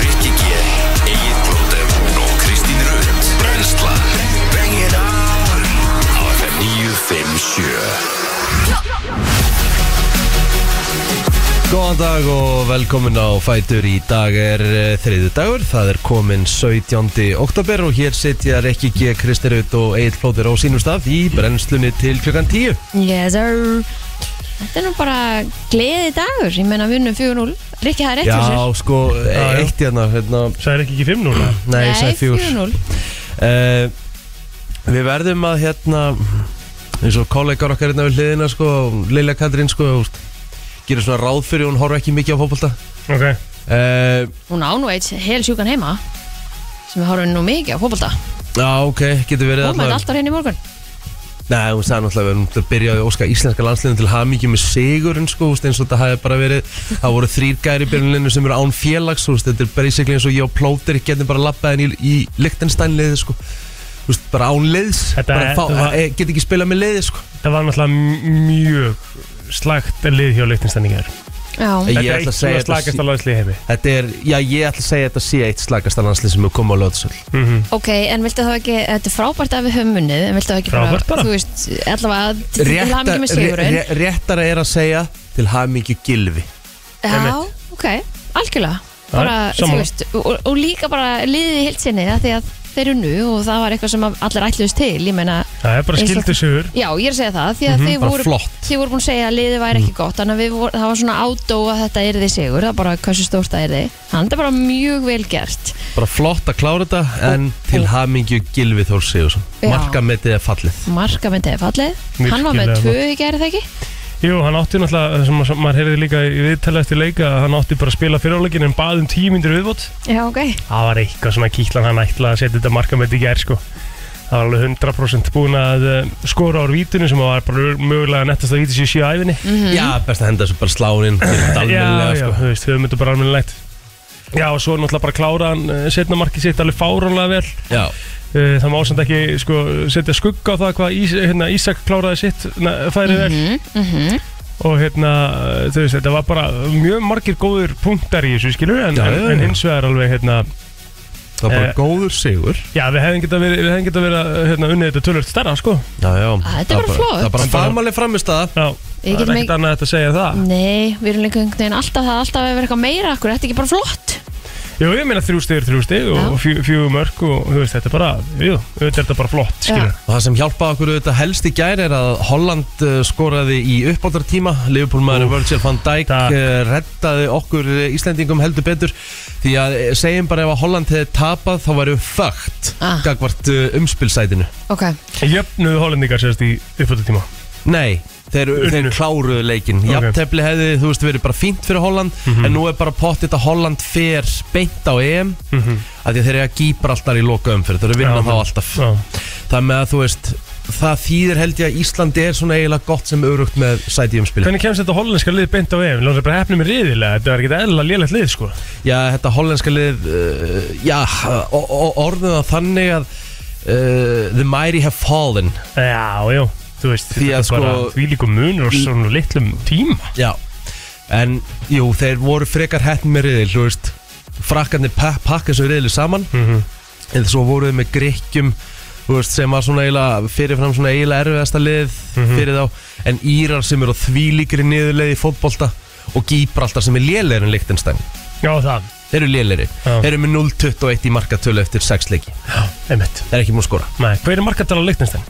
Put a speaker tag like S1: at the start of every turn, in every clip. S1: Rikki G, Egil Blóter og Kristín Rund Brenslan Bring it on Á FM 957
S2: Góðan dag og velkomin á Fætur í dag er uh, þriðu dagur, það er komin 17. oktober og hér sitja Rikki G. Kristirut og Egil Flóður á sínum stað í brennslunni til klukkan 10
S3: Yes sir Þetta er nú bara gleði dagur Ég meina við unnum 4-0 Rikki það er rétt
S2: Já,
S3: fyrir sér
S2: sko,
S4: já.
S2: eitt hérna, hérna
S4: Sæðir ekki ekki 5 núna?
S2: Nei, ég sagði fjúr
S3: 4-0
S2: uh, Við verðum að hérna eins og kollegar okkar hérna við hliðina sko, Lilja Katrín sko, þú veist, gerir svona ráð fyrir hún horfa ekki mikið á fótbolta
S4: Ok,
S2: uh,
S3: Hún á nú eitt hel sjúkan heima sem við horfum nú mikið á fótbolta
S2: Já, ok, getur verið
S3: Hún mætti alltaf hérna í morgun
S2: Nei, hún sagði náttúrulega að við erum að byrja að óska íslenska landsliðin til hamingju með sigurinn sko, þú veist, eins og þetta hafi bara verið það voru þrýr gæri í byrjunlinu sem eru án félags þú veist, þetta er basically eins og ég og plóter ég getum bara labbaðin í, í Lichtenstein-liði sko. Þú veist, bara án liðs
S4: Þetta
S2: bara
S4: er-
S2: fá,
S4: þetta var-
S2: e, get ekki spilað með liði sko.
S4: það var náttúrulega m- mjög slagt lið hjá leiktinstæningar
S3: Já,
S2: Ég
S4: Þetta er
S2: ætla að segja þetta
S4: eitt svona slagast
S2: sé-
S4: að láðisli heimi
S2: Þetta er, já, ég ætla að segja að þetta sé eitt slagasta landslið sem hefur komið á löðsöld
S3: ok, en viltu þá ekki Þetta er frábært að við höfum unnið En viltu þá ekki
S4: Frábært bara.
S3: Þú veist, allavega til- til hamingi með sigurinn
S2: Réttara er að segja til hamingju gilvi
S3: Já,
S4: einmitt.
S3: ok, algjörlega bara, þú
S4: sammála.
S3: veist, og, og líka bara liðið í heilt sinni af því að þeir unnu og það var eitthvað sem að allir ætluðist til ég meina,
S4: Það er bara
S3: Eins og-
S4: skildu sigur
S3: já, ég er að segja það því að þeir
S2: Mhm, bara
S3: voru,
S2: flott.
S3: þeir voru búin að segja að liðið væri ekki gott þannig að við voru, það var svona ádó að þetta er þið sigur það er bara hversu stórt það er þið þannig er bara mjög vel gert
S2: Bara flott að klára þetta en til hamingju gilvi Þór Sigursson
S3: Já.
S2: Markametið er fallið
S3: marka með þeir fallið, hann var með
S4: Virkilega
S3: tvö í gerð það ekki
S4: Jú, hann átti náttúrulega, það sem ma- maður heyrði líka í viðtalið eftir leika að hann átti bara að spila fyrirháleikin en baði um 10 myndir viðbót
S3: já, ok,
S4: Það var eitthvað svona kýtlan hann ætlaði að setja þetta markamætt í gær sko Það var alveg 100% búin að eh, skora úr vítunum sem var bara mögulega nettast að víti sér síða æfinni
S3: Mhm.
S2: Já, best að henda þessu bara slánin
S4: Já,
S2: Dalmennilega
S4: já,
S2: sko
S4: þú veist, höfum þetta bara almennilegt Já, og svo náttúrulega bara kláraðan uh, setna markið sitt alveg fáránlega vel
S2: Já,
S4: uh, Það má samt ekki sko, setja skugga á það hvað Ís, hérna, Ísak kláraði sitt na, færi
S3: mm
S4: vel og hérna, eh, þú veist, þetta var bara mjög margir góður punktar í þessu skilur en,
S2: Já,
S4: en,
S2: já, já.
S4: en hins vegar alveg hérna,
S2: það var bara
S4: Eh,
S2: góður sigur
S4: já, við hefðum geta verið, við hefðum geta verið að, hérna, unnið þetta tölvöld starra, sko
S2: Já, já
S3: Ah, þetta er
S2: Það
S3: bara flott.
S2: Það er bara
S4: En bara-
S2: farmaleg framist að
S4: Já,
S3: Við
S4: það er
S3: getum Mm.
S4: ekkert
S3: ekki-
S4: annað að þetta segja það
S3: nei, við erum líka einhvern veginn alltaf það alltaf að vera eitthvað meira akkur, þetta er ekki bara flott
S4: Jú, ég meina þrjú stig er þrjú stig
S3: Já.
S4: og fjö, fjögur mörg og þú veist, þetta er bara, jú, auðvitað er þetta bara
S3: Já.
S4: flott, skilur
S2: Og það sem hjálpaði okkur auðvitað helst í gær er að Holland eh, skoraði í uppáttartíma Liverpool maðurinn Virgil van Dijk
S4: takk.
S2: eh, reddaði okkur eh, Íslendingum heldur betur því að eh, segjum bara ef að Holland hefði tapað þá væru fögt
S3: Ah.
S2: gagvart eh, umspilsætinu
S3: ok,
S4: Jöfnuðu hollendingar sérst í uppföldu tíma
S2: Nei, þeir, þeir kláruðu leikin okay.
S4: Ok. Mhm.
S2: Jafntefli hefði, þú veist, verið bara fínt fyrir Holland En nú er bara pottit að Holland fer beint á EM mm -hmm. Því að þeir eru að gýpar alltaf í loka umferð Þeir eru að vinna
S4: Mhm. Já,
S2: þá
S4: já.
S2: alltaf
S4: Já.
S2: Þannig að þú veist, það þýðir held ég að Íslandi er svona eiginlega gott sem örugt með sæti í umspili
S4: Hvernig kemst þetta hollenska lið beint á EM? Lóðum þetta bara hefnum með riðilega, þetta var ekkert eðla lélegt lið sko
S2: Já, þetta hollenska lið uh, Já, o- o- orðum það þannig að uh, The mighty have fallen
S4: Já, já, þú veist,
S2: Því að,
S4: þetta er bara
S2: sko-
S4: því líku munur og svona litlum tíma
S2: Já, en jú, þeir voru frekar hettn með riðil, þú veist Frakkarnir pa- pakka þessu riðil saman
S4: Mhm.
S2: En svo voruð með grikkjum, þú veist, sem var svona eiginlega Fyrirfram svona eiginlega erfiðasta lið
S4: Mhm.
S2: fyrir þá En Írar sem eru á þvílíkri niðurleið í fótbolta Og Gíbraltar sem er lélegri en Lichtenstein
S4: Já, það,
S2: Þeir eru lélegri,
S4: Já.
S2: þeir eru með 0-21 í markatölu eftir 6 leiki
S4: einmitt
S2: Þeir eru ekki múið skora
S4: Nei, hver er markatala leiknistæn?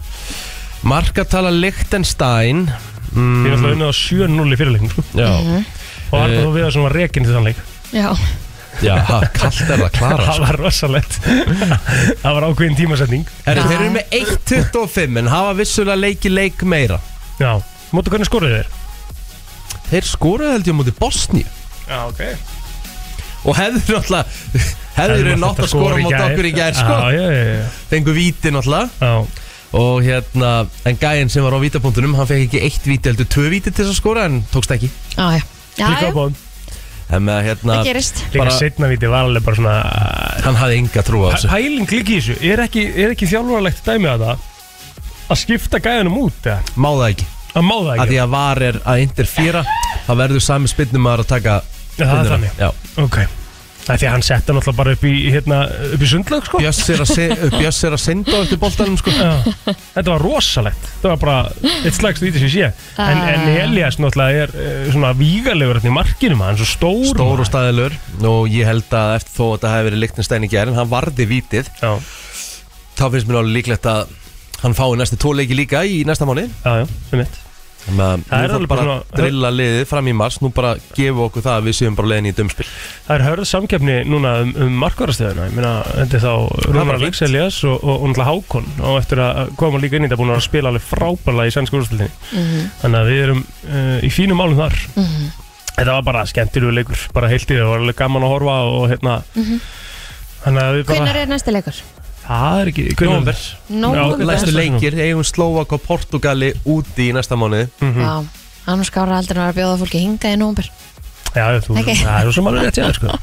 S2: Markatala Lichtenstein
S4: Því er alltaf unnið á 7-0 í fyrirleiknum sko
S2: Mm, Já,
S4: Og
S2: Eh.
S4: Arnur þú við að svona rekin til þann leik
S3: já,
S2: já, ha, kallt er það klara sko.
S4: Það var rosalegt Það var ákveðin tímasetning
S2: Herru,
S3: Já.
S2: þeir eru með 1.25 en hafa vissulega leiki leik meira
S4: Já, mótu hvernig skoruðu þér?
S2: Þeir skoruðu held ég á móti Bosníu
S4: Já, ok
S2: og hefðu náttúrulega hefðu þeir nátt að skora móti okkur í gær sko.
S4: Já, já, já, já.
S2: fengu víti náttúrulega
S4: já
S2: og hérna, en gæinn sem var á vítapunktunum hann fekk ekki eitt víti heldur tvö víti til þess að skora en tókst ekki
S3: já, já, já,
S4: Líka á
S3: já
S4: bóðum
S2: en með að hérna,
S3: það gerist
S4: Líka
S2: Bara-
S4: setna viti var alveg bara svona
S2: hann hafði enga trú á
S4: Pæ-
S2: þessu
S4: Pæling líka í þessu, er ekki, er ekki þjálfurlegt dæmi að það að skipta gæðanum út eða?
S2: má það ekki
S4: Að má það
S2: að
S4: ekki
S2: því að var er að interfýra þá verður sami spinnum að taka
S4: Já, það er
S2: spyrnuna.
S4: þannig.
S2: Já.
S4: Ok Það er því að hann setta náttúrulega bara upp í, hérna, upp í sundlög sko.
S2: Bjöss er að se- Bjöss er að senda á eftir boltanum sko.
S4: Já. Þetta var rosalegt Þetta var bara eitt slags víti sem ég sé En, en Elias náttúrulega er eh, svona vígalegur þarna í markinum Hann er svo stór
S2: Stór og
S4: maður.
S2: staðilur og ég held að eftir þó að þetta hefði verið Lichtenstein í gerð en hann varði vítið
S4: Já,
S2: þá finnst mér alveg líklegt að hann fái næstu tvo leiki líka í næsta mánu
S4: já, já, um mitt
S2: þannig að
S4: Það er
S2: nú
S4: alveg
S2: þarf bara
S4: bara
S2: að
S4: svona-
S2: drilla liðið fram í mars nú bara gefa okkur það að við séum bara leiðin í dömspil
S4: Það er hörð samkeppni núna um, um markvarastöðuna Ég meina, þetta er þá
S2: bara
S4: Rúnar
S2: fínt.
S4: Lex Elias og, og, og náttúrulega Hákon og eftir að koma líka inn í þetta búin að spila alveg frábærlega í sænsku úrstildinni
S3: Mhm.
S4: Þannig að við erum uh, í fínum málum þar Þetta var bara skemmtilegu leikur bara heilt í það, það var alveg gaman að horfa og hérna Þannig að við bara
S3: Mhm. Hvenær er næsti leikur?
S4: Það er ekki
S2: Nóvember.
S4: Já,
S3: Nóvember.
S2: Læstu leikir, eigum Slovak og Portugali úti í næsta mánu
S3: Já, hann skára aldrei að vera að bjóða fólki hinga í nómber
S4: Já, já, þú,
S3: Ok.
S4: það er svo sem alveg rétt hjá þér, sko.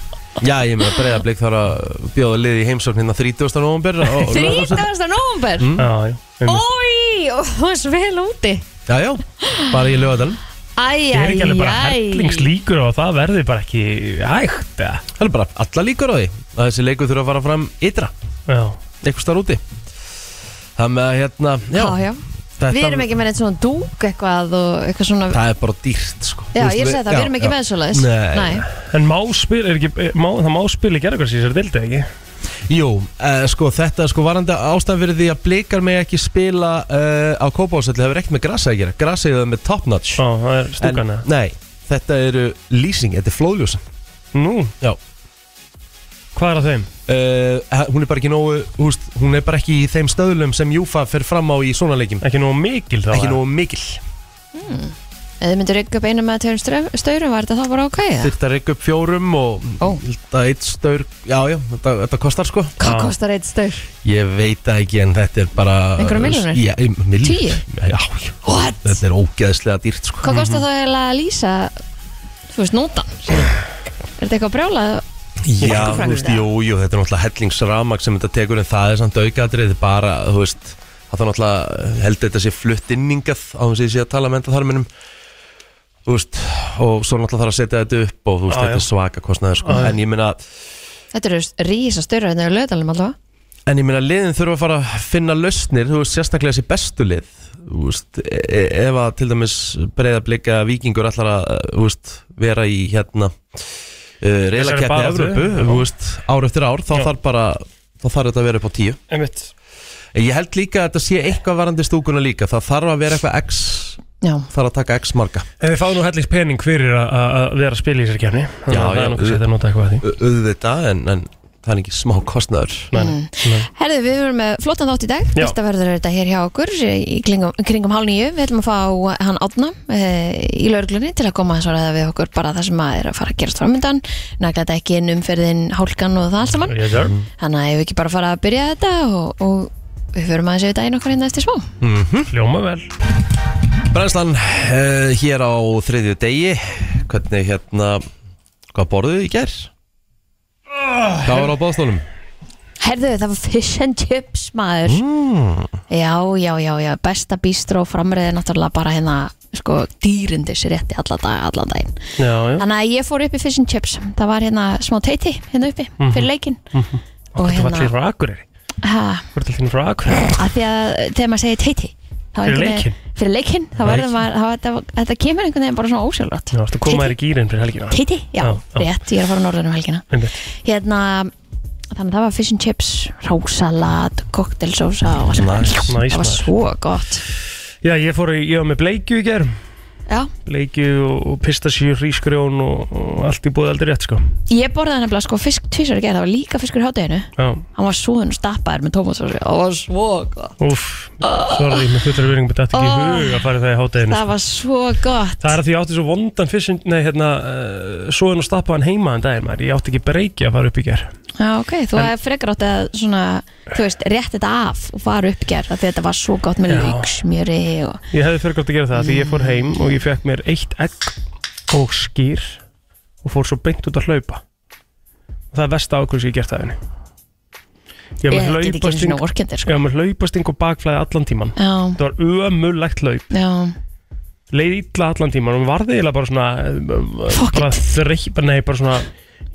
S2: Já, ég með að breyðablík þarf að bjóða liðið í heimsókn hérna 30. november
S3: 30. nómber?
S2: Mm.
S4: Mm. Já, já, einmitt.
S3: Ói, þú varst vel úti
S2: Já, já, bara í lögadalum
S3: Æj,
S4: Það er
S3: æj,
S4: ekki alveg bara
S3: æj
S4: herlingslíkur og það verði bara ekki hægt eða?
S2: Það er bara alla líkur á því að þessi leikur þurfa að fara fram ytra
S4: Já,
S2: eitthvað starf úti Það með að hérna, já,
S3: Já, já
S2: Þetta,
S3: Við erum ekki með eitt svona dúk eitthvað og eitthvað svona
S2: Það er bara dýrt sko
S3: Já,
S2: Þú veist,
S3: ég segi það, við erum ekki
S2: já.
S3: með svoleiðis
S2: Nei.
S4: en má spil, er ekki, eh, má, það má spil í gerðarkvæðs í þessari dildi, ekki?
S2: Jú, uh, sko þetta er sko varandi ástæðan fyrir því að blikar mig ekki spila uh, á kópáðsöldi Það er ekki með grasa að gera, grasa er með top notch
S4: Já, það er stúkan eða?
S2: Nei, þetta eru lýsing, þetta er flóðljósin
S4: Nú,
S2: Já
S4: hvað er að þeim?
S2: Uh, hún er bara ekki nógu húst, hún er bara ekki í þeim stöðlum sem Júfa fer fram á í svona leikjum
S4: Ekki nógu mikil þá?
S2: ekki
S4: eða?
S2: nógu mikil
S3: Ef þið myndir ykkur upp einu með tveim stref- staurum var þetta þá bara ok eða?
S2: þurft að reyka upp fjórum og
S3: Ó.
S2: þetta eitt staur já já, þetta, þetta kostar sko
S3: Hvað
S4: Já.
S3: kostar eitt staur?
S2: ég veit það ekki en þetta er bara
S3: Einhverjar milljónir?
S2: Já, í- milljónir.
S3: Tíu?
S2: já, já,
S3: What?
S2: þetta er ógeðslega dýrt sko
S3: Hvað kostar þá eiginlega að lýsa Þú veist, nótan Er þetta eitthvað brjálað?
S2: já,
S3: Orkuframleiðsla?
S2: þú veist, jú, jú, þetta er náttúrulega hellingsramak sem þetta tekur en það er samt aukaðrið bara, þú veist, það er náttúrulega heldur þetta sé flutt inningað á þess að ég sé að tala með enda þarminum þú veist, og svo náttúrulega þarf að setja þetta upp og þú veist,
S4: Já,
S2: þetta er
S4: já.
S2: svaka kostnaður sko,
S4: Já, já.
S2: en ég meina
S3: Þetta eru rísa staurar hérna í löðalum allavega
S2: En ég meina liðin þurfa að fara að finna lausnir Þú veist sérstaklega þessi bestu lið Þú veist, e e- ef að til dæmis breyðablika vikingur allar að þú veist, vera í hérna uh, reylaketti
S4: baráttu,
S2: Evrópu
S4: já.
S2: þú veist, ár eftir ár, þá
S4: Já.
S2: þarf bara þá þarf þetta að vera upp á tíu
S4: Einmitt.
S2: En Ég held líka að þetta sé eitthvað varandi stúkuna líka Það þarf að vera eitthvað x
S3: Já,
S2: þarf að taka x marga
S4: En við fáum nú hellings pening fyrir að- að að vera að spila í þessari kefni.
S2: Já,
S4: Það
S2: já.
S4: er nokkuð sétt að nota eitthvað að því.
S2: Au- auðvitað en, en það er ekki smá kostnaður
S4: Nei, nei,
S3: Mm.
S4: nei.
S3: Herðu, við erum með flottan þátt í dag
S4: Já.
S3: Fyrsta verður þetta hér hjá okkur í klingum, kringum hálf nýju Við ætlum að fá hann átna e, í lauruglunni til að koma að svaraða við okkur bara það sem að er að fara að gerast framöndan Nagla þetta ekki inn umferðin hálkan og það allt saman
S2: Mm.
S4: Yes, sir.
S3: Þannig að ef við ekki bara fara að byrja þetta og, og við förum aðeins yfir daginn okkar hérna eftir smá
S4: Hljóma vel.
S2: Brænslan uh, hér á þriðju degi Hvernig hérna Hvað borðuðu í gær? Hvað var á báðstólum?
S3: Herðu, það var fish and chips maður Já, já, já, já, besta bístró framriðið náttúrulega bara hérna sko dýrindis rétti alla dag, allan daginn
S4: Já, já.
S3: Þannig að ég fór upp í fish and chips Það var hérna smá teiti hérna uppi
S4: Mhm.
S3: fyrir leikin Og
S4: Þetta var allir
S3: hérna
S4: frá Akureyri.
S3: ha,
S4: Þú ert allir frá Akureyri.
S3: að Því að þegar maður segir teiti þá
S4: Fyrir
S3: einhvern
S4: leikinn?
S3: veginn- Fyrir leikinn, þá verður maður þá- þetta, þetta kemur einhvern veginn bara svona ósjálfrátt
S4: Já, þú koma þér í gýrin fyrir helgina.
S3: Teiti, já,
S4: Já, já.
S3: rétt, ég er að fara á norðunum helgina
S4: Einmitt.
S3: Hérna, þannig að það var fish and chips, rósalat, koktelsósa og það var-
S2: Nice,
S3: það
S4: nice,
S3: var
S4: maður.
S3: svo gott
S4: Já, ég fór í, ég var með bleikju í gerð.
S3: Já,
S4: Bleikju og- og pistasíu, hrísgrjón og, og allt í búið aldrei rétt, sko.
S3: ég borðaði nefnilega sko fisk tvisar í gerð, það var líka fiskur í hátæginu
S4: Já.
S3: Hann var súðun og stappaður með tómatsósu, það var svo gott
S4: Úff, sorry, með fullra vöringu, þetta ekki í
S3: Oh.
S4: hug að fara í það í hátæðinu.
S3: Það var svo gott
S4: Það er að því ég átti svo vondan fyrst Nei, hérna, uh, svo en að stappa hann heima en daginn maður, ég átti ekki breyki að fara upp í ger
S3: Já, ok, þú hefði frekar átt að svona, þú veist, rétt þetta af og fara upp í gerð af því að þetta var svo gott með
S4: Já.
S3: lauksmjöri og
S4: Ég hefði fyrir gott að gera það, því ég fór heim og ég fekk mér eitt egg og skýr og fór svo beint út að hlaupa og það er versta ákvöld sem ég hef gert það henni Ég
S3: ég
S4: hef með
S3: get ekki einu svona
S4: hlaupasting
S3: orkendir
S4: Ég
S3: sko.
S4: hef með hlaupasting og bakflæði allan tíman
S3: Já,
S4: Það var ömulegt hlaup
S3: já,
S4: leið illa allan tíman og mér varði eiginlega bara svona eh,
S3: Fuck
S4: bara þreik, bara nei, bara svona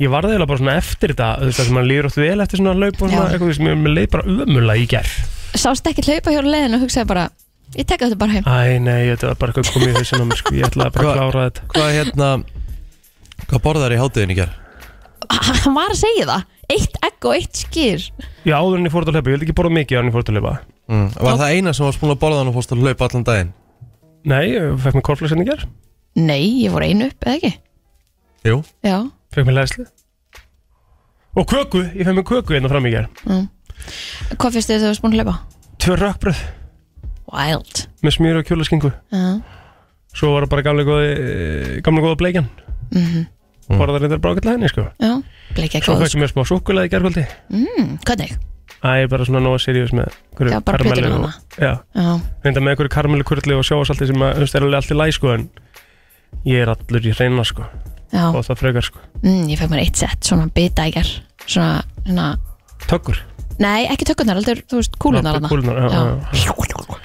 S4: ég varði eiginlega bara svona eftir þetta þú veist það sem maður líður oft vel eftir svona laup og svona
S3: Já.
S4: eitthvað, þú veist, mér, mér leið bara ömulega í gerð
S3: sást ekki hlaupa hjá leiðinu og hugsaði bara ég tek þetta bara heim
S4: Æ, nei, þetta var bara eitthvað komið í hausinn á mér sko, ég ætlaði bara að klára þetta
S2: Hvað hérna Hvað borðar í hátíðin í ger?
S3: hann var að segja það eitt egg og eitt skýr
S4: Já, áður en ég fór út að hlaupa, ég vildi ekki borða mikið áður en ég fór út að hlaupa
S2: Mm. Var það eina sem var spúin að borða hann og fórst að hlaupa allan daginn?
S4: Nei, ég fekk mér hérna korflagsendingar,
S3: nei, ég voru einu upp, eða ekki
S2: Jú
S3: já,
S4: fekk mér læsli Og köku, ég fekk mér köku hérna fram í ger
S3: hvað fyrst þið þú varst búin að hlaupa?
S4: Tvö rökkbröð
S3: wild
S4: með smjur og kjólaskingu
S3: Já.
S4: Svo var það bara gamlega góði, gamlega góða bleikjan mm
S3: Mhm.
S4: -hmm. Bara það reyndar bara ágætlega henni sko
S3: já, bleikja
S4: Svo
S3: góð
S4: fekk ég mér smá súkulega í gerkvöldi
S3: mm, hvernig?
S4: Æ, ég er bara svona nóga seriós með einhverju
S3: Já, bara
S4: karamellu
S3: plötuna
S4: og-
S3: hana.
S4: Já,
S3: já,
S4: reynda með einhverju karmelukurli og sjáasalti sem að, þú veist, er alveg allt í læg sko en ég er allur í reyna sko
S3: já,
S4: og það frekar sko
S3: mm, ég fekk mér eitt sett svona bita í ger svona, svona,
S4: Tökkur
S3: nei, ekki tökurnar, aldrei, þú veist,
S4: Já,
S3: kúlunar hana.
S4: kúlurnar, já,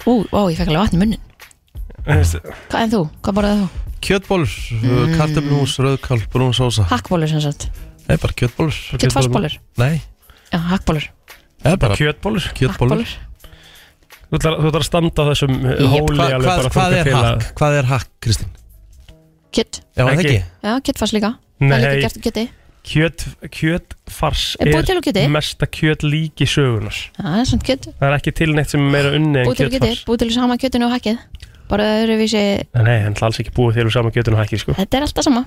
S3: Ú, ó, ég fekk alveg vatn í munnin hvað en þú? hvað borðið þú?
S2: Kjötbólur, mm. kartöflumús, rauðkál, brún sósa
S3: hakkbólur sem sagt,
S2: Nei, bara kjötbólur
S3: kjötfarsbólur
S2: Nei,
S3: já, hakkbólur,
S2: það er bara
S4: Kjötbólur
S2: kjötbólur
S3: hakkbólur
S4: Þú ætlar þú ætlar að standa á þessum eh,
S3: Jep.
S4: hóli
S2: Hva,
S4: alveg
S2: hvað,
S4: bara
S2: hvað
S4: þangað
S2: er
S4: til að-
S2: hakk? Hvað er hakk, Kristín?
S3: kjött,
S2: Já, er það
S4: Ekki.
S2: ekki?
S3: já, kjöttfars líka það
S4: Nei.
S3: er líka gert úr kjötti
S4: Kjöt, kjötfars
S3: Er búið til úr kjöti?
S4: mesta kjötlíki sögunar
S3: það er svona kjött
S4: Það er ekki til neitt sem er meira unni en
S3: búið til geti,
S4: kjötfars
S3: búið til sama kjötinu og hakkið bara öðruvísi,
S4: Nei, Nei, hann ætla alls ekki búið til úr sama kjötun og hækki sko
S3: þetta er alltaf sama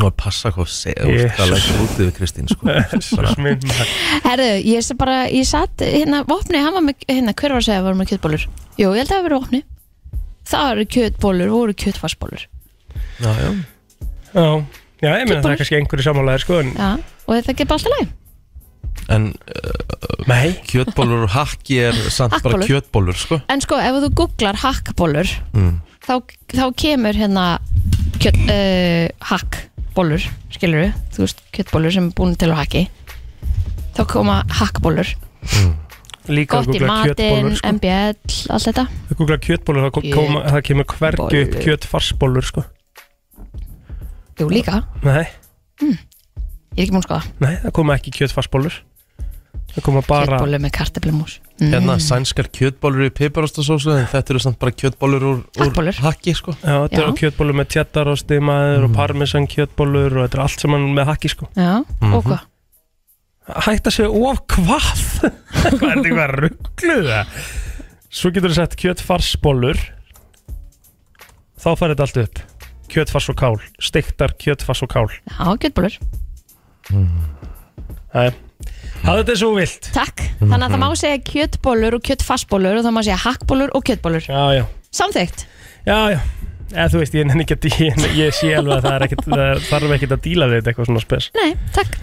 S2: Nú er passa hvað se- þú veist,
S4: Jesus.
S2: hvað leggur útið við Kristín sko. Bara-
S4: Minn maður.
S3: herðu, ég er bara, ég satt hérna, vopni, hann var með, hérna, hver var að segja að voru með kjötbólur jú, ég held að það hafi verið vopni það eru kjötbólur, voru kjötfarsbólur
S2: Já, já
S4: Já, já, ég meina það
S3: Kjötbollur.
S4: er kannski einhverju samanlegaðir sko en
S3: já, og þetta er bara alltaf læg
S2: En
S4: Nei,
S2: kjötbólur og hakki er samt bara
S3: Hakkbólur.
S2: kjötbólur sko.
S3: en sko, ef þú googlar hakkbólur
S2: mm.
S3: þá, þá kemur hérna kjöt, uh, hakkbólur skilur við, þú veist, kjötbólur sem er búin til á hakki þá koma hakkbólur,
S4: líka að
S3: gott í
S4: googla
S3: matinn
S4: kjötbólur sko
S3: MBL, allt þetta
S4: Að googla kjötbólur, það,
S3: Kjöt-
S4: koma, það kemur hvergi upp
S3: bollur.
S4: kjötfarsbólur sko
S3: jú, líka,
S4: Nei,
S3: ég er ekki sko. múin skoða
S4: nei, það koma ekki kjötfarsbólur Það koma bara
S3: kjötbólur með kartablimús mm.
S2: Hérna, sænskar kjötbólur í piparostasósu En þetta eru samt bara kjötbólur úr, úr
S3: Hakkbólur.
S2: hakki sko.
S4: Já, þetta
S3: Já.
S4: eru kjötbólur með tjattar og stimaður og parmesan kjötbólur og þetta er allt saman með hakki sko
S3: já, og hvað
S4: Hætt að segja of hvað? hvað er þetta eitthvað ruggluð það? Svo getur þú sett kjötfarsbólur Þá fær þetta allt upp Kjötfars og kál, steiktar kjötfars og kál
S3: já, kjötbólur,
S4: Það er þetta svo vilt
S3: takk þannig að það má
S4: Mhm.
S3: segja kjötbólur og kjötfassbólur og það má segja hakkbólur og kjötbólur
S4: Já, já,
S3: samþygt,
S4: já, já Eða þú veist, ég nenni ekki að ég, ég sé alveg að það er ekkit, það þarf ekkit að díla við þetta eitthvað svona spes
S3: nei, takk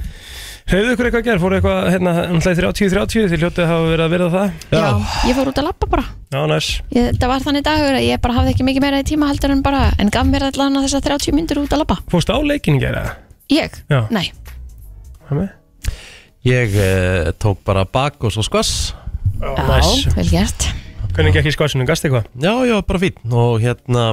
S4: Hefðu ykkur eitthvað að gera, fóru eitthvað, hérna, náttúrulega í 30-30, þið hljótið hafa verið að verið það
S3: já. ég fór út að lappa bara
S4: Já, næs
S3: ég, það var þannig dagur að ég bara hafði ekki mikið meira í tíma heldur en bara, en gaf mér allan þess að 30 myndir út að lappa
S4: Fórstu á leikin í gera það?
S3: Ég?
S4: Já.
S3: Nei,
S4: Hvað með?
S2: Ég eh, tók bara bak og svo skvass
S4: Ah,
S3: já, vel gert
S4: Hvernig gekk í skvassinu, gast eitthvað?
S2: Já, já, bara fín Og hérna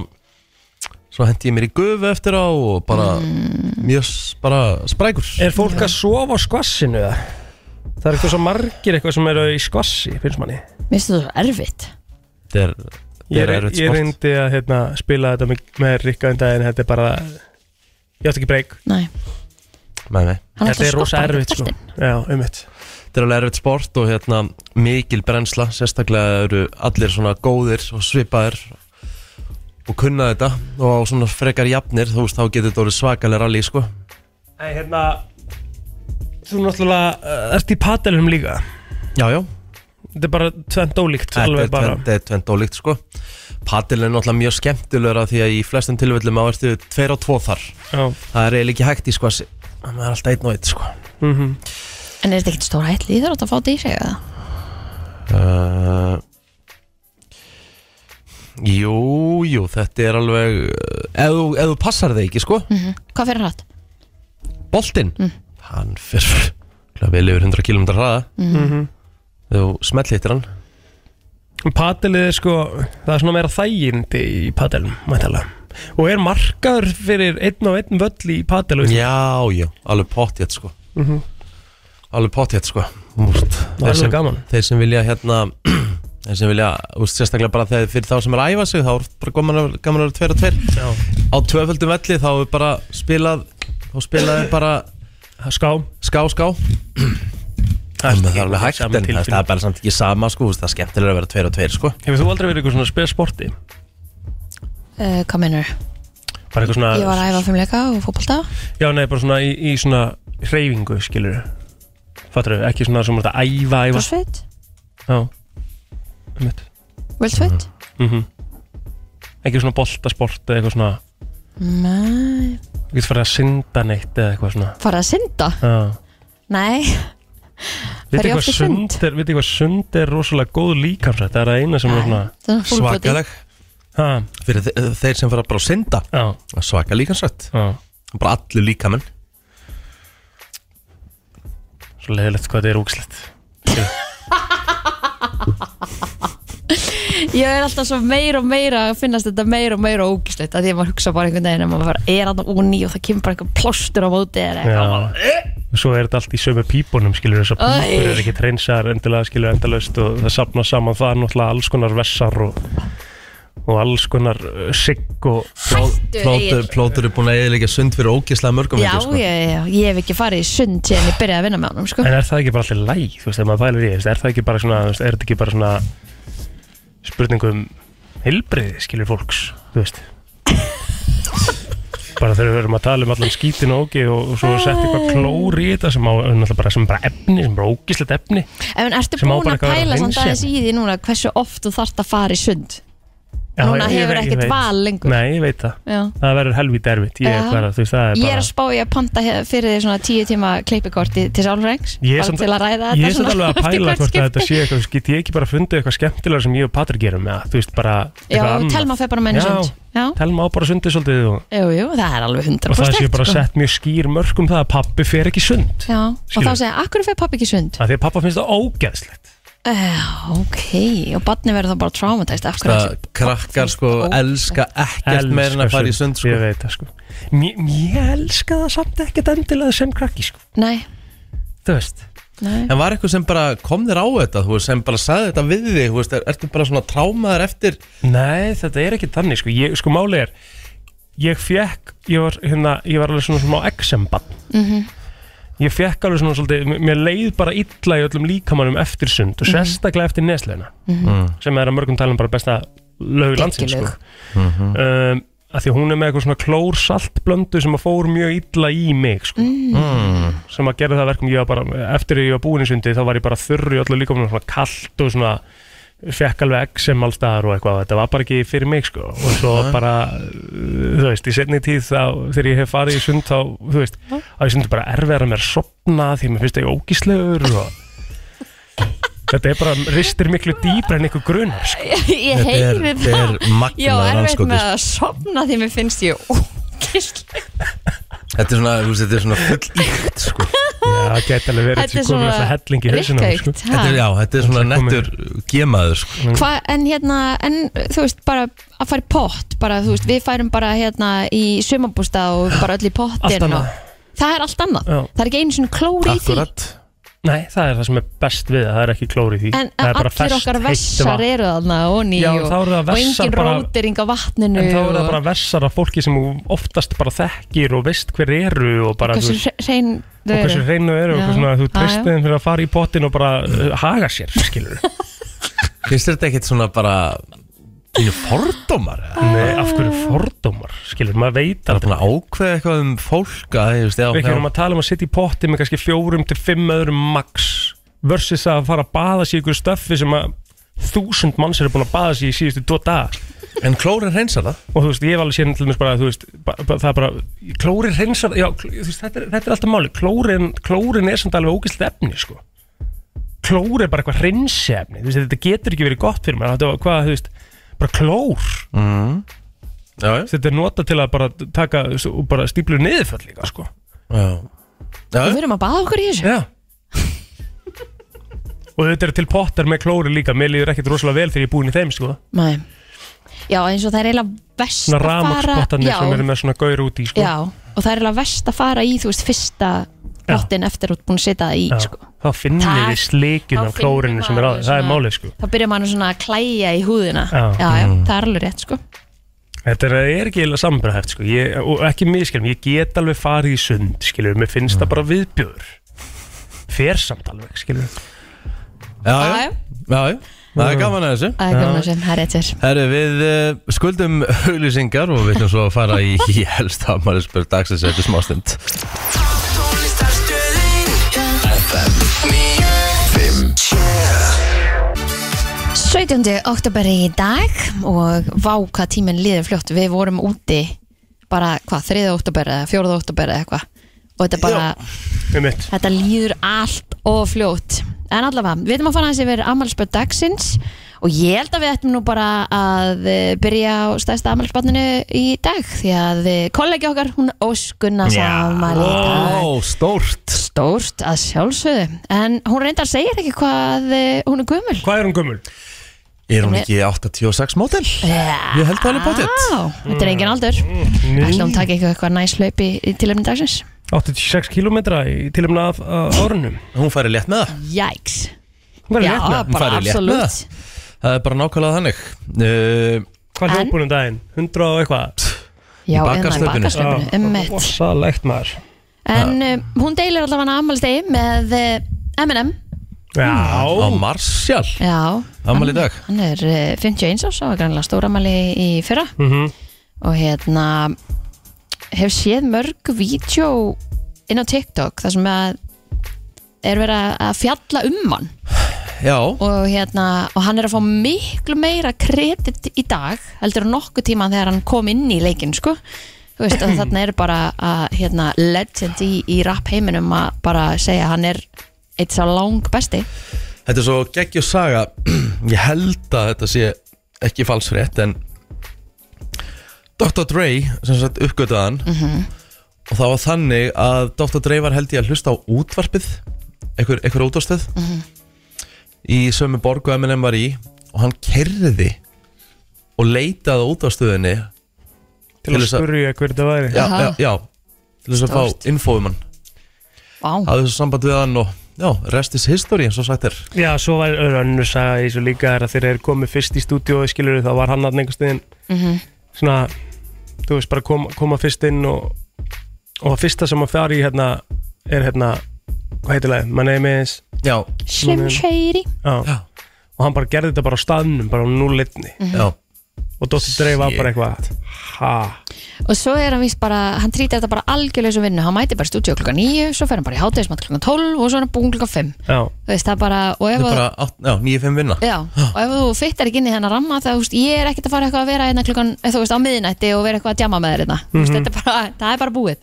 S2: Svo hendi ég mér í gufu eftir á Og bara mjög s- bara sprækur
S4: Er fólk að sofa á skvassinu það? Það er eitthvað svo margir eitthvað sem eru í skvassi, finnst manni
S3: Mér finnst þú svo erfitt
S2: Þetta er,
S4: Ég,
S2: þetta er
S4: er,
S2: erfitt
S4: ég
S2: sport.
S4: reyndi að hérna, spila þetta með, með Rikka en daginn, þetta er bara Ég átti ekki breyk
S3: Nei,
S2: Nei, nei
S3: hann
S4: Þetta
S3: ætlar
S4: er
S3: að
S4: rosa
S3: skoppa
S4: erfitt
S3: þetta
S4: sko.
S3: beltin.
S4: Já, um mitt
S2: Þetta er alveg erfitt sport og hérna mikil brennsla, sérstaklega eru allir svona góðir og svipaðir og kunna þetta og á svona frekar jafnir, þú veist, þá getur þetta orðið svakalega rally, sko.
S4: Nei, hérna Þú náttúrulega uh, ert í patelum líka
S2: Já, já,
S4: Þetta er bara tvent ólíkt
S2: þetta
S4: alveg
S2: er
S4: bara
S2: tvend- þetta er tvend ólíkt, sko. Padel er náttúrulega mjög skemmtilegur af því að í flestum tilfellum á ertu tveir og tvo þar.
S4: Já,
S2: Það er eiginlega ekki hægt í sko, það er alltaf einn og einn, sko.
S4: mhm
S3: En er þetta ekkert stóra ætli? Ég þarf að fá þetta í sig eða?
S2: Uh, jú, jú, þetta er alveg, eh, ef þú, ef þú passar þig ekki, sko.
S3: Mhm. Hvað fyrir hratt?
S2: boltinn hann fyrr
S4: Mhm.
S2: vel yfir 100 km hraða mm -hmm. þú smellhittir hann
S4: Padelið er sko, það er svona meira þægindi í padelum, mættalega Og er markaður fyrir einn og einn völl í padelu
S2: Já, já, alveg pottjætt sko Alveg pottjætt sko Úst,
S4: Mhm. Það er alveg gaman.
S2: Þeir sem vilja hérna Þeir sem vilja, úst, sérstaklega bara þegar fyrir þá sem er að æfa sig Þá er bara gaman að gaman að vera tveir og tveir
S4: Já,
S2: Á tvöföldum velli þá er bara spilað Þá spilaði bara
S4: ská
S2: ská ská
S4: Það
S2: Það er alveg hægt en það- það er
S4: tilfinning.
S2: bara samt ekki sama sko úst, Það er skemmtilega að vera tveir og tveir sko
S4: Hefur þú aldrei verið eitthvað svona spes sporti?
S3: uh, hvað mennur?
S4: Bara eitthvað svona
S3: Ég var að æfa fimmleika og fótbolta
S4: Já, nei, bara svona í, í svona hreyfingu, skilur Fattur þau, ekki svona sem þetta æfa, æfa
S3: crossfit,
S4: Já, um mitt
S3: worldfit
S4: Ekki svona boltasport eða eitthvað svona Mhm.
S3: Nei,
S4: Þú getur farið að synda neitt eða eitthvað svona
S3: fara að synda?
S4: Já
S3: Nei,
S4: Vitið
S3: ég
S4: hvað
S3: oft í sund?
S4: sund er, vitið hvað sund er rosalega góð líkamsrætt Það er að eina sem er svona
S3: það er full body.
S2: Svakaleg
S4: ha,
S2: Fyrir þe- þeir sem fara bara að synda
S4: Já,
S2: Svaka líkansrætt
S4: já
S2: Bara allur líkamenn
S4: Svo leiðilegt hvað þetta er úkslegt
S3: Ég er alltaf svo meira og meira að finnast þetta meira og meira ógislegt að því að maður hugsa bara einhvern veginn um að maður bara er að óný og það kemur bara einhver plóstur á móti eða eitthvað
S4: Já Og svo er þetta allt í sömu pípunum skilur Þessar
S3: Æ.
S4: pípur er ekki treynsar endilega skilur endalaust Og það sapna saman það er náttúrulega alls konar vessar og og alls konar uh, sigg og
S3: Hættu
S2: Plótur,
S3: Egill.
S2: plótur er búin að eðilega sund fyrir ógislega mörgum
S3: Já,
S2: held ég, sko.
S3: já, já, ég hef ekki farið í sund síðan ég byrjaði að vinna með honum, sko
S4: En er það ekki bara allir læg, þú veist, ef maður pælir í, því, þú veist, er það ekki bara svona, þú veist, er þetta ekki bara svona spurningum heilbriði, skilur fólks, þú veist bara þegar við verum að tala um allan skítin og ógi og, og svo sett eitthvað klór í þetta sem á, náttúrulega bara, sem bara efni, sem bara ógislegt efni
S3: En ertu
S4: Sem á
S3: búin að
S4: bara eitthvað að
S3: pæla
S4: vera
S3: samt
S4: hreinsa.
S3: aðeins í því núna hversu oft þú þart að fara í sund?
S4: Já,
S3: Núna
S4: ég- ég
S3: hefur
S4: veit- ég
S3: ekkert
S4: veit.
S3: val lengur.
S4: Nei, ég veit það,
S3: Já
S4: það verður helvítið erfitt ég
S3: Já.
S4: er bara, þú veist, það er
S3: Ég
S4: bara
S3: er að spá ég að panta he- fyrir því svona tíu tíma kleipikorti til sálfrængs
S4: Ég er
S3: bara
S4: samt-
S3: til að ræða
S4: Ég
S3: þetta
S4: er
S3: svona
S4: samt alveg að
S3: eftir
S4: pæla
S3: hvert
S4: hvort að þetta
S3: skipti.
S4: sé eitthvað, get ég ekki bara fundið eitthvað skemmtilega sem ég og Patrik gerum með, þú veist, bara
S3: Já,
S4: eitthvað annað.
S3: Telma fer bara með henni í
S4: Já,
S3: sund. Já.
S4: Telma á bara sundið svolítið og
S3: Jú, jú, það er alveg 100%
S4: og það sé bara
S3: sko.
S4: sett mjög skýr mörg um það að pappi fer ekki í sund
S3: Já, og
S4: Skilur.
S3: þá segja, akkur fer pappi ekki í sund?
S4: að því að pappa finnst það ógeðslegt
S3: Já, ok, og barni verður þá bara traumatæst af hverju
S2: Það krakkar sko elska ekkert
S4: Elska
S2: meira en að fara í sund sko
S4: ég veit það sko mér, mér elska það samt ekkert endilega sem krakki sko
S3: Nei,
S4: þú veist
S3: nei,
S2: En var eitthvað sem bara kom þér á þetta þú veist, sem bara sagði þetta við þig þú veist, er, ertu bara svona trámaður eftir
S4: nei þetta er ekki þannig sko ég, sko máli er ég fekk ég var hérna ég var alveg svona smá exembann ég fekk alveg svona svolítið m- mér leið bara illa í öllum líkamannum eftir sund og sérstaklega eftir neslögina sem er að mörgum talum bara besta lög landsins sko.
S3: Dyggileg.
S4: um, að því að hún er með eitthvað svona klórsaltblöndu sem að fór mjög illa í mig sko. sem að gera það verkum ég var bara, eftir að ég var búin í sundi þá var ég bara þurr í öllu líkamanum svona kalt og svona fekk alveg XM allstaðar og eitthvað þetta var bara ekki fyrir mig sko og svo bara, uh, þú veist, í setni tíð þá, þegar ég hef farið í sund þá, þú veist að ég sundi bara erfiðar að mér að sopna því að mér finnst það ég ógíslegur og þetta er bara ristir miklu dýbra en eitthvað grunar sko.
S3: ég
S2: er,
S3: heyri
S2: þetta
S3: það
S2: er
S3: Já,
S2: magnaður
S3: erfitt með
S2: anskotis
S3: að sopna því mér finnst ég ógislega
S2: Þetta er svona, þú veist, þetta er svona full íkt sko
S4: Já, það gæti alveg verið
S3: Þetta
S4: því
S3: er
S4: komið alltaf helling í hausinu sko.
S3: rikkaukt
S2: Þetta er, já, þetta er svona
S4: Þetta er komið.
S2: nettur gemaður sko
S3: Hvað, en hérna, en þú veist, bara að fara í pott, bara þú veist, við færum bara hérna í sumabústa og bara öll í pottin
S4: Allt annað.
S3: og- Það er allt annað,
S4: Já.
S3: það er ekki einu sinni klóri í því
S2: Akkurat
S4: Nei, það er það sem er best við það, það er ekki klóri í því
S3: En
S4: það er bara
S3: allir
S4: ferskt,
S3: okkar
S4: heitt
S3: vessar
S4: vatn.
S3: eru þarna og ný
S4: Já,
S3: og,
S4: þá eru það
S3: og
S4: vessar
S3: engin
S4: bara-
S3: rótering á vatninu
S4: En þá er það
S3: og-
S4: bara versar af fólki sem þú oftast bara þekkir og veist hver eru og bara þú
S3: hversu
S4: veist-
S3: hre- hrein þau
S4: og hversu
S3: eru.
S4: hreinu eru og
S3: Já.
S4: hversu svona
S3: Já,
S4: þú
S3: já.
S4: treystið þeim fyrir að fara í pottin og bara uh, haga sér, skilur
S2: Finnst þér þetta ekkert svona bara Þínu fordómar eða?
S3: Ah.
S4: Nei, af hverju fordómar, skilur, maður veit
S2: Það er
S4: aldrei
S2: búin að ákveða eitthvað um fólk að, þú veist, já,
S4: Við
S2: já.
S4: erum að tala um að sitja í potti með kannski fjórum til fimm öðrum max versus að fara að baða sér í ykkur stöffi sem að þúsund manns eru búin að baða sér í síðustu tvo daga
S2: En klórin reynsar það
S4: og þú veist, ég hef alveg séð til mér bara, þú veist, ba ba það er bara, klóri reynsar, já, kl- þú veist, þetta er, þetta er alltaf máli, klórin, klórin er samt alveg ógæslega efni, sko. Klór er bara eitthvað reynsefni, þú veist, þetta getur ekki verið gott fyrir mér, þetta var hvað, þú veist, bara klór,
S2: Já, já,
S4: þetta er notað til að bara taka, þú veist, og bara stíplu niðurföll líka, sko.
S2: já. já.
S3: og við erum að baða okkur í þessu
S4: Já. Og þetta er til pottar með klóri líka Mér líður ekkert rosalega vel þegar ég er búin í þeim sko
S3: Nei. Já, eins og það er eiginlega vest
S4: Svona
S3: að fara
S4: ramakspottarnir
S3: já,
S4: sem eru með svona gaur út í sko
S3: já, og það er eiginlega vest að fara í þú veist, fyrsta
S4: Já.
S3: pottin eftir að þú ert búin að setja það í
S4: Já.
S3: sko.
S4: Þá finnir
S3: Það-
S4: þið slikjun
S3: þá finnur
S4: af klórinu sem er á
S3: maður
S4: Það er
S3: svona-
S4: málið sko
S3: þá byrjar maður svona að klæja í húðina
S4: Já.
S3: já, já, það er alveg rétt sko.
S4: Þetta er, er ekki eiginlega sambarhæft sko ég, Og ekki miskilum, ég get alveg farið í sund Skilur, mér finnst það bara viðbjöður Fer samt alveg, skilur
S2: Já,
S3: Já,
S2: já, já, já. Það er gaman að þessu
S3: það er gaman að sem, það er rétt sér
S2: Herru, við uh, skuldum auglýsingar og við ætlum svo að fara í í helst að maður spyrir dagsins eftir smástund.
S1: Tónlistarstöðin FM 957
S3: 17. oktober í dag og vá hvað tíminn líður fljótt við vorum úti bara hvað, 3. oktober eða 4. oktober eða eitthvað og þetta bara,
S4: Um mitt
S3: þetta líður allt og fljótt en allavega, við ætlum að fara aðeins yfir afmælspöld dagsins og ég held að við ættum nú bara að eh, byrja á stærsta afmælspöldinu í dag því að eh, kollegi okkar, hún Óskunnas
S4: Já.
S3: afmæli í
S2: Ó,
S3: dag
S2: stórt.
S3: stórt að sjálfsögðu en hún reyndar segir ekki hvað eh, hún er gömul
S4: Hvað er hún gömul?
S2: Er hún ekki 86 mótel?
S3: Ég
S2: held það alveg Mm. pottet.
S3: Þetta er engin aldur Ætla hún taka eitthvað, eitthvað næs hlaup í, í tilöfni dagsins
S4: 86 kilometra í tilumna af af árunum
S2: Hún færi létt með það.
S3: Jæks
S4: Hún verður
S3: Já,
S4: létt með
S2: Hún
S3: bara
S2: færi létt með
S3: absolutt
S2: Það er bara nákvæmlega þannig. Uh,
S4: Hvað
S3: En-
S4: hljópunum um daginn? 100 og eitthvað?
S3: Já,
S2: Í
S3: innan
S2: bakkarslaupinu.
S3: bakkarslaupinu, ummitt
S4: Vassalegt maður
S3: En uh, hún deilir allavega ammálstegi með uh, M&M
S2: á
S4: Já
S2: Marsjál.
S3: Já,
S2: Amal í dag.
S3: hann er uh, 51 árs og grannlega stóramæli í fyrra
S4: Mhm.
S3: og hérna hef séð mörg vídeo inn á TikTok þar sem að er verið að- að fjalla um hann
S2: Já.
S3: og, hérna, og hann er að fá miklu meira kredit í dag heldur en nokkuð tíma þegar hann kom inn í leikin sko. Þú veist, að þarna er bara að, hérna, legend í, í rap heiminum að bara segja að hann er eitt sá lang besti
S2: Þetta er svo geggjur saga. Ég held að þetta sé ekki falsfrétt en Dr. Dre sem sagt uppgötaðan mm
S3: Mhm.
S2: og það var þannig að Dr. Dre var held ég að hlusta á útvarpið einhver, einhver útvarstöð
S3: Mhm.
S2: í sömu borgu M&M var í og hann kerði og leitaði á útvarstöðinni
S4: Til að spurja hver þetta væri
S2: já,
S3: Aha.
S2: já, já, til þess að
S3: Stórt.
S2: fá infóum hann
S3: Vá,
S2: hafði þessu samband við hann og já, rest is history eins og sagt er
S4: Já, svo var önnur saga í þessu líka er að þegar þeir komið fyrst í stúdíói skilur þá var hann að einhvern stöðin svona, þú veist, bara kom, koma fyrst inn og, og það fyrsta sem að fara í hérna er hérna, hvað heitir leið? My name is
S2: já,
S3: Slim Shady
S4: Já.
S2: já,
S4: Og hann bara gerði þetta bara á staðnum, bara á núlitni
S3: Mhm.
S2: já
S4: Og Dóttir Drey var bara
S2: Shit.
S4: eitthvað Ha,
S3: og svo er hann víst bara, hann trýtir þetta bara algjörlega sem vinnu, hann mæti bara í stúdíu klukka 9 svo fer hann bara í hátegismat klukka 12 og svo er hann búin klukka 5
S4: já
S3: þú veist, það er bara, og ef
S2: þetta er
S3: að
S2: bara átt- já, 9-5 vinna
S3: Já, og ef þú fittar ekki inn í þennan ramma þá, þú veist, ég er ekkert að fara eitthvað að vera hérna klukkan, eh, þú veist, á miðinætti og vera eitthvað að djama með þér hérna, þú veist,
S4: Mhm.
S3: þetta er bara, það er bara búið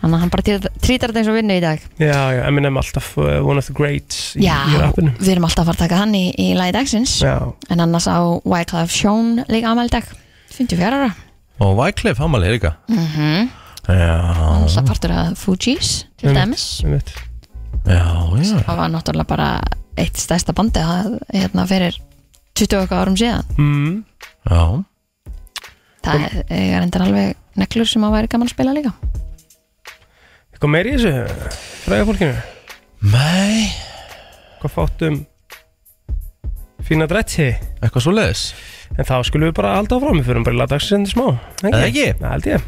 S3: þannig að hann bara trýtar- trýtar þetta eins og vinnu í dag
S4: Já, já, Eminem alltaf uh, one of the greats í,
S3: Já,
S4: í rappinu
S3: við erum alltaf að fara að taka hann í, í lagi dagsins,
S4: Já,
S3: en annars á Wyclef Sean líka ámæli dag 54 ára, Mhm.
S2: og Wyclef, hann malið líka já,
S3: hann sá partur að Fugees til dæmis,
S4: ég veit
S2: já, já
S3: það var náttúrulega bara eitt stærsta bandið að, hérna, fyrir 20 og eitthvað árum síðan
S4: mm.
S2: já,
S3: það er, er endur alveg neklur sem að væri gaman að spila líka
S4: Eitthvað meir í þessu, fræða fólkinu
S2: mei,
S4: Hvað fátum fína dretti
S2: eitthvað svo leiðis
S4: En þá skulum við bara halda áfram, við fyrir bara í lagdagsendur smá
S2: Eða ekki?
S4: Það held ég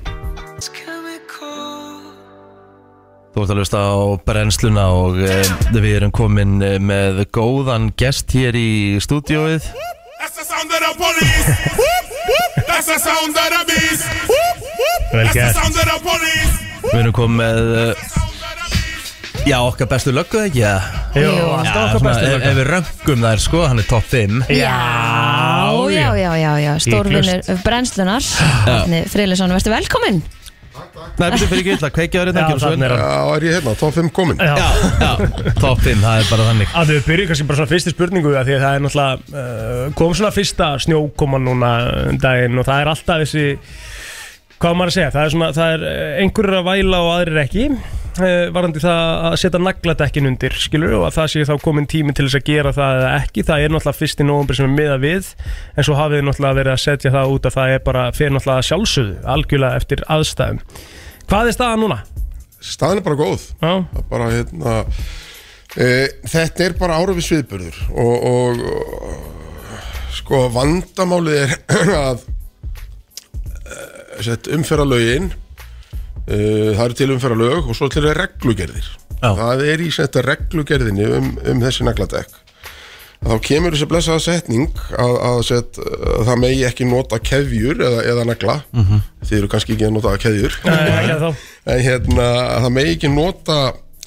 S2: Þú ert að hlusta á brennsluna og e, við erum komin eh, með góðan gest hér í stúdióið
S5: That's the sound of the police. Whoop, whoop. That's the sound of the beast. Whoop, whoop.
S4: Vel
S5: That's the
S4: gert.
S5: sound of the police.
S2: Við erum komin með, eh,
S5: Sound of the beast.
S2: já, okkar bestu löggu, ekki? Já,
S4: Jú,
S3: Jú.
S2: já
S4: alltaf okkar
S2: svona,
S4: bestu
S2: ef, ef við röngum þær, sko, hann er topp 5
S3: Já, já, já, já, já, stórvinnur brennslunar Árni Friðlisson, verður velkominn
S2: Nei, betur fyrir ekki illa, kveikjaður
S4: Já,
S2: þetta, kemur svo
S4: þannig er
S2: inn
S4: hann
S6: Já, er ég hérna, tóf 5 komin
S4: Já.
S2: Já, já, topp 5, það er bara þannig
S4: Að við byrjum kannski bara svona fyrstu spurningu að því að það er náttúrulega uh, kom svona fyrsta snjókoma núna um daginn og það er alltaf þessi hvað á maður að segja, það er svona það er eh, einhverjir að væla og aðrir ekki eh, varandi það að setja nagladekkin undir skilur og að það sé þá komin tími til þess að gera það eða ekki, það er náttúrulega fyrst í nóvumbri sem er miða við, en svo hafið þið náttúrulega verið að setja það út að það er bara fyrir náttúrulega að sjálfsögðu, algjörlega eftir aðstæðum Hvað er staðan núna?
S6: staðan er bara góð
S4: Já,
S6: Það er bara, hérna, e, þetta er bara ára við sviðburður og, og, og sko vandamálið er að e, umferðalögin e, það eru til umferðalög og svo til eru reglugerðir
S2: Já.
S6: það er í sett reglugerðinni um, um þessi nagladekk þá kemur þessi blessaða setning að, að, set, að það megi ekki nota kefjur eða, eða nagla þið eru kannski ekki að nota kefjur
S4: Nei, ekki þá
S6: en hérna, það megi ekki nota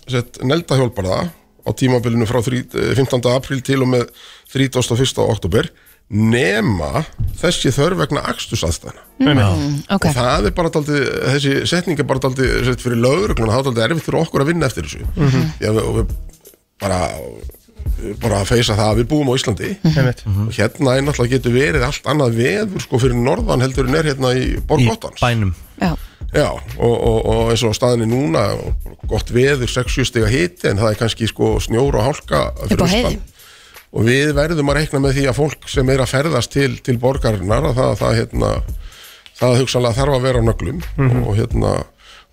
S6: sett, nelda hjólbarða á tímabilinu frá þrí- eh, 15. apríl til og með 31. oktober nema þessi þörf vegna akstursaðstæðna
S3: ok,
S6: og það er bara daldi, þessi setning er bara daldi sett, fyrir lögregluna, það er daldi erfitt fyrir okkur að vinna eftir þessu mm -hmm. við, og við bara við bara að feysa það að við búum á Íslandi
S4: Einmitt.
S6: og hérna er náttúrulega getur verið allt annað veður sko fyrir norðan heldur en er hérna í
S2: Í
S6: Borgottans
S2: bænum
S3: já,
S6: Já, og, og, og eins og staðinni núna gott veður, 6-7 stiga hiti en það er kannski sko snjór og hálka fyrir
S3: Upp á heiði.
S6: austan. og við verðum að reikna með því að fólk sem er að ferðast til, til borgarinnar að það, það, hérna, það hugsanlega þarf að vera á nöglum og hérna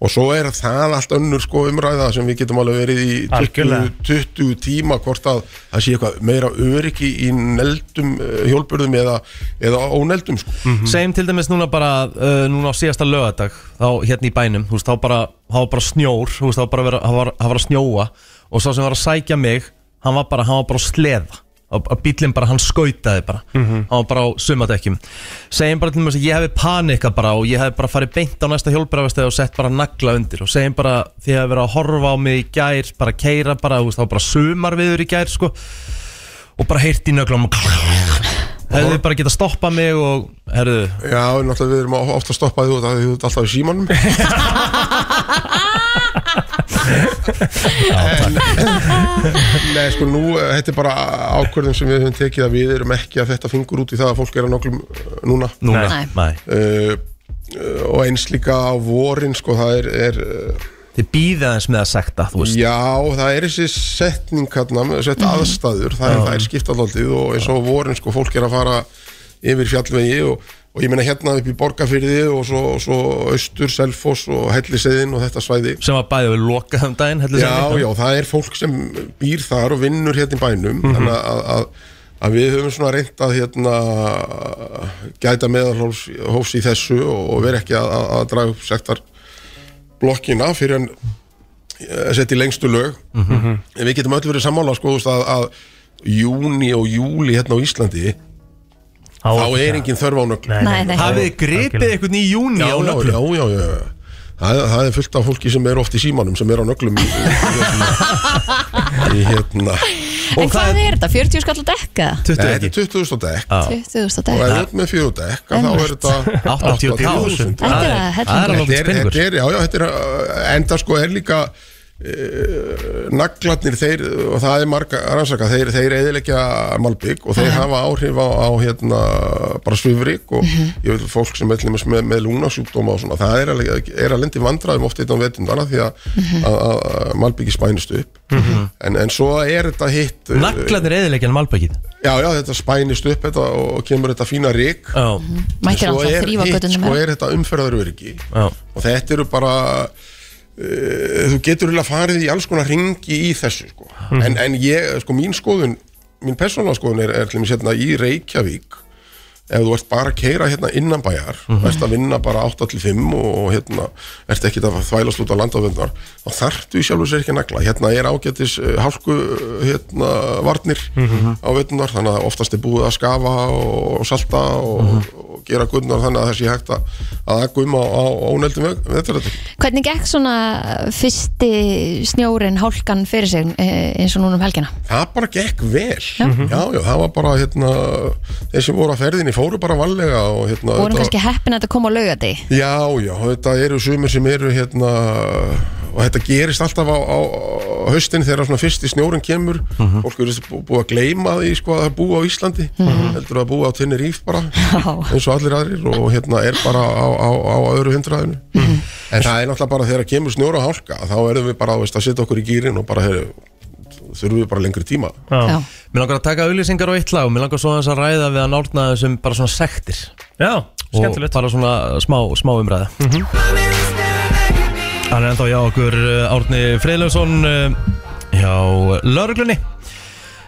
S6: og svo er það allt önnur sko umræða sem við getum alveg verið í 20,
S4: Algjörlega.
S6: 20 tíma hvort að það sé eitthvað meira öryggi í neldum eh, hjólburðum eða, eða óneldum sko.
S2: Segjum til dæmis núna bara uh, núna á síðasta lögadag þá hérna í bænum, þú veist, þá bara, þá var bara snjór þú veist, þá var bara vera, þá var, þá var að snjóa og sá sem var að sækja mig hann var bara, hann var bara að sleða og og bíllinn bara, hann skautaði bara hann var bara á sumadekkjum segjum bara til dæmis að ég hefði panikað bara og ég hefði bara farið beint á næsta hjólbrafastæð og sett bara nagla undir og segjum bara því að vera að horfa á mig í gær bara keira bara, þú veist, þá var bara sumarviður í gær sko, og bara heyrt í nöglum hefði bara getað stoppað mig og, herðu,
S6: Já, en náttúrulega við erum ofta að stoppa því út að því þú ert alltaf í símanum Nei, sko nú, eh, þetta er bara ákvörðum sem við höfum tekið að við erum ekki að þetta fingur út í það að fólk er að noklum núna
S2: Núna,
S3: Nei.
S2: nei,
S6: uh, og eins líka á vorin sko, það er, er eh,
S2: Þið býðið aðeins með að sekta, þú veist
S6: Já, það er þessi setning hérna, sett aðstæður, það er, það er skipt allaldið og eins og á vorin sko fólk er að fara yfir fjallvegi og, og ég meina hérna upp í Borgarfyrði og svo, svo Östur, Selfoss og Helliseðin og þetta svæði.
S2: Mm. Sem var bæðið við lokað um daginn heldur
S6: Já, já, það er fólk sem býr þar og vinnur hérna í bænum, þannig að, að að við höfum svona reynt að hérna gæta meðalhófs hófs í þessu og, og vera ekki að, að, að draga upp sektar blokkina fyrir en eh, setja í lengstu lög en við getum öll verið sammála sko, þú veist, að, að júni og júli hérna á Íslandi þá er engin þörf á nöglum
S3: Nei, nei.
S2: Hafið þið gripið einhvern í júni á
S6: já,
S2: nöglum
S6: já, já, já. Það, er- það er fullt af fólki sem er oft í símanum sem er á nöglum í, í, hérna, í hérna
S3: en
S2: það
S3: hvað er þetta, 40 skall að dekka?
S6: Nei,
S2: 20
S6: þetta er
S2: ekki
S6: 20.000 dekk
S3: 20 að
S6: og ef
S3: dekka
S6: þú ert með 4 dekk að þá er þetta
S2: 80.000
S3: Þetta er að
S2: Það er
S3: hellingur.
S2: alveg
S6: Þetta er,
S2: spenningur
S6: þetta er, já, já, þetta er, uh, enda sko er líka uh, naglarnir þeir, og það er marga rannsaka, þeir, þeir eðilegja malbygg og þeir hafa áhrif á, á hérna, bara svifrik og ég veit fólk sem er með, með, með lungnasjúkdóma og svona, það er að, er að lendi vandræðum oft eitt á vetundana því að mm -hmm. malbyggi spænist upp en, en svo er þetta hitt uh,
S2: Naglarnir eðilegja en malbækið
S6: já, já, þetta spænist upp þetta, og kemur þetta fína rík Mhm.
S2: Já,
S6: Svo
S3: Mættir alltaf
S6: er
S3: þrýfa
S6: hitt,
S3: göttunum
S6: sko
S3: meira.
S6: er þetta umferðaröryggi
S2: Já.
S6: og þetta eru bara uh, þú getur eiginlega farið í alls konar ringi í þessu sko. en, en ég, sko mín skoðun mín persónala skoðun er, er til dæmis, hérna, í Reykjavík ef þú ert bara að keira hérna innan bæjar mm ert að vinna bara 8 til 5 og hérna, ert ekki að þvælast út á landaföndar þá þarftu í sjálfu sér ekki að nagla hérna er ágætis uh, hálku uh, hérna, varnir á vettunar þannig að oftast er búið að skafa og, og salta og, og gera gunnar þannig að þessi hægt að, að akka um á, á óneldum vettur þetta
S3: Hvernig gekk svona fyrsti snjórin, hálkan fyrir sig eh, eins og núna um helgina?
S6: það bara gekk vel já, já, það var bara hérna, þeir sem voru að ferðinni fóru bara vallega og hérna
S3: Vorum
S6: þetta-
S3: kannski heppin að þetta kom á laugati?
S6: Já, já, þetta eru sumir sem eru hérna og þetta gerist alltaf á, á, á höstin þegar svona fyrst í snjórin kemur fólk eru bú- búið að gleyma því sko að það búa á Íslandi heldur að búa á Tenerife bara
S3: Já.
S6: eins og allir aðrir og hérna er bara á, á, á öðru hundraðinu En það er náttúrulega bara þegar kemur snjóra hálka þá erum við bara þú veist, að setja okkur í gýrin og bara heyrðu, þurfum við bara lengri tíma
S3: Já,
S4: Já,
S2: Mér langar að taka auðlýsingar á eitt lag og mér langar svo aðeins að ræða við að nárna sem bara svona sektir
S4: já
S2: og
S4: skemmtilegt
S2: bara svona smá, smá umræða Hann er enda á okkur uh, Árni Freilöfsson uh, hjá lauruglunni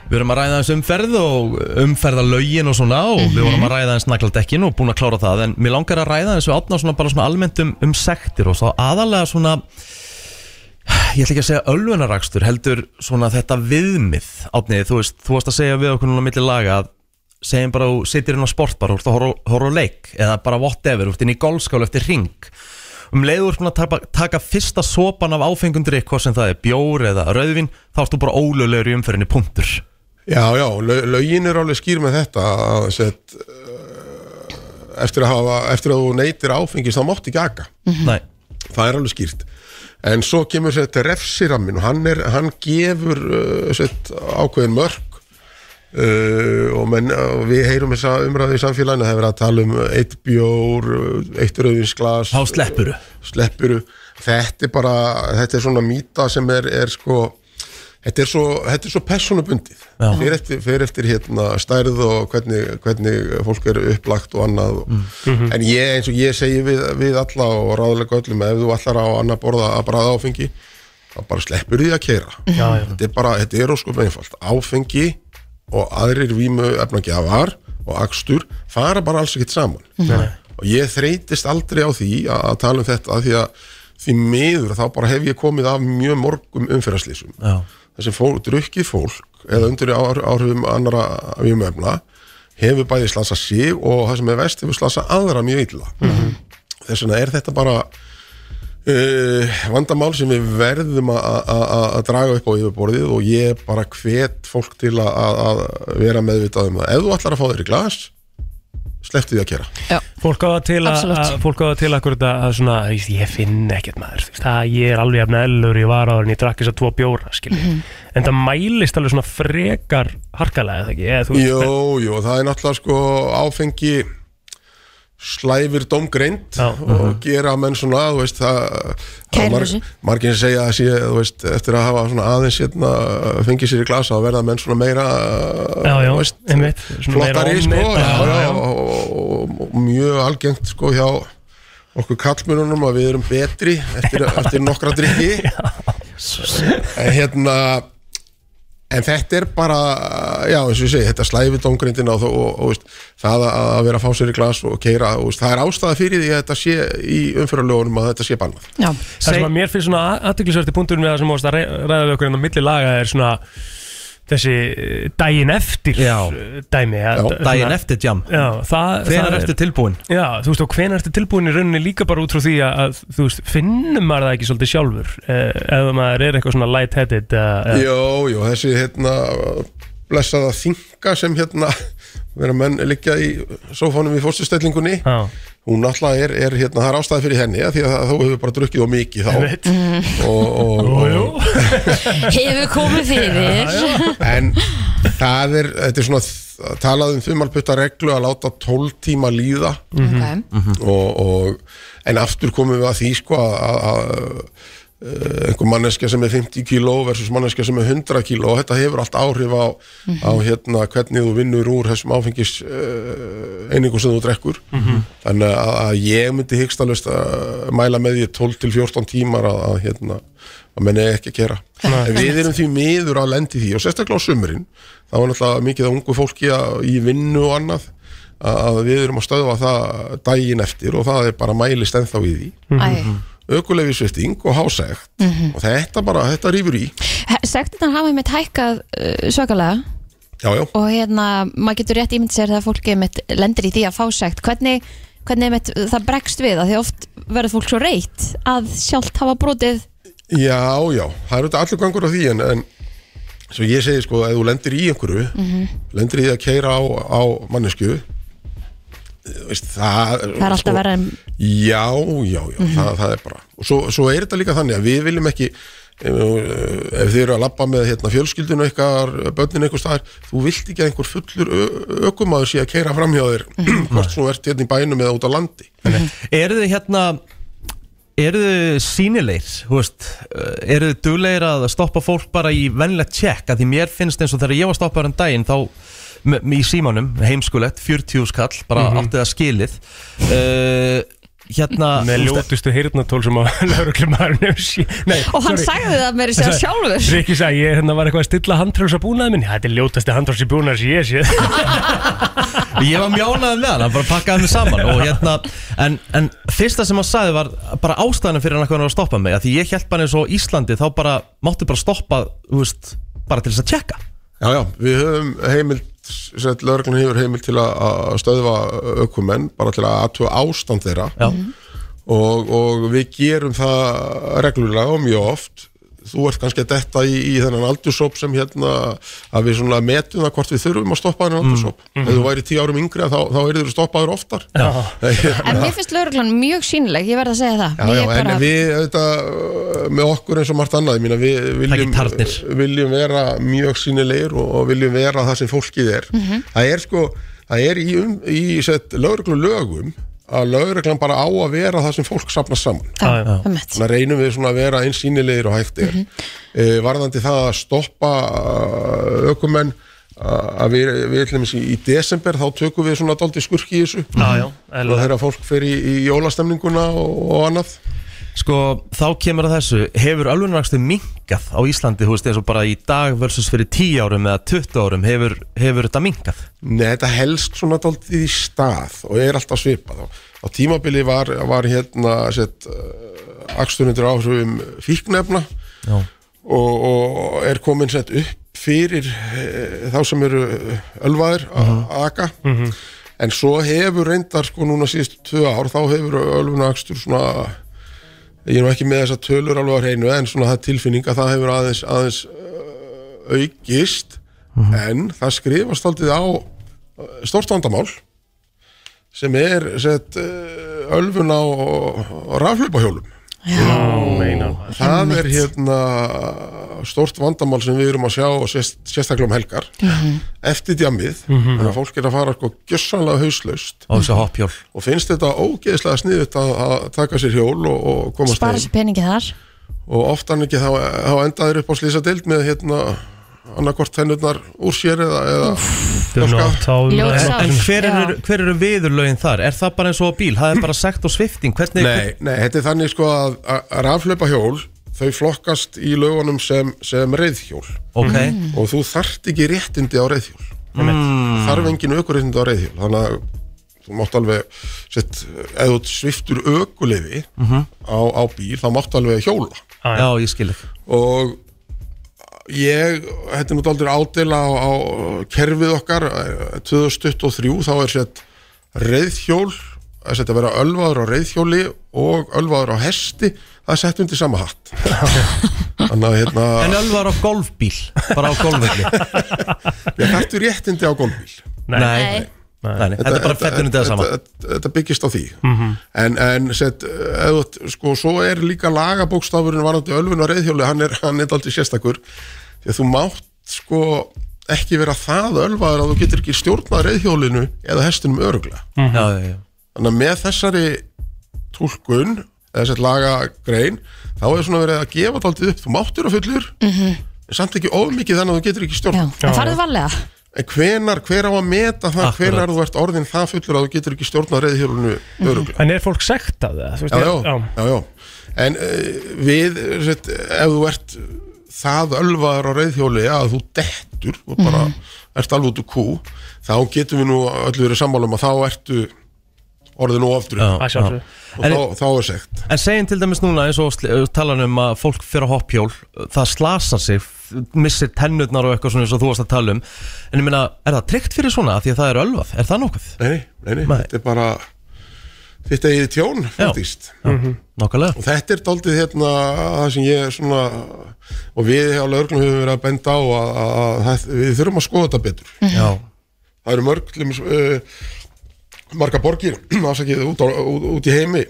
S2: Við erum að ræða eins umferð og umferða lögin og svona og við vorum að ræða eins nagladekkin og búin að klára það en mér langar að ræða eins við átna svona bara svona almennt um, um sektir og þá aðalega svona ég ætla ekki að segja ölvunarakstur heldur svona þetta viðmið átnið, þú veist, þú varst að segja við okkur núna á milli laga að segjum bara þú sitir inn á sportbar og þú ert að horfa- horfa á leik eða bara whatever, þú ert inn í golfskála eftir ring um leiður svona að taka, taka fyrsta sopan af áfengum drikk hvað sem það er bjór eða rauðvin þá ertu bara ólöglegur í umferðinni punktur
S6: Já, já, lög, lögin er alveg skýr með þetta að sett, eftir, að hafa, eftir að þú neytir áfengis þá mátt ekki aga
S2: Nei,
S6: það er alveg skýrt en svo kemur þetta refsirammin og hann, er, hann gefur uh, sett, ákveðin mörg uh, og menn, uh, við heyrum þessa umræðu í samfélaginu, það er verið að tala um eitt bjór, uh, eitt rauðinsglas
S2: þá sleppuru
S6: sleppuru þetta er bara, þetta er svona mýta sem er, er sko þetta er svo, þetta er svo personabundið
S2: Já.
S6: fyrir eftir, fyrir eftir hérna stærð og hvernig, hvernig fólk er upplagt og annað og, en ég eins og ég segi við, við alla og ráðlega öllum að ef þú allar á annað borða að bræða áfengi þá bara sleppur því að keira
S4: Já, já.
S6: þetta er bara, þetta er óskum einfalt áfengi og aðrir vímu efnagjafar og akstur fara bara alls ekkert saman og ég þreytist aldrei á því að, að tala um þetta af því að því miður þá bara hef ég komið af mjög morgum umferðarslýsum
S2: Já,
S6: þessi fólk, drukkið fólk eða undir ár, áhrifum annara vímöfna hefur bæði slasa sig og það sem er vest hefur slasa aðra mjög illa þess vegna er þetta bara uh, vandamál sem við verðum að- að að- að draga upp á yfirborðið og ég bara hvet fólk til að- að að vera meðvitað um það ef þú ætlar að fá þér í glas slepptu því að gera
S4: Fólk á það til að,
S3: Absolutt.
S4: að fólk á það til akkur þetta að svona, þú veist, ég finn ekkert maður, þú veist, það ég er alveg jafn ellur ég var áður en ég drakk þess að tvo bjóra, skilji. En það mælist alveg svona frekar harkalega, eða ekki, eða þú veist, það-
S6: Jó, jú, það er náttúrulega sko áfengi slæfir domgreind
S4: Já,
S6: og gera menn svona, þú veist það,
S3: Kærir
S6: það marg,
S3: þessu.
S6: margir sem segja að sé, þú veist, eftir að hafa svona aðeins hérna, fengið sér í glasa að verða menn svona meira
S4: Já, já,
S6: þú veist,
S4: einmitt, svona meira
S6: flottari, sko
S4: ofnir,
S6: já,
S4: já,
S6: já,
S4: já.
S6: Og, og, og mjög algengt sko hjá okkur kallmönunum að við erum betri eftir, eftir nokkra drikki en hérna en þetta er bara já eins og ég segi, þetta slæfi domgrindina og, þó- og, og veist, það að, að vera að fá sér í glas og keira, og, veist, það er ástæða fyrir því að þetta sé í umfyralögunum að þetta sé bannað
S3: já,
S4: það sem að mér finnst svona aðtöklisvert í punkturinn við það sem mást að rey- ræða við okkur en á milli laga er svona þessi eh, daginn eftir
S2: Já.
S4: eh, dæmi. Já,
S2: daginn eftir jam
S4: Já, það, það
S2: Hvenar
S4: er-
S2: ertu tilbúin?
S4: Já, þú veist, og hvenær ertu tilbúin í rauninni líka bara út frá því að, að þú veist, finnum maður það ekki svolítið sjálfur eh, ef maður er eitthvað svona light-headed eh, eh,
S6: Jó, jó, þessi hérna blessaða þinga sem hérna vera menn liggja í sófánum í fórstustellingunni
S4: Já,
S6: hún náttúrulega er, er hérna, það er ástæði fyrir henni af því að þú hefur bara drukkið og mikið þá
S4: Einmitt.
S3: Mm.
S6: og, og, og,
S4: jú.
S3: hefur komið fyrir
S6: en það er, þetta er svona talað um þumalputta reglu að láta 12 tíma líða Mhm.
S3: Ok,
S6: og, og, en aftur komum við að því sko að- að að, eh, einhver manneskja sem er 50 kíló versus manneskja sem er 100 kíló og þetta hefur allt áhrif á, á hérna, hvernig þú vinnur úr þessum áfengis uh, einingum sem þú drekkur þannig að, að ég myndi hyggstalaust að mæla með því 12 til 14 tímar að, að hérna að menn er ekki að gera en við erum því miður að lendi því og sérstaklega á sumurinn þá er náttúrulega mikið að ungu fólki að, í vinnu og annað að að við erum að stöðva það daginn eftir og það er bara mælist ennþá í því
S3: æ
S6: ökulegi svifting og hásegt og þetta bara, þetta rýfur í
S3: Sektirnar hafa með tækkað uh, svakalega
S6: já, já,
S3: og hérna, maður getur rétt ímynd sér það fólki einmitt lendir í því að fá sekt hvernig, hvernig einmitt það bregst við að því oft verður fólk svo reytt að sjálft hafa brotið
S6: já, já það er auðvitað allur gangur á því en, en svo ég segi sko, ef þú lendir í einhverju lendir í því að keira á, á mannesku veist, það,
S3: það er
S1: Sko,
S3: alltaf verið en
S6: Já, já, já,
S5: Mhm.
S6: það, það er bara og svo, svo er þetta líka þannig að við viljum ekki ef, ef þið eru að labba með hérna, fjölskyldun ykkar, börnin einhver staðar þú vilt ekki að einhver fullur ö- ökumaður sé að keira
S5: Mhm.
S6: framhjá þér hvort svo ert hérna í bænum eða út á landi
S2: Eru þið hérna eru þið sínilegir, þú veist, eh, eru þið duglegir að stoppa fólk bara í venlegt tjekk, að því mér finnst eins og þegar ég var stoppaður um daginn þá m- m- í símanum, heimskulegt, 40 skall, bara mm átti það skilið uh, hérna
S4: með
S2: þú veist,
S4: ljótustu heyrnatól sem að lauruglumæðurinn hefur sé Nei,
S3: Og hann sagði það meira sér sjálfur
S4: Rikki sagði, ég hérna var eitthvað að stilla handtrjóðs að búnaði minni Þetta er ljótasti handtrjóðs í búnaði sem ég sé
S2: Ég var mjónaði með hann, hann bara pakkaði mig saman og hérna, en, en fyrsta sem hann sagði var bara ástæðan fyrir hann að hann var að stoppa mig að því ég held bara eins og á Íslandi þá bara máttu bara stoppa, þú veist, bara til þess að tjekka
S1: Já, já, við höfum heimild sett lögreglun hefur heimild til að- að stöðva ökumenn bara til að aðtúa ástand þeirra
S2: Já,
S1: og, og við gerum það reglulega og mjög oft þú ert kannski að detta í, í þennan aldursóp sem hérna að við svona metum það hvort við þurfum að stoppa þennan aldursóp ef þú væri tíu árum yngri þá, þá eru þú stoppaður oftar já,
S3: En mér finnst lauruglan mjög sínileg, ég verð að segja það
S1: já, já,
S3: Ég bara-
S1: en við auðvitað uh, með okkur eins og margt annað ég mína, við viljum,
S2: Ekki tarnir.
S1: viljum vera mjög sínilegir og, og viljum vera það sem fólkið er
S3: Mhm.
S1: það er sko, það er í, um, í sett, lögreglu lögum að lögreglan bara á að vera það sem fólk sapna saman
S4: Já, já.
S3: Já, einmitt.
S1: Þannig að reynum við svona að vera eins sínilegir og hægt er.
S3: Mhm.
S1: Mm varðandi það að stoppa uh, ökumenn uh, að við, við ætlum í, í desember þá tökum við svona daldi skurki í þessu
S4: Já, já,
S1: og
S4: eðlilega.
S1: þegar fólk fer í, í jólastemninguna og, og annað
S2: sko, þá kemur að þessu, hefur alvegnarakstu minkað á Íslandi, þú veist, eins og bara í dag versus fyrir 10 árum eða 20 árum hefur, hefur þetta minkað?
S1: Nei, þetta helst svona daldið í stað og er alltaf svipað á, á tímabili var, var hérna sett, uh, aksturundur áhrifum fíknefna
S2: Já.
S1: og, og er komin sett upp fyrir uh, þá sem eru ölvaðir að aka en svo hefur reyndar sko núna síðustu tvö ár þá hefur ölvuna akstur svona ég er nú ekki með þessa tölur alveg á hreinu en svona það er tilfinning að það hefur aðeins, aðeins uh, aukist en það skrifast aldrei á uh, stórt vandamál sem er sett uh, ölfun á, á rafhlaupahjólum
S4: Ó, meinar.
S1: það er hérna stórt vandamál sem við erum að sjá og sérst, sérstaklega um helgar eftir djamið, þannig að fólk er að fara sko gjössanlega hauslaust
S2: Á þessu hoppjól?
S1: og finnst þetta ógeðslega sniðut að, að taka sér hjól og, og komast
S3: Spara sér peningi þar
S1: og oft hann ekki þá, þá endaður upp á slísadeild með hérna annarkort hennurnar úr sér eða, eða
S4: Do
S2: sko-
S4: not tell me.
S3: Ljótsátt.
S2: En hver
S3: Já.
S2: eru, hver eru viðurlögin þar? Er það bara eins og á bíl? Það er bara sekt og svifting? Hvernig,
S1: nei, nei, þetta er þannig sko að, að raflöpa hjól þau flokkast í lögunum sem, sem reyðhjól
S2: Ok,
S1: og þú þarft ekki réttindi á reyðhjól mm. þarf engin aukuréttindi á reyðhjól þannig að þú mátt alveg sett, ef þú sviftur aukuleifi á, á bíl, þá mátt alveg hjóla
S4: Já,
S2: já
S4: já.
S2: ég skil þig
S1: og ég, þetta er nú aldrei ádela á, á kerfið okkar eh, 2023 þá er sett reyðhjól það er sett að vera ölvaður á reyðhjóli og ölvaður á hesti það er sett undir sama hatt þannig að hérna
S2: En Ölvar á golfbíl, bara á golfvelli
S1: ég hættu réttindi á golfbíl
S4: Nei.
S2: nei, nei, nei, þetta er bara fettur undir það sama Mhm.
S1: þetta, þetta, þetta byggist á því en, en set, eðut, sko, svo er líka lagabókstafurinn varandi ölfun og reyðhjóli hann er, hann er aldrei sérstakur því að þú mátt sko ekki vera það ölvaður að þú getur ekki stjórnað reyðhjólinu eða hestinum öruglega
S2: Já, já, já
S1: þannig að með þessari tólkun eða sett lagagrein þá er svona verið að gefa þetta aldrei upp þú máttur að fullur en samt ekki of mikið þannig að þú getur ekki
S3: Já,
S1: stjórnað
S3: en farðu varlega
S1: En hvenar, hver á að meta það,
S2: Akkurat.
S1: hvenar þú ert orðin það fullur að þú getur ekki stjórnað reyðhjólunu öruglega?
S4: En er fólk sekt af það? Þú veist,
S1: Mhm. Já, já,
S4: ég-
S1: já, já. En uh, við, set, ef þú ert það ölvaður á reyðhjóli að þú dettur og bara ert alveg út úr kú, þá getum við nú öllu verið sammála um að þá ertu orðin og aftur
S2: Já,
S1: og
S4: Að sjálfsögðu.
S2: já.
S1: þá,
S2: En,
S1: þá er segt.
S2: en segjum til dæmis núna eins og sl- uh, talan um að fólk fyrir að hoppjól það slasar sig, f- missir tennurnar og eitthvað svona eins og þú varst að tala um En ég meina, er það tryggt fyrir svona því að það er ölvað? Er það nokkuð?
S1: Nei, nei, nei, nei,
S2: Nei.
S1: þetta er bara þitt eigið tjón, faktist.
S4: Mhm.
S2: Nákvæmlega
S1: Og þetta er daldið hérna það sem ég svona og við á lögreglum höfum verið að benda á að, að, að það- við þurfum að skoða þetta betur
S4: Mhm.
S2: Já,
S1: það eru mörg til dæmis, uh, marga borgir afsakið út, á, út, út í heimi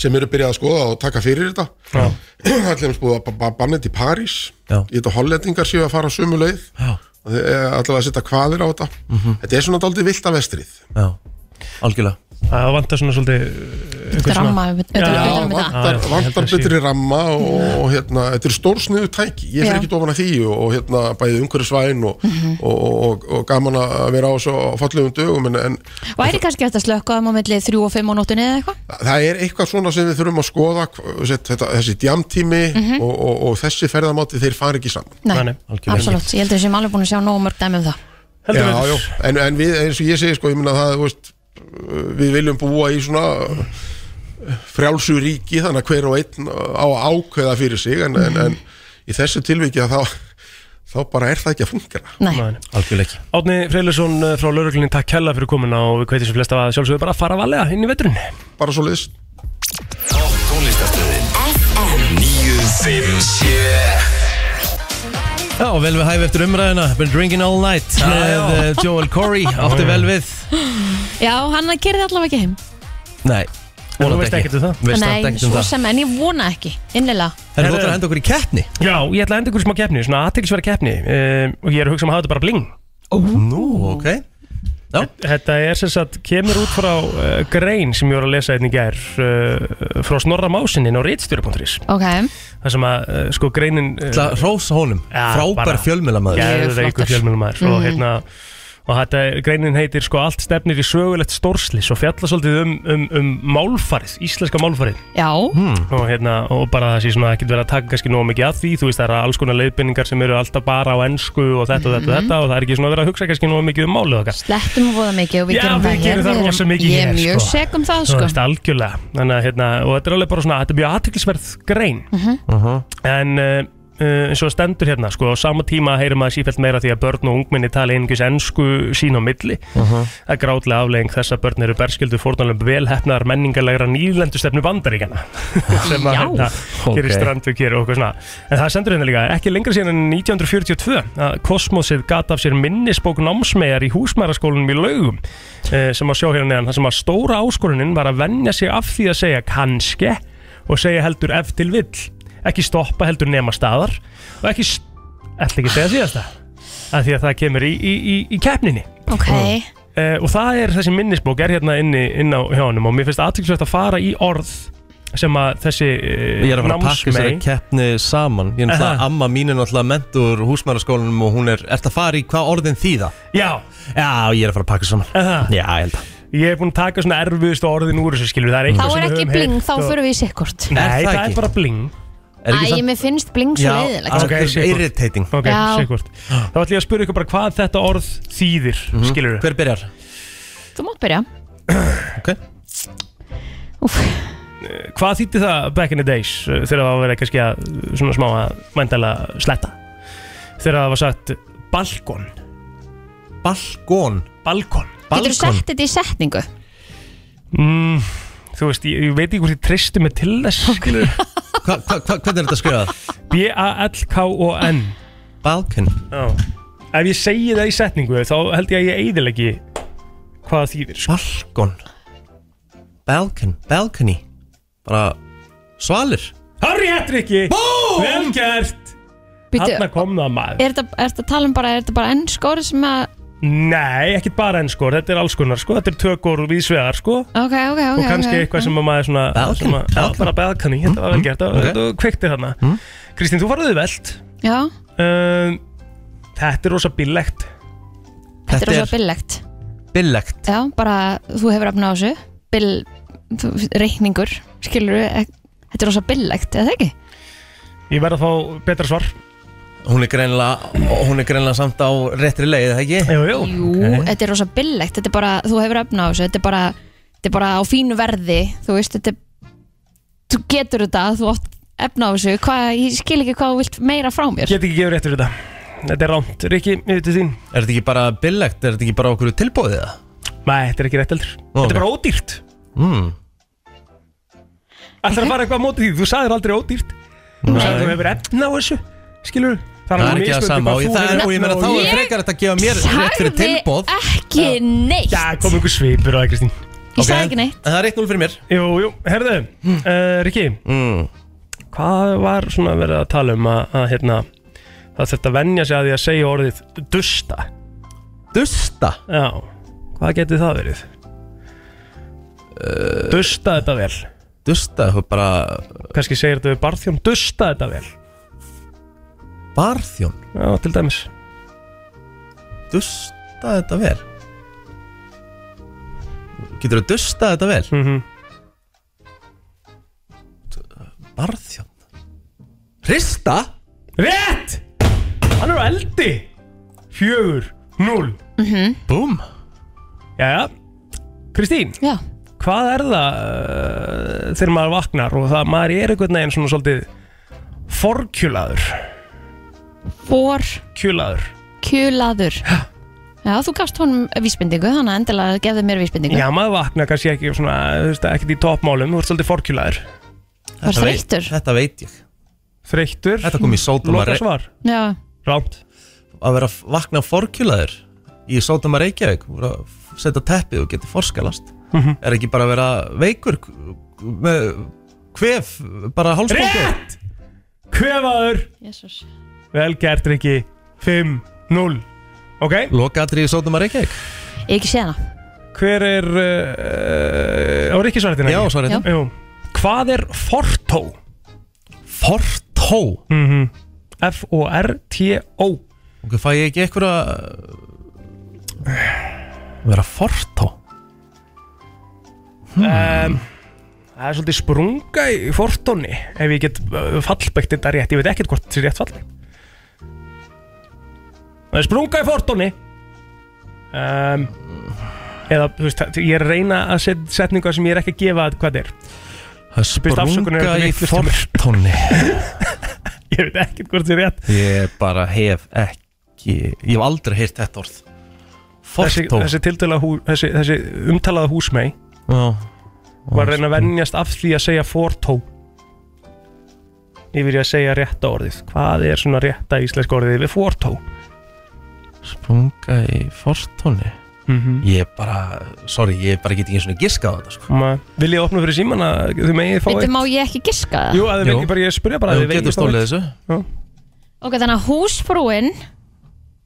S1: sem eru byrjað að skoða og taka fyrir þetta
S4: Já.
S1: það er til dæmis búið að ba- ba- banna þetta í París
S2: Já.
S1: ég þetta hollendingar séu að fara sömu leið eh,
S2: já, Mhm.
S1: allavega að setja kvaðir á þetta þetta er svona daldið vilt af vestrið
S2: já Algjörlega
S4: Það vantar svona svolítið uh, einhvern svona-
S3: Ramma utan- utan-
S4: Já,
S3: utan um þetta.
S4: Já, já,
S6: vantar,
S4: ég held
S6: vantar
S4: að sé-
S6: betri ramma og, og hérna, þetta er stórsniðu tæki ég
S3: Já.
S6: fyrir ekki ofan að því og, og hérna, bæði umhverfisvæn og, og, og, og, og gaman að vera á svo fallegum dögum en, en
S3: Væri kannski eftir að slökka um á milli 3 og 5 á nóttunni eða eitthvað?
S6: það er eitthvað svona sem við þurfum að skoða hv- þetta, þessi djamtími og, og, og þessi ferðamáti þeir fara ekki saman
S4: Nei, nei, algjörlega.
S3: absolutt, ég held að við séum alveg búin að sjá nógu mörg dæmi um það
S4: Heldur
S6: já,
S4: betur.
S6: já, en, en við, eins og ég segi sko, ég minna það, þú veist við viljum búa í svona eh, frjálsu ríki, þannig að hver og einn eh, á að ákveða fyrir sig en, en, en í þessu tilviki að þá þá bara er það ekki að fungera
S3: Nei,
S4: Nei, nei.
S2: Algjörlega ekki
S4: Átni Freylusson eh, frá lauruglinni, takk hella fyrir komuna og við kveitum sem flesta að sjálfsögðu bara að fara valega inn í veturinn.
S6: bara svo liðst
S1: Topp tónlistarstöðin FM 957
S2: Já, vel við hæfi eftir umræðina Been drinking all night
S4: já.
S2: með eh, Joel Corey Átti vel við
S3: já, hann kerði allavega ekki heim
S2: Nei,
S4: En þú
S2: vonandi
S4: veist ekkert um það?
S2: Veist samt
S3: Nei,
S2: ekkert um
S3: svo
S2: það
S3: sem, en ég vona ekki, innilega
S2: Herra, þú ætlar að henda okkur í keppni
S4: Já, ég ætla að enda ykkur í smá keppni, svona aðteklisverða keppni um, og ég er að hugsa um að hafa þetta bara bling.
S2: Nú, ok
S4: Þetta er sem sagt, kemur út frá uh, grein sem ég var að lesa einn í gær uh, frá Snorra Másininn á reitstjóri.is
S3: Ok,
S4: þar sem að uh, sko greinin
S2: Ætla að Hrósa honum,
S4: Já, bara-
S2: frábær fjölmjölamæður
S3: Mjög
S4: Geðveikur
S3: flottar.
S4: fjölmjölumæður og hérna og þetta er- greinin heitir sko allt stefnir í sögulegt stórslis og fjalla svolítið um, um, um málfarið, íslenska málfarið
S3: já,
S4: og hérna og bara það sé svona ekkert verið að taka kannski nóg mikið að því þú veist það eru alls konar leiðbendingar sem eru alltaf bara á ennsku og þetta og þetta
S3: Mhm.
S4: og þetta og það er ekki svona verið að hugsa kannski nóg mikið um málið okkar
S3: slettum og voða mikið og við
S4: Já,
S3: gerum
S4: við
S3: það hér
S4: gerum það
S3: Við
S4: rosa
S3: erum-
S4: mikið
S3: Ég er
S4: hér,
S3: mjög
S4: sko.
S3: sek um það,
S4: Þú
S3: sko
S4: veist, algjörlega Þannig að, hérna, og þetta er alveg bara svona, þetta er mjög aðtiklisverð grein
S3: Mhm.
S4: en uh, uh, eins og stendur hérna, sko, á sama tíma heyrir maður sífælt meira því að börn og ungminni tala einhvers ensku sín á milli það er grátlega afleging þess að börn eru berskildu fórnalum velhefnaðar menningarlegra nýlendustefnu bandaríkjana sem að
S3: Já.
S4: hérna gerir
S2: Ok.
S4: strandug hér og okkur svona en það stendur hérna líka, ekki lengra síðan en 1942 að kosmosið gat af sér minnisbók námsmegar í húsmæraskólanum í laugum eh, sem að sjá hérna neðan, það sem að stóra áskorunin var að vennja sig af því að segja kannske og segja heldur ef til vill ekki stoppa heldur nema staðar og ekki, st- ætla ekki að segja síðasta að því að það kemur í, í, í, í keppninni
S3: Ok,
S4: uh, og það er þessi minnisbók er hérna inni, inn á hjá honum og mér finnst aðtryggslegt að fara í orð sem að þessi uh,
S2: Ég er að fara að pakka þessari keppni saman Ég er náttúrulega,
S4: Aha.
S2: amma mín er náttúrulega mentur húsmæðarskólanum og hún er, ert að fara í hvað orðin þýða?
S4: Já,
S2: Já, ég er að fara að pakka saman
S4: Aha.
S2: Já, ég held að
S4: ég er búin að taka svona erfiðustu orðin úr þessu skilur það er
S3: þá
S4: eitthvað
S3: er
S4: sem við
S3: ekki
S4: höfum
S3: bling,
S4: heyrt
S3: þá
S4: og-
S3: förum við í sikkort
S4: Nei,
S2: Er það
S4: það,
S2: ekki?
S4: er bara bling
S2: Er ekki
S3: Æ,
S2: samt-
S3: mér finnst bling svo
S2: Já,
S3: leiðilegt
S4: að-
S2: ok,
S4: sko.
S2: irritating
S4: Ok,
S3: Já.
S4: sikkvort Þá ætlum ég að spyrja ykkur bara hvað þetta orð þýðir
S3: Mhm.
S4: mm. Skilur
S2: Hver byrjar?
S3: Þú mátt byrja
S2: Ok
S3: Úf,
S4: Hvað þýtti það back in the days uh, Þegar það var verið kannski að uh, svona smá að Mændalega sletta Þegar það var sagt balkon
S2: Balkón
S4: Balkon
S3: Getur sett þetta í setningu?
S4: mm, Þú veist, ég, ég veit ekki hvort ég tristi mig til þess skilurðu.
S2: hva, hva, hva, Hvernig er þetta skrifað?
S4: B-A-L-K-O-N
S2: Balkon
S4: Já. Ef ég segi það í setningu Þá held ég að ég eiðilegi Hvað það þýðir sko.
S2: Balkon Balkon Balcony Bara Svalir
S4: Harry Hattrikki Vel gert
S3: Býtu,
S4: Hanna kom það maður
S3: er þetta er þetta að tala um bara, er þetta bara ennsk orð sem að
S4: Nei, ekkert bara enn sko, þetta er alls konar sko, þetta er tökur viðsvegar sko
S3: Ok, ok, ok
S4: og kannski
S3: ok.
S4: eitthvað sem að maður svona,
S2: Balkan,
S4: svona já,
S2: Balkan.
S4: bara balkani, þetta var vel gert
S2: ok.
S4: þetta var kveiktir þarna Kristín, þú farið velt
S3: Já,
S4: um, Þetta er rosa bíllegt
S3: þetta er svo billegt
S2: billegt
S3: Já, bara þú hefur efna á þessu Bill, þú, reikningur Skilur við, þetta er rosa billegt Eða það ekki?
S4: Ég verð að fá betra svar
S2: Hún er greinlega Hún er greinlega samt á réttri leið, eða ekki?
S4: Jú, jú,
S3: Jú, þetta er rosa billegt Þetta er bara, þú hefur efna á þessu Þetta er bara, þetta er bara á fínu verði Þú veist, þetta er Þú getur þetta, þú átt efna á þessu Hvað, ég skil ekki hvað þú vilt meira frá mér
S4: get ekki gefur rétt fyrir þetta Þetta er rámt, Rikki, yfir til þín
S2: Er þetta ekki bara billegt? Er þetta ekki bara okkur tilbóðið það?
S4: Nei, þetta er ekki rétt heldur Þetta
S2: ok.
S4: er bara ódýrt
S2: Mm.
S4: Ætlar að fara eitthvað á móti því, þú sagðir aldrei ódýrt Þú sagðir þú hefur efna á þessu, skilur
S2: Það er ekki það sama og ég, það er, og ég meina þá er
S3: Ég
S2: frekar þetta að gefa mér rétt fyrir
S3: Sagði
S2: tilbóð
S3: ekki neitt
S4: Já, kom einhver svipur á það, Kristín
S3: Ég sagði ekki neitt
S2: En það er 1-0 fyrir mér
S4: Jú, jú, herðu, mm. Rikki,
S2: mm.
S4: hvað var svona verið að tala um að, að hérna, það þurfti að venja sig að því að segja orðið dusta?
S2: Dusta
S4: Já, hvað geti það verið?
S2: Eh,
S4: Dusta þetta vel
S2: dusta eitthvað bara
S4: Kanski segir þetta við barþjón Dusta þetta vel
S2: barþjón
S4: Já, til dæmis
S2: dusta þetta vel getur að dusta þetta vel
S4: mm
S2: barþjón hrista
S4: Rétt! Hann er á eldi Fjögur, núl
S2: búm
S4: Jæja, Kristín
S3: Já,
S4: Hvað er það uh, þegar maður vaknar og það maður er einhvern veginn svona svolítið forkjulaður
S3: vor
S4: kjulaður
S3: kjulaður Já, þú gafst honum vísbendingu þannig að endilega gefðu mér vísbendingu
S4: Já, maður vaknar kannski ekki svona, þú veist, ekkert í toppmálum, þú ert svolítið forkjulaður
S3: Var
S2: Þetta veit-
S3: þreyttur?
S2: þetta veit ég
S4: Þreyttur
S2: Þetta kom í sótum að,
S4: Loka
S2: Rey-
S4: svar
S3: Já,
S4: Rámt
S2: að vera vakna forkjulaður í sótum að Reykjavík voru að setja teppið og geti forskalast
S4: Mhm.
S2: er ekki bara að vera veikur k- með kvef bara hálsbólkur
S4: Rétt! Kvefaður
S3: jæsus
S4: Vel gert, Rikki 5-0 Ok,
S2: loka í sótum að Reykjavík
S3: Ég hef ekki séð hana
S4: hver er uh, á Rikki svartina?
S2: já, svo er þetta
S4: Jú. Hvað er fortó?
S2: fortó
S4: Mm. F-O-R-T-O
S2: ok, fæ ég ekki eitthvað að vera fortó
S4: um, Það er svolítið sprunga í fortónni Ef ég get uh, fallbækt þetta rétt Ég veit ekkert hvort þetta er rétt fallið Það er sprunga í fortónni um, Eða, þú veist, það- ég er að reyna að set, setninga sem ég er ekki að gefa hvað þetta er
S2: það
S4: Biðst
S2: sprunga
S4: afsökunar, þetta er
S2: í
S4: vitlaust hjá mér.
S2: fortóni
S4: Ég veit ekkert hvort þetta er rétt
S2: ég bara hef ekki ég hef aldrei heyrt þetta orð
S4: Þessi,
S2: fortó
S4: þessi, tiltölulega hú, þessi, þessi umtalaða húsmei
S2: Já.
S4: var að reyna að venjast af því að segja fortó yfir í að segja rétta orðið hvað er svona rétta íslenska orðið við fortó
S2: sprunga í fortóni ég bara, sorry, ég bara get ekki eins og giska á þetta sko.
S4: Ma, vil ég opna fyrir síman að þau megið fá
S3: Veitum,
S4: eitt?
S3: má ég ekki giska það?
S4: Jú, að þau
S2: Jú.
S4: megið bara, ég spurja bara
S2: Ef
S4: að
S2: þú
S4: þið
S2: getur
S4: megið fá
S2: stólið
S4: eitt.
S2: þessu
S3: Ok, þannig að húsfrúin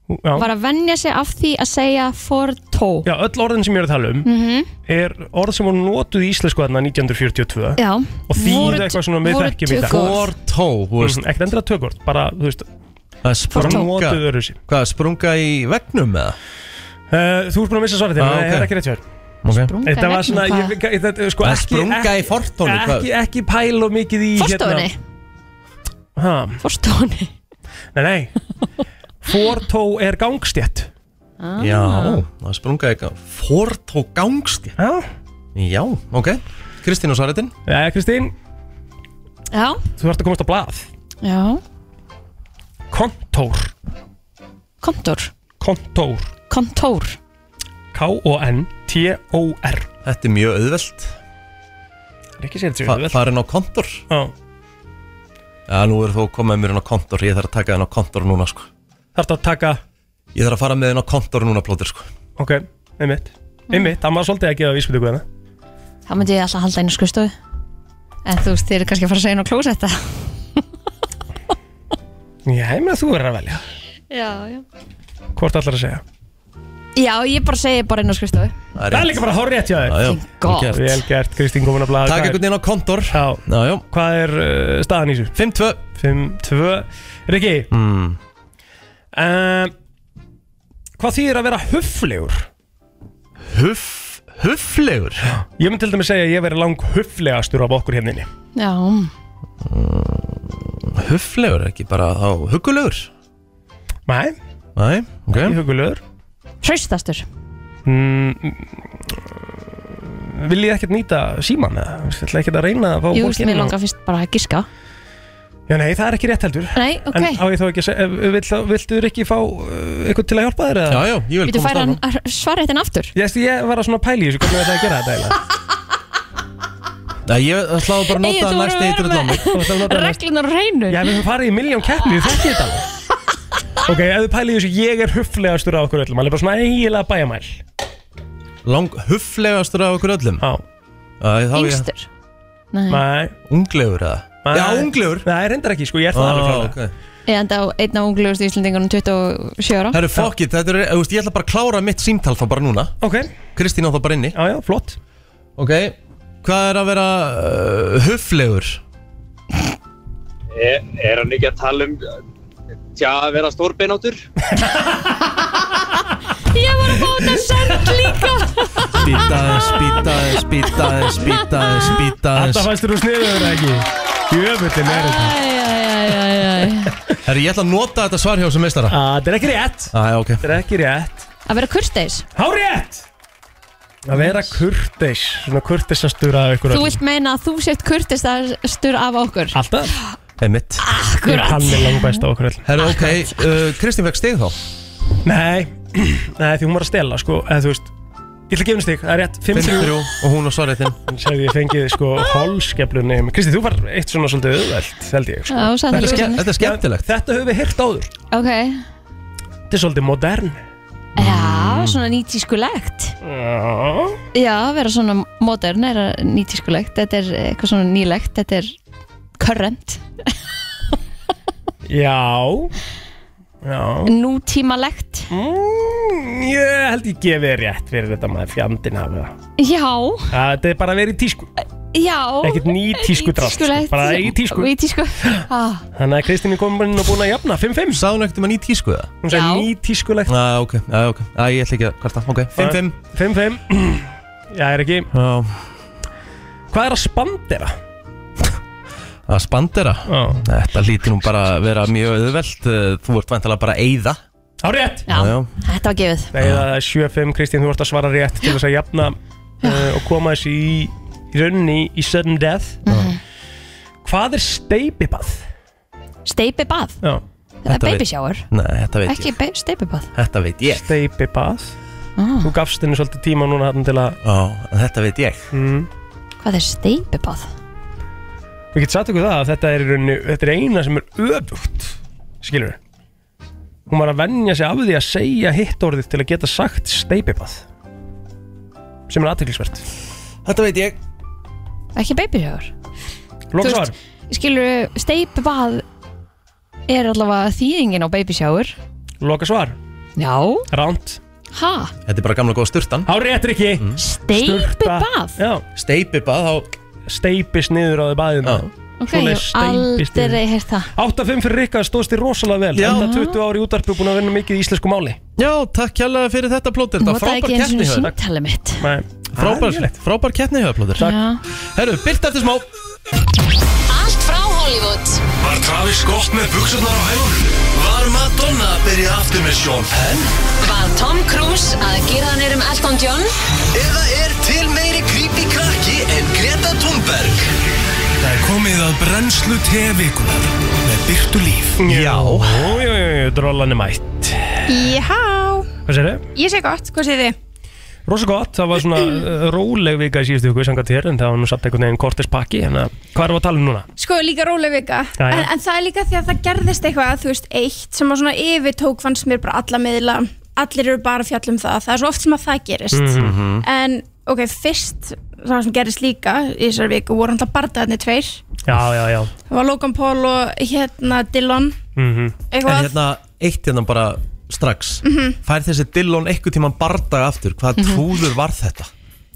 S4: Ú, Já.
S3: var að venja sig af því að segja Mhm. fortó
S4: Já, öll orðin sem ég er að tala um er orð sem voru notuð í íslensku þarna 1942
S3: Já,
S4: og Mhm, þýða
S3: Voru-
S4: eitthvað svona með
S3: voru
S4: þekkjum í dag
S3: tökuorð.
S2: fortó, þú veist,
S4: Mhm, ekkert endilega tökort, bara, þú veist,
S2: það er
S4: bara
S2: sprunga
S4: notuð öðru sín
S2: hvað, sprunga í vegnum eða?
S4: uh, Þú ert búin að missa svarið þér,
S2: Ah,
S4: það
S2: ok.
S4: er ekki rétt hjá þér
S2: Okay.
S3: brunga
S4: Þetta var svona, ég,
S3: hvað?
S4: ég, þetta, sko,
S2: Að
S4: ekki,
S2: sprunga
S4: ekki,
S2: í fortónu, hvað?
S4: Ekki, ekki pæl og mikið í hérna-
S3: Forstofunni,
S4: ha,
S3: forstofunni
S4: Nei, nei Fortó er gangstjætt
S2: já,
S3: Ah.
S4: Ah.
S2: það er sprunga í gang fortó gangst
S4: Já,
S2: já, ok, Kristín og Saritin
S4: Jæja, Eh, Kristín,
S3: Já,
S4: þú ert að komast á blað
S3: já,
S4: Kontór,
S3: kontór
S4: kontór
S3: Kontór,
S4: K-O-N-T-O-R
S2: þetta er mjög auðvelt,
S4: Rikki segir þetta
S2: Fa
S4: sér vel
S2: farin á kontor
S4: Þarf
S2: já, nú er þú komið mér inn á kontor, ég þarf að taka þenn á kontor núna sko.
S4: þetta að taka,
S2: ég þarf að fara með þenn á kontor núna plótir sko.
S4: ok, einmitt Einmitt, það maður svolítið að gefa vísbyrðu guðana
S3: þá myndi ég alltaf halda einu skustofu En þú veist, þið eru kannski að fara að segja nú klósetta
S4: Já, ég meina þú verður að velja
S3: Já, já
S4: Hvort allar að segja
S3: Já, ég bara segi bara inn á skrifstofu
S2: það
S4: Það er líka bara að horra rétt hjá þér
S2: já, já,
S3: Gott.
S2: vel
S4: Vel
S2: gert.
S4: gert, Kristín komin að blað
S2: taka einhvern veginn á kontor
S4: Já,
S2: já, já,
S4: hvað er uh, staðan í þessu?
S2: 5-2
S4: 5, 2, Rikki mm. Hvað þýðir að vera hufflegur?
S2: Huff, hufflegur
S4: Ég myndi til dæmis segja að ég veri lang hufflegastur af okkur hérna hérninni
S3: Já,
S2: Hufflegur, ekki bara þá huggulegur
S4: Nei,
S2: Nei, ok
S4: ég hugulegur
S3: hraustastur
S4: mm, Vil ég ekkert nýta síman eða? Ég ætla ekkert að reyna að fá
S3: Jú,
S4: fólk
S3: sem
S4: inn
S3: ég
S4: á-
S3: langar fyrst bara að giska
S4: Já, nei, það er ekki rétt heldur
S3: Nei, ok,
S4: En á ég þá ekki að segja, eh, vill, viltu ekki fá uh, eitthvað til að hjálpa þér eða?
S2: Já, já, ég vil
S3: við þú
S2: komast
S3: færa
S2: áfram
S3: svara þetta aftur
S4: Ég, veist, ég var að svona pæli í þessu, hvernig þetta að gera þetta eiginlega?
S2: Nei, ég ætlaði bara að
S3: Egill,
S2: nota
S3: þú
S2: næst
S3: voru að
S2: eitur
S3: vera
S2: á mig
S4: Þú ætlar að nota næst-
S3: Reglunar reynu
S4: Já, við höfum farið í miljón keppni, þið þekkið þetta alveg Ok, ef þið pælið í þessu, ég er hufflegastur af okkur öllum Hann er bara svona eiginlega bæjamæl Já,
S2: Lang hufflegastur af okkur öllum Æ, þá ég
S3: Yngstur Nei,
S4: nei,
S2: Unglegur eða
S4: nei
S2: Já, unglegur
S4: Nei, reyndar ekki, sko, ég er það
S2: Ah,
S4: alveg klálega
S2: okay.
S3: ég enda á einn af unglegustu Íslandingunum 27 ára
S2: Það eru fokkið, þetta er, þú veist, ég ætla bara að klára mitt símtal þá bara núna
S4: Ok,
S2: Kristín á þá bara inni
S4: já, já, flott
S2: Ok, hvað er að vera uh, huflegur?
S7: Er, er hann ekki að tala um uh, Tja, að vera stórbeináttur?
S3: Ég var að fá þetta send líka
S2: Spýtaðins, spýtaðins, spýtaðins, spýtaðins,
S4: Þetta
S2: spýtaðins
S4: fæstur úr sniður ekki Jöfullin er þetta
S3: Æ, æ, æ, æ, æ.
S2: Herri, ég ætla að nota þetta svar hjá sem meistara
S4: Á, Ah, Þetta er ekki rétt
S2: Æ, ok
S4: Þetta er ekki rétt
S3: Að vera kursteis
S4: Há rétt Að vera kurteis Svona kurteisastur af ykkur
S3: Þú
S4: öllum.
S3: vilt meina að þú sért kurteisastur af okkur
S4: Alltaf
S2: Einmitt
S3: Akkurat
S4: Hann er langbæst á okkur öll
S2: Herri, ok, uh, Kristín fekk stig þá
S4: Nei, nei því hún var að stela sko eða þú veist Ég ætla að gefa henni stig, það er rétt 5-3
S2: 5-3 og hún á svarréttin
S4: Sæði ég fengið sko holskeflunni Kristi, þú var eitt svona svolítið auðvelt, held ég sko.
S3: Já,
S2: Þetta
S3: sannlega
S2: er ske- þetta er skemmtilegt
S4: Þetta höfum við hirt áður
S3: Ok
S4: Þetta er svolítið modern
S3: Já, svona nýtískulegt
S4: Já
S3: Já, vera svona modern er að nýtískulegt Þetta er eitthvað svona nýlegt Þetta er current
S4: Já Já
S3: Nútímalegt
S4: mm, Ég held ég gefið þér rétt fyrir þetta maður fjandinn hafi það
S3: Já,
S4: Það- Þetta er bara verið í tísku
S3: já
S4: Ekkert ný tísku drast sko.
S3: Nýtískulegt.
S4: Bara í tísku
S3: Í tísku ah,
S4: Þannig að Kristín er komin inn og búin að jafna 5-5
S2: Sá hún ekkert um að nýt tísku það?
S4: Hún sagði
S3: Já.
S4: ný tískulegt
S2: Æ, ok, æ, ok, æ, ég ætla ekki að kvarta, ok 5-5
S4: 5-5 Já, er ekki
S2: Já,
S4: Hvað er að spandera?
S2: að spandera
S4: Já
S2: Þetta hlýtir nú bara að vera mjög auðvelt uh, Þú ert vantilega bara að eyða
S4: Á rétt
S3: já,
S2: Já, já.
S3: þetta var gefið
S4: Nei, það er 7-5, Kristín, þú ert að svara rétt til þess að jafna uh, og koma þessi í, í rauninni í sudden death
S3: Mhm.
S4: Hvað er steipibað?
S3: Steipibað,
S4: Já,
S3: það er
S2: Þetta veit-
S3: babyshower
S2: Nei, þetta veit
S3: Ekki be- steipibað
S2: ég Þetta veit ég
S4: steipibað
S3: Ah,
S4: Þú gafst henni svolítið tíma núna þarna til að
S2: Já, en þetta veit ég
S4: mm,
S3: Hvað er steipibað?
S4: Við getum sagt ykkur það að þetta er, í rauninni, þetta er eina sem er öfugt Skilur Hún var að venja sig af því að segja hitt orðið til að geta sagt steipibað sem er aðteklisvert
S2: Þetta veit ég
S3: Ekki babyshower Þú
S4: Lóksvar
S3: skilur, steipibað er allavega þýðingin á babyshower
S4: Loka svar,
S3: Já,
S4: ránt
S3: ha,
S2: Þetta er bara gamla góða sturtan
S4: Há réttir ekki mm.
S3: steipibað
S4: Já,
S2: Steipibað, þá
S4: steipist niður á því baðina
S2: Já.
S3: Ok, ég hef
S4: steipist niður.
S3: aldrei heyrt það
S4: 8-5 fyrir Rikka stóðst þér rosalega vel
S2: Já.
S4: Enda 20 ári útarpi og búin að vinna mikið í íslensku máli
S2: Já, takk hérlega fyrir þetta plóter Þetta var
S3: Notaði
S2: frábær
S3: ekki eins og
S2: keppni hjá þér
S3: símtali mitt
S4: Nei,
S2: Frábær, frábær keppni hjá þér plóter
S3: Já.
S2: Herru, byrt eftir smá
S8: Allt frá Hollywood
S1: Var Travis gott með buksunar á hælunum? Var Madonna að byrja aftur með Sean Penn?
S8: Var Tom Cruise að gera hann um Elton John?
S1: Eða er til meiri creepy krakki en Greta Thunberg? Það er komið að brennslu tevikunar með byrtu líf.
S4: Já Jú, jú, jú, jú, drollan er mætt
S9: Íhá,
S4: Hvað segir þið?
S9: ég sé gott, hvað segir þið?
S4: Rosa gott, það var svona uh, róleg vika í síðustu viku Sangat hér, en það var nú satt einhvern veginn kortis pakki Þannig að hvað erum við að tala um núna?
S9: Sko, líka róleg vika
S4: Já, já.
S9: en, en það er líka því að það gerðist eitthvað, þú veist, eitt sem að svona yfirtók fannst mér bara alla miðla Allir eru bara að fjalla um það, það er svo oft sem að það gerist En, ok, fyrst, það sem gerist líka í þessari viku voru hann það bardaðni tveir
S4: Já, já, já
S9: Það var Logan Paul og hérna Dillon
S4: mm
S2: En
S9: Eitthvað,
S2: hérna, eitt hérna bara strax Fær þessi Dillon eitthvað tíman bardag aftur Hvað trúður var þetta?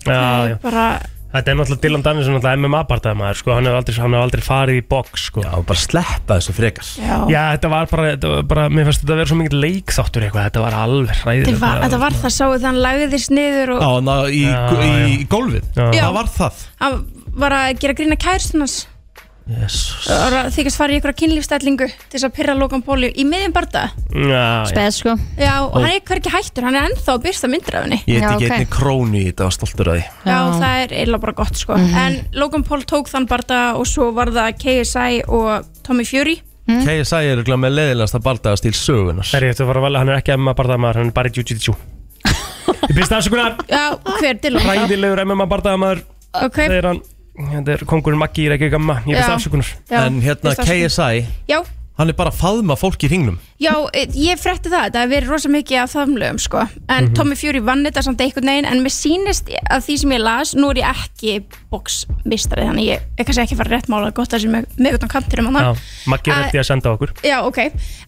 S4: já, já.
S9: bara,
S4: Þetta er náttúrulega Dylan Danielson, náttúrulega MMA-bardaðmaður sko. hann, hefur aldrei- hann hefur aldrei farið í box sko.
S2: Já, bara sleppa þessu frekar
S9: já,
S4: Já, þetta var bara, þetta var bara mér finnst þetta að vera svo mikið leikþáttur eitthvað, þetta var alveg
S9: Þetta
S4: ræðilegt.
S9: var, þetta var það sáu þegar hann lagðist niður og
S2: Já, ná, í,
S4: Já,
S2: í,
S4: já.
S2: í gólfið
S4: Já.
S2: Það var það
S9: hann var að gera grína kærstunars
S2: Jesus.
S9: og var að þykast fara í einhverja kynlífstællingu til þess að pyrra Logan Paul í miðjum barda
S4: Já, já.
S3: Beð sko
S9: Já, og hann er hverki hættur, hann er ennþá að byrsta myndir af henni
S2: Ég
S3: Já,
S2: heiti ekki
S3: ok.
S2: einni krónu í þetta var stoltur að því
S9: Já, það er eiginlega bara gott sko En Logan Paul tók þann barda og svo var það KSI og Tommy Fury
S2: KSI er örugglega með leðilegast að bardagastýl sögunar
S4: Það er rétt að fara að valja, hann er ekki MMA-bardaðmaður, hann er bara í jiu-jitsu. Ég byrst afsökunar,
S9: Já, hver Dylan
S4: ræðilegur MMA-bardaðmaður,
S9: Ok,
S4: það er hann, þetta er kongurinn Maggi í Reykjavík Gamma, ég byrst
S9: Já.
S4: afsökunar.
S9: já,
S2: En hérna
S9: fyrst afsökun.
S2: KSI,
S9: Já,
S2: hann er bara að faðma fólk í hringnum
S9: já, eh, ég frétti það, það hefur verið rosa mikið af þamlögum sko En
S2: Mhm.
S9: Tommy Fury vann þetta samt einhvern veginn En mér sýnist að því sem ég las, nú er ég ekki boxmistari Þannig ég er kannski ekki að fara rétt mála gott að sem með, með utan kantur um hann
S4: Já, Maggi er
S9: Að-
S4: rétti að senda okkur.
S9: Já, ok,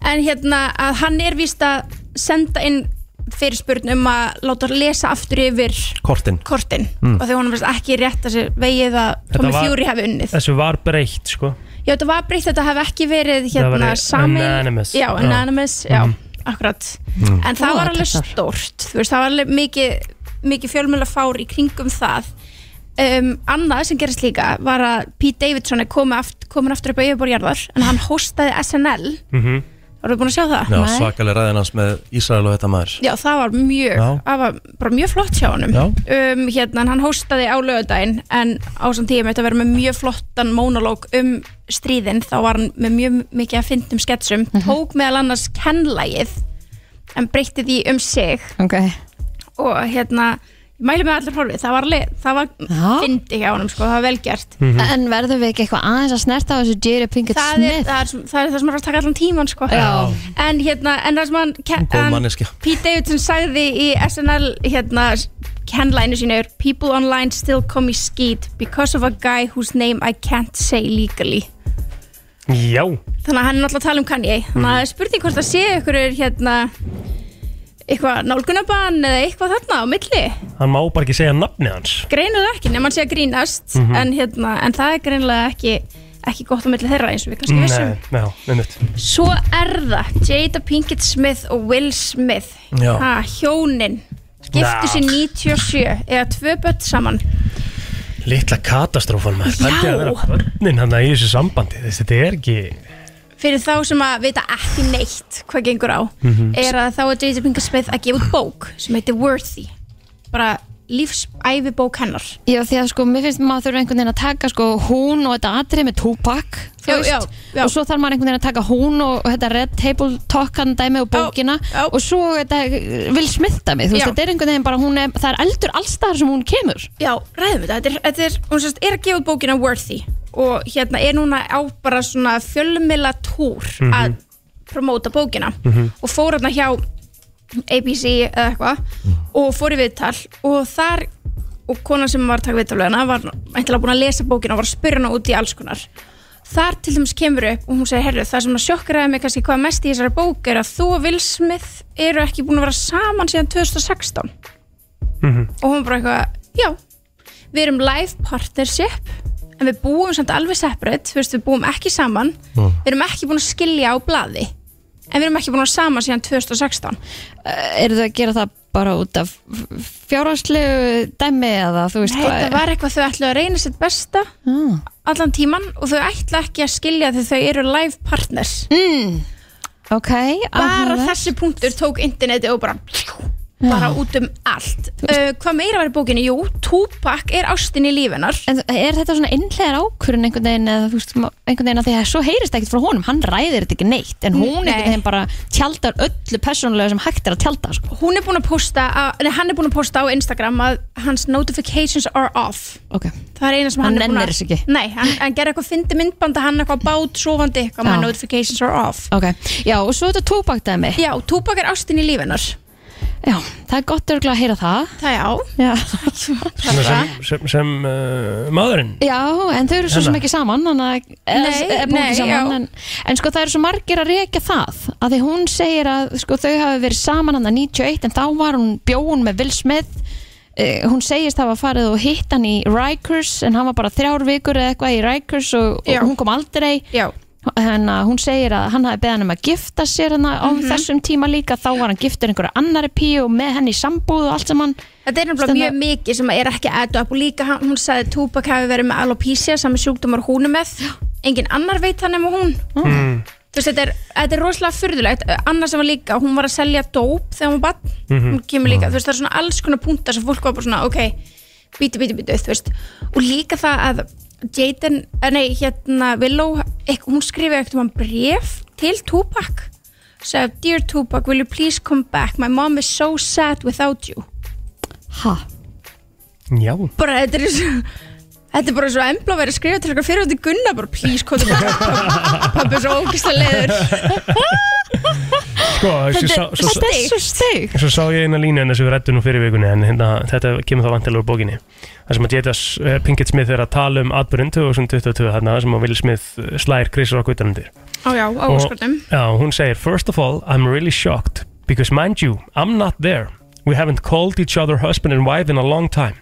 S9: en hérna að hann er víst að senda inn fyrirspurn um að láta lesa aftur yfir
S2: kortin
S9: kortin
S2: Mm.
S9: og þegar hún varst ekki rétt að sér vegið að Tommy
S4: var-
S9: Fury hafi unnið
S4: Þessu var breytt sko
S9: Já, þetta var breytt, þetta hafi ekki verið
S4: Það
S9: hérna
S4: væri
S9: samin
S4: anonymous.
S9: Já,
S4: Já.
S9: anonymous, já,
S4: Mhm.
S9: akkurat
S4: Mm.
S9: En það
S3: Ó,
S9: var alveg
S3: þetta er
S9: stórt Þú veist, það var alveg mikið, mikið fjölmjöla fár í kringum það um, Annað sem gerist líka var að Pete Davidson er komin aftur, komin aftur upp á yfirborjarðar en hann hostaði SNL
S2: Mhm.
S9: Voruðu búin að sjá það?
S2: Já, svakalega ræðin hans með Ísrael og þetta maður
S9: Já, það var mjög,
S2: Já.
S9: það var bara mjög flott hjá honum
S2: Já.
S9: um, hérna, en hann hóstaði á lögadaginn en á samt tíum þetta verið með mjög flottan monológ um stríðin þá var hann með mjög mikið að fyndum sketsum tók meðal annars kennlægið en breytti því um sig
S3: okay.
S9: og hérna ég mæli með allir horfið, það var, alveg- það var
S3: Já.
S9: fyndi hjá honum, sko, það var velgjart
S3: En verðum við ekki eitthvað aðeins að snerta á þessu Jerry Pinkett
S9: það, er,
S3: Smith?
S9: það, er, sem- það er það sem var að taka allan tíman sko.
S3: Já.
S9: en hérna, en það sem hann ke-
S2: Góð
S9: hann-
S2: manneskja.
S9: Pete Davidson sagði í SNL hérna kennlænu sínu er People online still call me skeet because of a guy whose name I can't say legally
S4: Já
S9: þannig að hann er náttúrulega að tala um Kanye þannig að það er spurning hvort það sé ykkur hérna eitthvað nálgunabann eða eitthvað þarna á milli
S4: Hann má bara ekki segja nafnið hans
S9: greinilega ekki nema hann sé að grínast
S4: Mhm.
S9: en, hérna, en það er greinilega ekki ekki gott á milli þeirra eins og við kannski vissum
S4: Nei, já, einmitt
S9: Svo er það Jada Pinkett Smith og Will Smith
S4: Já.
S9: ha, Hjónin
S4: Já.
S9: Giftu sér 97 eða tvö börn saman
S4: Litla katastrófan maður
S9: Já.
S4: Pældi að vera börnin hann í þessu sambandi Þessi, Þetta er ekki
S9: Fyrir þá sem að vita ekki neitt hvað gengur á
S4: Mhm.
S9: er að þá er Jada Pinkett Smith að gefa út bók sem heitir Worthy bara lífsæfibók hennar
S3: Já, því að sko, mér finnst maður þurfa einhvern veginn að taka sko hún og þetta atrið með Tupac þú
S9: Já,
S3: veist.
S9: já, já.
S3: og svo þarf maður einhvern veginn að taka hún og þetta Red Table Talk hann dæmi og bókina og svo þetta vil smitta mig, þú veist,
S9: Já.
S3: þetta er einhvern veginn bara hún er, það er eldur allstaðar sem hún kemur
S9: Já, ræðum við þetta, þetta er, þetta er, hún sérst er að gefa út bókina Worthy og hérna er núna á bara svona fjölmila túr
S10: Mhm.
S9: að promóta bókina
S10: Mhm.
S9: og fór hérna hjá ABC eða eitthvað
S10: Mhm.
S9: og fór í viðtal og þar og konan sem var að taka viðtal við hana var eitthvað búin að lesa bókina og var að spyrja hana út í alls konar þar til dæmis kemur upp og hún segir, herru, það sem að sjokkaraði mig kannski hvað mest í þessari bók er að þú og Will Smith eru ekki búin að vera saman síðan 2016
S10: Mhm.
S9: og hún bara eitthvað, já við erum live partnership en við búum samt alveg separate þú veist, við búum ekki saman
S3: Mm.
S9: við erum ekki búin að skilja á blaði en við erum ekki búin að vera saman síðan 2016
S3: eru þau að gera það bara út af fjárhanslegu dæmi eða þú veist
S9: Nei,
S3: hvað
S9: Sko, þetta var eitthvað þau ætlu að reyna sitt besta
S3: mm.
S9: allan tíman og þau ætla ekki að skilja þegar þau eru live partners mm.
S3: ok,
S9: bara
S3: áhugavert.
S9: þessi punktur tók interneti og bara bara út um allt uh, hvað meira var í bókinni? Jú, Tupac er ástin í lífinar
S3: En er þetta svona innlegar ákvörun einhvern veginn eða þú veist, ma- einhvern veginn að því að svo heyrist ekkert frá honum, hann ræðir þetta ekki neitt en hún
S9: Nei.
S3: einhvern veginn bara tjaldar öllu persónulega sem hægt er að tjalda sko.
S9: hún er búin að posta á, nei, hann er búin að posta á Instagram að hans notifications are off
S3: okay.
S9: það er eina sem
S3: Hann
S9: hann, er búin
S3: nennir
S9: að
S3: þessu ekki.
S9: nei, hann, hann gerir eitthvað fyndi myndbanda hann eitthvað á bát, sofandi eitthvað
S3: Já.
S9: my notifications are off
S3: ok, já og svo þetta tóbak dæmi
S9: já, tóbak er ástin í lífinar
S3: já, það er gott örgulega að heyra það
S9: það já,
S3: já.
S4: svona sem, sem, sem uh, maðurinn
S3: já, en þau eru svo sem
S4: Hennar.
S3: ekki saman þannig að eða
S9: Nei,
S3: s- eða búið
S9: nei,
S3: ekki
S9: já.
S3: saman en, en sko það eru svo margir að reykja það að því hún segir að sko, þau hafi verið saman hann að 91 en þá var hún bjóun með Will Smith uh, hún segist hafa farið og hitt hann í Rikers en hann var bara þrjár vikur eða eitthvað í Rikers og,
S9: Já.
S3: og hún kom aldrei
S9: Já.
S3: Hennar, hún segir að hann hafi beðið hann um að gifta sér hennar, á
S9: Mhm.
S3: þessum tíma líka þá var hann giftur einhverju annari píu og með henni í sambúð og allt saman
S9: þetta er nefnilega mjög mikið sem er ekki add up og líka hann- hún sagði að tóbak hafi verið með alopecia saman sjúkdómar hún er með engin annar veit það nema hún
S4: mm.
S9: Þú veist, þetta er, þetta er rosalega furðulegt Anna sem var líka, hún var að selja dóp þegar hún var barn
S10: Mhm.
S9: hún kemur líka, þú veist, það er svona alls konar punktar sem fólk var bara svona, ok bíti, bíti, bíti, þú veist og líka það að Jaden, eh, nei, hérna Willow, ekk, hún skrifaði ekkert um hann bref til Tupac sagði, dear Tupac, will you please come back my mom is so sad without you
S3: ha?
S4: Já
S9: bara, þetta er svo Þetta er bara svo embla að vera að skrifa til eitthvað fyrir út í Gunna bara please, hvað það pappi er svo ógislega leiður
S4: Sko, þessi sá- svo-
S3: svo steg
S4: Svo sá ég eina línu hennar sem við rættum nú fyrir vikunni en hérna, þetta kemur þá vantilega úr bókinni Það sem að Jada S- eh, Pinkett Smith er að tala um atbyrjun 2022 þarna þar sem að Will Smith eh, slær Chris Rock utanundir
S9: Á já, á
S4: Og-
S9: skortum
S4: Já, hún segir First of all, I'm really shocked Because mind you, I'm not there. We haven't called each other husband and wife in a long time.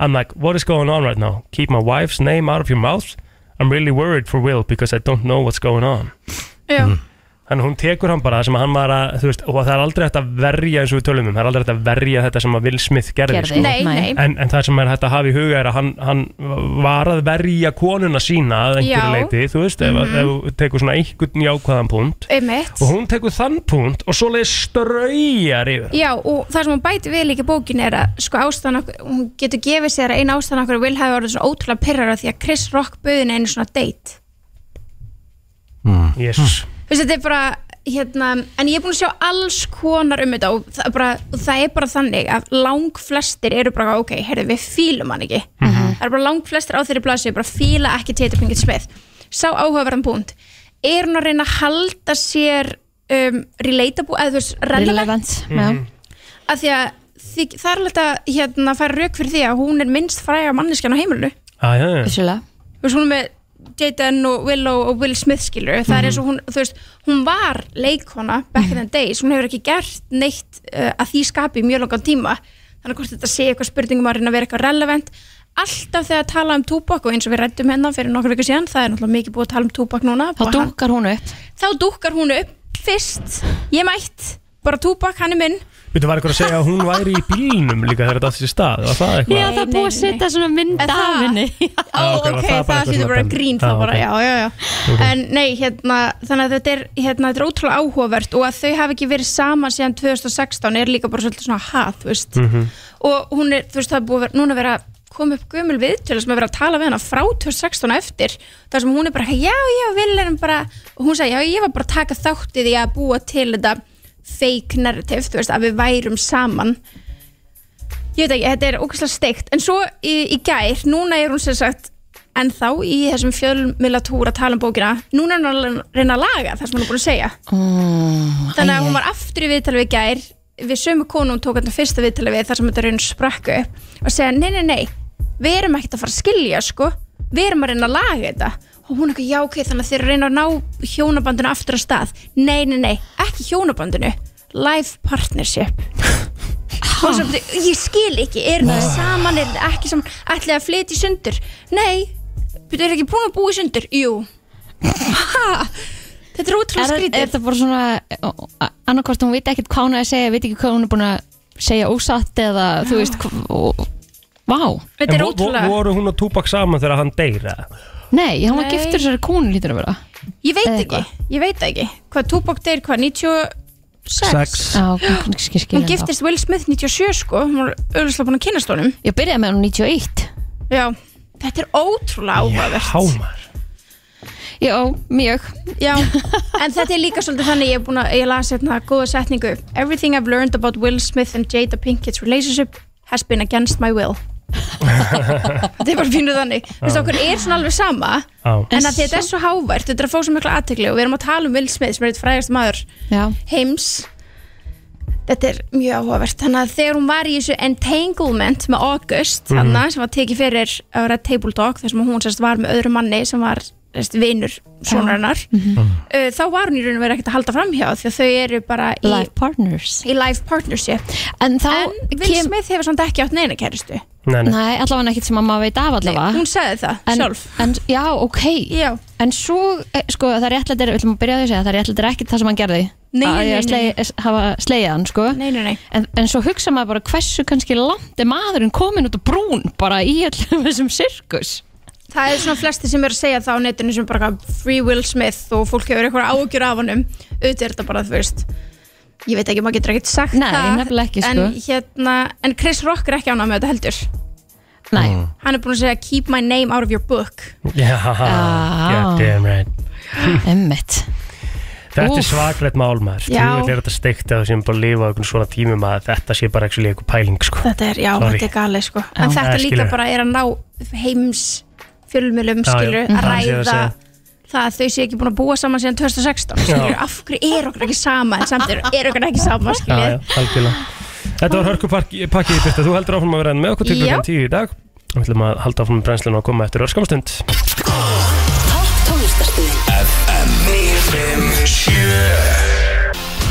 S4: I'm like, what is going on right now? Keep my wife's name out of your mouth. I'm really worried for Will because I don't know what's going on.
S9: Já,
S4: Þannig hún tekur hann bara það sem hann var að, þú veist, og það er aldrei hægt að verja eins og við tölum um, það er aldrei hægt að verja þetta sem að Will Smith gerði, sko.
S3: Gerði.
S9: nei, nei
S4: En, en það sem er hægt að hafa í huga er að hann, hann var að verja konuna sína að einhverju
S9: Já. Mhm.
S4: leiti, þú veist, ef, að- ef þú tekur svona einhvern jákvæðan punkt
S9: Einmitt.
S4: og hún tekur þann punkt og svo leiði ströyjar yfir.
S9: Já, og það sem hún bæti við líka í bókinu er að sko ástæðan okkur, hún getur gefið sér að eina ástæðan okkur vil hafi orðið svona ótrúlega pyrrar því að Chris Rock bauðin einu svona date
S4: Yes.
S9: Þú veist, þetta er bara, hérna, en ég er búin að sjá alls konar um þetta og það er bara, og það er bara þannig að lang flestir eru bara, ok, heyrðu, við fílum hann ekki. Það er bara lang flestir á þeirri blasu, bara fíla ekki Tatum Pinkett Smith. Sá áhugaverðan punkt. Er hún að reyna að halda sér um, relatable, eða þú veist, relevant?
S3: Relevant, já.
S4: Mhm.
S9: Af því að því, það er alveg að hérna, færa rauk fyrir því að hún er minnst fræga manneskjan á heimilinu.
S4: Ah, já, já.
S3: Vissulega.
S9: Þú veist, hún er með Jaden og Willow og Will Smith skilur það er eins og hún, þú veist, hún var leikona back in the days, hún hefur ekki gert neitt uh, að því skapi í mjög langan tíma þannig að hvort þetta sé eitthvað spurningum að reyna að vera eitthvað relevant alltaf þegar að tala um túbak og eins og við rættum hennan fyrir nokkur vikur síðan, það er náttúrulega mikið búið að tala um túbak núna
S3: Þá
S9: Bara hann-
S3: dúkar hún upp.
S9: þá dúkkar hún upp fyrst, ég mætt bara túbak, hann er minn
S4: Býttu var eitthvað að segja að hún væri í bílnum líka þegar þetta átti sér stað, var það eitthvað?
S3: Já, það er búið að setja svona mynd
S9: Er það?
S3: af henni.
S9: Ó,
S4: Já, ok,
S9: ok,
S4: var það bara
S9: það, það
S4: eitthvað
S9: hlýtur bara
S4: svona
S9: grín
S4: Já,
S9: þá bara,
S4: ok.
S9: já, já, já En nei, hérna, þannig að þetta er, hérna, þetta er ótrúlega áhugavert og að þau hafi ekki verið saman síðan 2016 er líka bara svolítið svona hað, þú veist
S4: Mhm.
S9: Og hún er, þú veist, það er búið að vera, núna að vera að koma upp gömul viðtölu sem er verið að tala við hana frá 2016 og eftir þar sem hún er bara, já, já, vil erum bara og hún sagði, já, ég var bara að taka þáttið í því að búa til þetta fake narrative, þú veist, að við værum saman ég veit ekki, þetta er ógæslega steikt en svo í, í gær, núna er hún sem sagt ennþá í þessum fjölmila túr að tala um bókina, núna er hún að reyna að laga það sem hún er búin að segja
S3: Mm,
S9: þannig að
S3: æi,
S9: hún var aftur í viðtalið við í gær við sömu konu hún tók hann fyrsta viðtalið við þar sem þetta raun sprakku og segja, nei, nei, nei, við erum ekkert að fara að skilja sko, við erum að reyna að laga þetta og hún er ekki, já, ok, þannig að þeir reyna að ná hjónabandinu aftur á stað nei, nei, nei, ekki hjónabandinu life partnership Og svo, bara, ég skil ekki, er það
S3: Ah.
S9: saman, er það ekki saman, ætlaði að flytja í sundur? Nei, betur er ekki búin að búa í sundur? Jú. Ha, þetta er
S3: Er,
S9: ótrúlega
S3: er
S9: skrítið.
S3: þetta bara svona annarkvort hún veit ekkert hvað hún er að segja veit ekki hvað hún er búin að segja ósatt eða þú veist hv- og, Vá,
S9: Þetta
S4: En
S9: er
S4: vo- vo-
S9: ótrúlega.
S4: Voru hún og Tupac saman þegar hann deyra?
S3: nei, hún var
S9: Nei.
S3: giftur þessari konu lítur að vera
S9: Ég veit
S3: Eða
S9: ekki, ég veit það ekki Hvað Tupac deyr, hvað, 96?
S3: Já, hún skil- skil
S9: Hún
S3: ennþá.
S9: giftist Will Smith 97 sko Hún var auðvitað búin að kynast honum
S3: Ég byrjaði með hún 91
S9: Já, þetta er ótrúlega áhugavert
S4: Hámar.
S3: Já, mjög
S9: Já, en þetta er líka svolítið þannig Ég, er búin að, ég las hérna góða setningu Everything I've learned about Will Smith and Jada Pinkett's relationship has been against my will Þetta er bara fínuð þannig Þú veist, okkur er svona alveg sama
S4: Á.
S9: En að því þetta er svo hávært, þetta er að fá svo mikla aðtekli og við erum að tala um Will Smith sem er eitt frægast maður
S3: Já,
S9: heims þetta er mjög áhugavert þannig að þegar hún var í þessu entanglement með August mm sem var tekið fyrir að vera table talk þar sem hún sérst var með öðru manni sem var sérst, vinur
S3: Já. Mhm.
S9: sonarinnar uh, þá var hún í raun og verið ekkert að halda framhjá því að þau eru bara í,
S3: life partners
S9: í life partnership
S3: En þá
S9: en Will
S3: kem
S9: Smith hefur samt ekki átt neina kæristu
S4: Nei, nei.
S3: Nei, allavega ekkert sem að maður veit af allavega
S9: hún sagði það
S3: Ah. En,
S9: sjálf
S3: en, já, ok
S9: Já.
S3: En svo, eh, sko, það réttlætir Við ætlum að byrja á því að segja, það réttlætir ekkert það sem hann gerði Að
S9: Nei, nei,
S3: ég
S9: nei, nei.
S3: slei, eh, hafa slegið hann, sko
S9: nei, nei, nei.
S3: En, en svo hugsa maður bara hversu kannski langt er maðurinn komin út á brún bara í allum þessum sirkus
S9: það er svona flesti sem eru að segja það á netinu sem bara eitthvað free Will Smith og fólk hefur eitthvað ágjur af honum auðvitað er þetta bara þú veist ég veit ekki, maður getur ekkert sagt
S3: Nei,
S9: það
S3: nefnilega ekki,
S9: en,
S3: sko.
S9: hérna, en Chris Rock er ekki ánað með þetta heldur
S3: Nei,
S9: hann er búin að segja keep my name out of your book
S4: Já, God damn right. Mm.
S3: emmitt
S4: Þetta er
S3: Úff.
S4: svaklegt mál maður.
S9: Já.
S4: Þú er þetta steikt að þú séum bara að lifa á einhvern svona tímum að þetta sé bara actually einhver pæling sko.
S9: þetta er, já,
S4: Sorry.
S9: þetta er galið sko en
S4: Já,
S9: þetta
S4: skilur
S9: líka
S4: við.
S9: bara er að ná heims fjölmjölum
S4: Já, já.
S9: skilur
S4: Mhm.
S9: að
S4: Það sé að
S9: ræða
S4: segja.
S9: það að þau séu ekki búin að búa saman síðan 2016 skilur, af hverju er okkur ekki sama en samt er, er okkur ekki sama
S4: Já,
S9: skilur
S4: já, algjörlega. Þetta var hörkupakkið Birta, þú heldur áfram að vera með okkur til
S9: Já.
S4: klukkan 10 í dag Við ætlum að halda áfram með brennsluna og koma eftir örskamstund
S8: Topp tónlistarstöðin
S1: FM 957